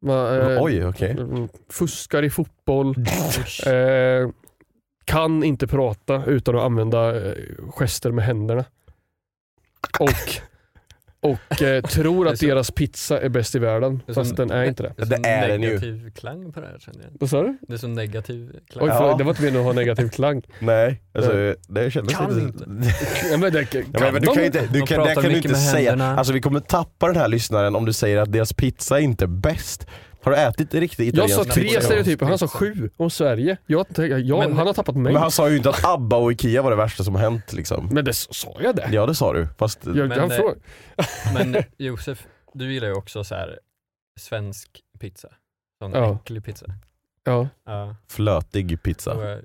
Speaker 3: Va, eh,
Speaker 2: Oj, okej.
Speaker 3: mm, Fuskar i fotboll, eh, kan inte prata utan att använda eh, gester med händerna. Och, och eh, tror
Speaker 4: Det är
Speaker 3: att
Speaker 4: så-
Speaker 3: deras pizza är bäst i världen,
Speaker 4: Det är
Speaker 3: fast
Speaker 4: som-
Speaker 3: den är inte det.
Speaker 4: så
Speaker 2: Det är den ju.
Speaker 4: negativ klang på det här känner jag.
Speaker 3: Vad sa du?
Speaker 4: Det är så negativ klang.
Speaker 3: Oj,
Speaker 2: Ja.
Speaker 3: förlåt, det var inte meningen att ha negativ klang.
Speaker 2: Nej, alltså,
Speaker 3: Nej.
Speaker 2: det kändes
Speaker 4: Kan
Speaker 2: inte...
Speaker 3: Ja, men det, Eh. kan
Speaker 2: Ja, men du
Speaker 3: de-
Speaker 2: kan ju inte, du
Speaker 4: De
Speaker 2: kan, det
Speaker 4: pratar
Speaker 2: kan du
Speaker 4: mycket
Speaker 2: inte
Speaker 4: med
Speaker 2: säga.
Speaker 4: händerna.
Speaker 2: Alltså vi kommer tappa den här lyssnaren om du säger att deras pizza är inte bäst. Har du ätit riktigt
Speaker 3: Jag
Speaker 2: italiensk
Speaker 3: sa tre
Speaker 2: pizza?
Speaker 3: stereotyper, han sa sju om Sverige. Jag, tänkte- jag,
Speaker 4: Men-
Speaker 3: han har tappat mig.
Speaker 2: Men
Speaker 3: Men,
Speaker 2: han sa ju inte att ABBA och IKEA var det värsta som har hänt liksom.
Speaker 3: det sa jag det?
Speaker 2: Ja det sa du, fast
Speaker 3: Jag,
Speaker 4: Men,
Speaker 3: han
Speaker 4: eh,
Speaker 3: frågar.
Speaker 4: Men Josef, du gillar ju också så här svensk pizza. Sån
Speaker 3: Ja.
Speaker 4: äcklig pizza.
Speaker 3: Ja.
Speaker 4: Ja,
Speaker 2: flötig pizza.
Speaker 4: och, eh,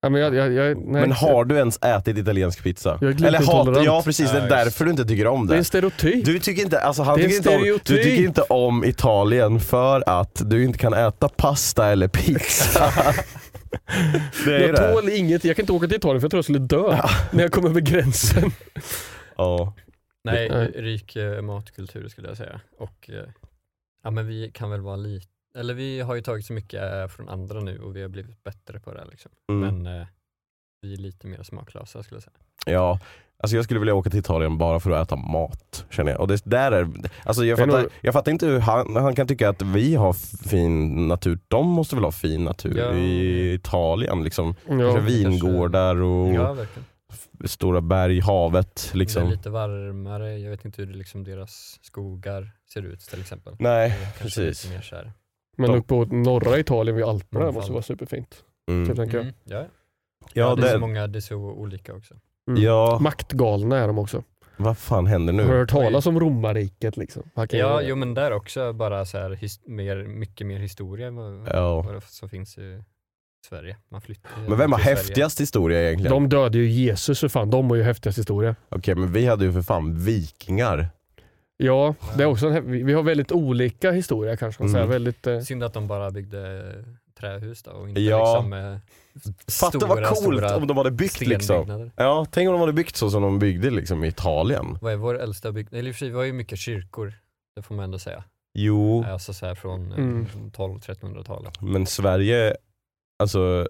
Speaker 3: Ja, men jag, jag, jag, nej.
Speaker 2: Men har du ens ätit italiensk pizza?
Speaker 3: Jag är
Speaker 2: Eller hatar
Speaker 3: glutenintolerant.
Speaker 2: Ja precis, det är
Speaker 4: Ja,
Speaker 2: därför du inte tycker om
Speaker 3: Det är en
Speaker 2: det.
Speaker 3: stereotyp.
Speaker 2: Du tycker, inte, alltså han
Speaker 3: Det är
Speaker 2: tycker
Speaker 3: en
Speaker 2: inte, om, du
Speaker 3: stereotyp.
Speaker 2: tycker inte om Italien för att du inte kan äta pasta eller pizza. <laughs> det är ju
Speaker 3: jag
Speaker 2: det.
Speaker 3: tål inget, jag kan inte åka till Italien för jag tror jag skulle dö när jag kommer över gränsen.
Speaker 2: Ja.
Speaker 4: nej,
Speaker 3: Nej.
Speaker 4: rik eh, matkultur skulle jag säga. Och eh, ja, men vi kan väl vara lite, eller vi har ju tagit så mycket eh, från andra nu och vi har blivit bättre på det här liksom.
Speaker 2: Mm.
Speaker 4: Men eh, vi är lite mer smaklösa skulle jag säga.
Speaker 2: Ja, alltså jag skulle vilja åka till Italien bara för att äta mat känner jag. Och det där är, alltså jag,
Speaker 3: Det är
Speaker 2: fattar,
Speaker 3: nog-
Speaker 2: jag fattar inte hur han, han kan tycka att vi har fin natur. De måste väl ha fin natur
Speaker 4: Ja.
Speaker 2: i Italien liksom. Kanske
Speaker 3: Ja.
Speaker 2: vingårdar och
Speaker 4: Ja, verkligen.
Speaker 2: stora berg, havet
Speaker 4: Det är
Speaker 2: Oh. liksom.
Speaker 4: lite varmare, jag vet inte hur det liksom deras skogar ser ut till exempel.
Speaker 2: Nej,
Speaker 4: Det är kanske
Speaker 2: precis.
Speaker 4: lite Mer så här.
Speaker 3: Men
Speaker 2: De-
Speaker 3: uppåt norra Italien vid Alperna
Speaker 4: Mångfald.
Speaker 3: måste vara superfint.
Speaker 2: Mm.
Speaker 3: Tänker jag.
Speaker 4: Mm, ja.
Speaker 2: Ja,
Speaker 4: det är så
Speaker 2: det,
Speaker 4: många, det är så olika också.
Speaker 3: Mm.
Speaker 2: ja,
Speaker 3: Maktgalna är de också.
Speaker 2: vad fan händer
Speaker 3: Har du
Speaker 2: nu?
Speaker 3: hört talas om romarriket liksom? Man kan-
Speaker 4: Ja, jo men där också bara så här, his- mer, mycket mer historia än vad,
Speaker 2: Ja.
Speaker 4: vad det- som finns i Sverige. Man flyttar ju
Speaker 2: Men vem har
Speaker 4: till Sverige.
Speaker 2: häftigast historia egentligen?
Speaker 3: De dödade ju Jesus för fan, de har ju häftigast historia.
Speaker 2: Okej men vi hade ju för fan vikingar.
Speaker 3: Ja, det är också en, hä- vi vi har väldigt olika historia kanske. man
Speaker 2: Mm.
Speaker 3: säger. Väldigt, eh,
Speaker 4: Synd att de bara byggde eh, trähus då och inte
Speaker 2: Ja.
Speaker 4: liksom eh,
Speaker 2: Fatta vad coolt om de hade byggt liksom.
Speaker 4: stenbyggnader.
Speaker 2: Ja, tänk om de hade byggt så som de byggde liksom i Italien.
Speaker 4: Vad är vår äldsta byggnad? Eller i och för sig, vi har ju mycket kyrkor. Det får man ändå säga.
Speaker 2: Jo.
Speaker 4: Alltså så här från
Speaker 3: Mm.
Speaker 4: 12-1300-talet.
Speaker 2: Men Sverige, alltså,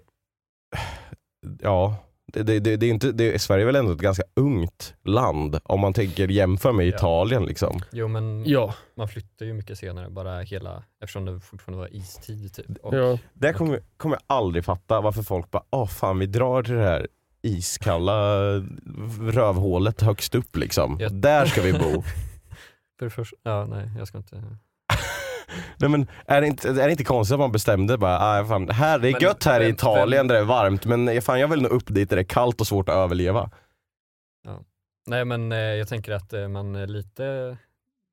Speaker 2: ja. Det, det, det, det är inte, det, Sverige är väl ändå ett ganska ungt land om man tänker jämför med
Speaker 4: Ja.
Speaker 2: Italien liksom.
Speaker 4: Jo men
Speaker 3: ja,
Speaker 4: man flyttar ju mycket senare, bara hela, eftersom det fortfarande var istid typ. Och,
Speaker 3: ja.
Speaker 2: Det kommer, kommer jag aldrig fatta varför folk bara, åh fan vi drar till det här iskalla rövhålet högst upp liksom.
Speaker 4: Ja.
Speaker 2: Där ska vi bo.
Speaker 4: För det första, ja nej jag ska inte.
Speaker 2: Nej, men är, det inte, är det inte konstigt att man bestämde bara, ah, fan, här, det är
Speaker 4: Men
Speaker 2: gött här i
Speaker 4: vem-
Speaker 2: Italien
Speaker 4: vem-
Speaker 2: där det är varmt men fan, jag vill nog upp dit där det är kallt och svårt att överleva.
Speaker 4: Nej men eh, jag tänker att eh, man är lite,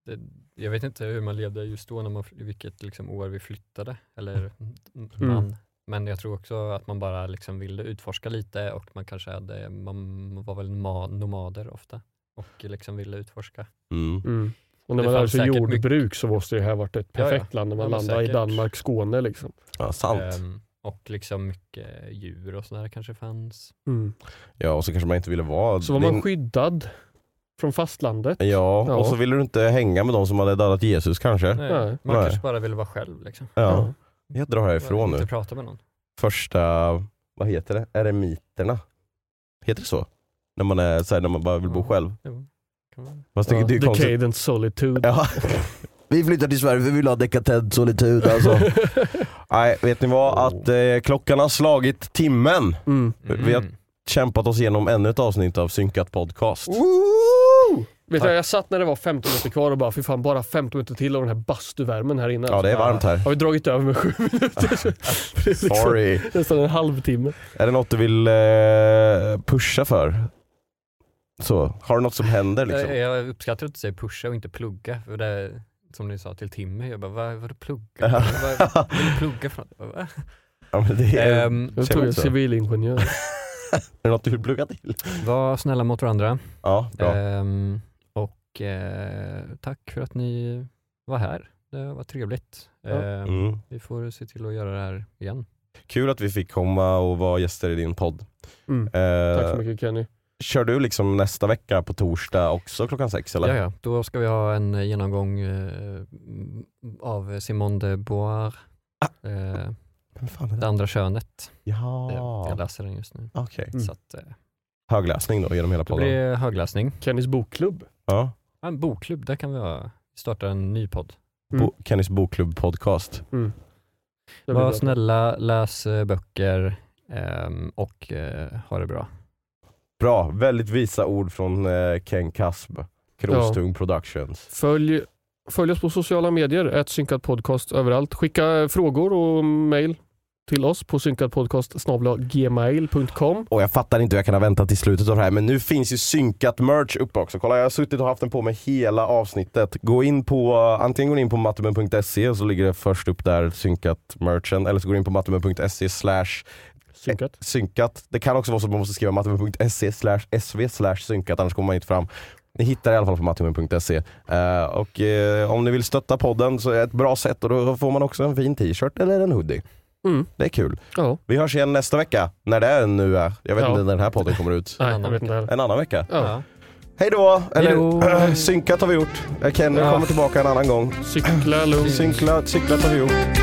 Speaker 4: det, jag vet inte hur man levde just då, när man, vilket liksom, år vi flyttade,
Speaker 2: Mm.
Speaker 4: eller m- man. Men jag tror också att man bara liksom ville utforska lite och man kanske hade, man var väl ma- nomader ofta och liksom ville utforska.
Speaker 2: Mm.
Speaker 3: Mm. Och när
Speaker 4: Det
Speaker 3: man lär
Speaker 4: fanns
Speaker 3: sig
Speaker 4: säkert
Speaker 3: jordbruk så måste det här varit ett
Speaker 4: Ja, ja.
Speaker 3: perfekt land när man
Speaker 4: Ja, men
Speaker 3: landar i
Speaker 4: säkert.
Speaker 3: Danmark, Skåne liksom.
Speaker 2: Ja, sant.
Speaker 4: Ehm, och liksom mycket djur och sådär kanske fanns.
Speaker 3: Mm.
Speaker 2: Ja, och så kanske man inte ville vara...
Speaker 3: Så var
Speaker 2: det-
Speaker 3: man skyddad från fastlandet.
Speaker 2: Ja,
Speaker 3: Ja.
Speaker 2: och så ville du inte hänga med de som hade dödat Jesus kanske.
Speaker 4: Nej,
Speaker 3: Nej.
Speaker 4: Man
Speaker 2: Nej.
Speaker 4: kanske bara ville vara själv liksom.
Speaker 2: Ja. Jag drar härifrån
Speaker 4: Inte
Speaker 2: nu.
Speaker 4: prata med någon.
Speaker 2: Första, vad heter det? Eremiterna. Heter det så? När man, är, så här, när man bara vill bo
Speaker 4: Ja.
Speaker 2: själv.
Speaker 4: Jo,
Speaker 2: <laughs>
Speaker 4: kan man.
Speaker 2: Fast det,
Speaker 3: Ja.
Speaker 2: det är ju konstigt.
Speaker 3: Decade and solitude.
Speaker 2: Ja. <laughs> Vi flyttar till Sverige för vi vill ha dekadent solitud alltså. <laughs> Nej, vet ni vad? Att eh, klockan har slagit timmen.
Speaker 3: <laughs> Mm.
Speaker 2: Vi har kämpat oss igenom ännu ett avsnitt av Synkat Podcast.
Speaker 3: Vet du, jag satt när det var 15 minuter kvar och bara, för fan bara 15 minuter till av den här bastuvärmen här inne. alltså."
Speaker 2: Ja, det är varmt <laughs> här.
Speaker 3: Har vi dragit över med sju <laughs>
Speaker 2: <laughs>
Speaker 3: minuter? Det är liksom
Speaker 2: Sorry.
Speaker 3: Nästan en halvtimme.
Speaker 2: Är det något du vill eh, pusha för? Så, har du något som händer liksom?
Speaker 4: Jag, jag uppskattar att du säger pusha och inte plugga. För det är, som ni sa till Timmy, jag bara, vad, vad plugga?
Speaker 2: Ja.
Speaker 4: Vad, vad, vad vill du plugga för något? Va?
Speaker 2: Ja, men det är,
Speaker 4: Ehm,
Speaker 3: Jag
Speaker 2: Ser
Speaker 3: tror
Speaker 2: man
Speaker 3: jag är
Speaker 2: så?
Speaker 3: civilingenjör.
Speaker 2: <laughs> är det något du vill plugga till?
Speaker 4: var snälla mot varandra.
Speaker 2: Ja, bra.
Speaker 4: Ehm, och eh, tack för att ni var här. Det var trevligt. Ehm,
Speaker 2: Mm.
Speaker 4: Vi får se till att göra det här igen.
Speaker 2: Kul att vi fick komma och vara gäster i din podd.
Speaker 3: Mm.
Speaker 2: Eh,
Speaker 3: Tack så mycket Kenny.
Speaker 2: Kör du liksom nästa vecka på torsdag också klockan sex eller?
Speaker 4: Ja, ja. Då ska vi ha en genomgång eh, av Simone de Beauvoir,
Speaker 2: Ah.
Speaker 4: eh,
Speaker 2: Vem fan är
Speaker 4: Det
Speaker 2: det?
Speaker 4: andra könet. Eh, Jag
Speaker 2: Ja,
Speaker 4: läser den just nu.
Speaker 2: okej.
Speaker 3: Mm.
Speaker 4: Så att, eh,
Speaker 2: Högläsning då genom hela
Speaker 4: då
Speaker 2: podden?
Speaker 4: blir det högläsning.
Speaker 3: Kennys bokklubb.
Speaker 2: Ja.
Speaker 4: Ja, En bokklubb, där kan vi ha- starta en ny podd.
Speaker 3: Mm.
Speaker 2: Bo- Kennys bokklubb podcast.
Speaker 3: Det blir
Speaker 4: Var
Speaker 3: bra.
Speaker 4: snälla, läs eh, böcker ehm, och eh, ha det bra.
Speaker 2: Bra, väldigt visa ord från eh, Ken Kasb, Krostung Productions.
Speaker 3: Följ, följ oss på sociala medier, ett synkat podcast överallt. Skicka frågor och mail till oss på synkatpodcast.gmail.com.
Speaker 2: Och jag fattar inte hur jag kan ha väntat till slutet av det här, men nu finns ju synkat merch uppe också. Kolla, jag har suttit och haft den på mig hela avsnittet. Gå in på, eh, antingen går ni in på mattemen.se och så ligger det först upp där, synkat merchen, eller så går ni in på mattemen.se slash
Speaker 3: Synkat.
Speaker 2: synkat. Det kan också vara så att man måste skriva mattemen.se slash sv slash synkat, annars kommer man inte fram. Ni hittar det i alla fall på mattemen.se. Eh, och eh, om ni vill stötta podden så är det ett bra sätt och då får man också en fin t-shirt eller en hoodie.
Speaker 3: Mm.
Speaker 2: Det är kul.
Speaker 3: Ja.
Speaker 2: Vi hörs igen nästa vecka, när det är nu är. Jag vet
Speaker 3: Ja.
Speaker 2: inte när den här podden kommer ut.
Speaker 3: Nej, jag vet inte heller.
Speaker 2: En annan vecka.
Speaker 3: Ja.
Speaker 2: Hej då!
Speaker 4: Hej då.
Speaker 2: Eller <clears throat> synkat har vi gjort. Eh, Kenny
Speaker 3: Ja.
Speaker 2: kommer tillbaka en annan gång.
Speaker 3: Cykla lugnt.
Speaker 2: Synkla, cyklat har vi gjort.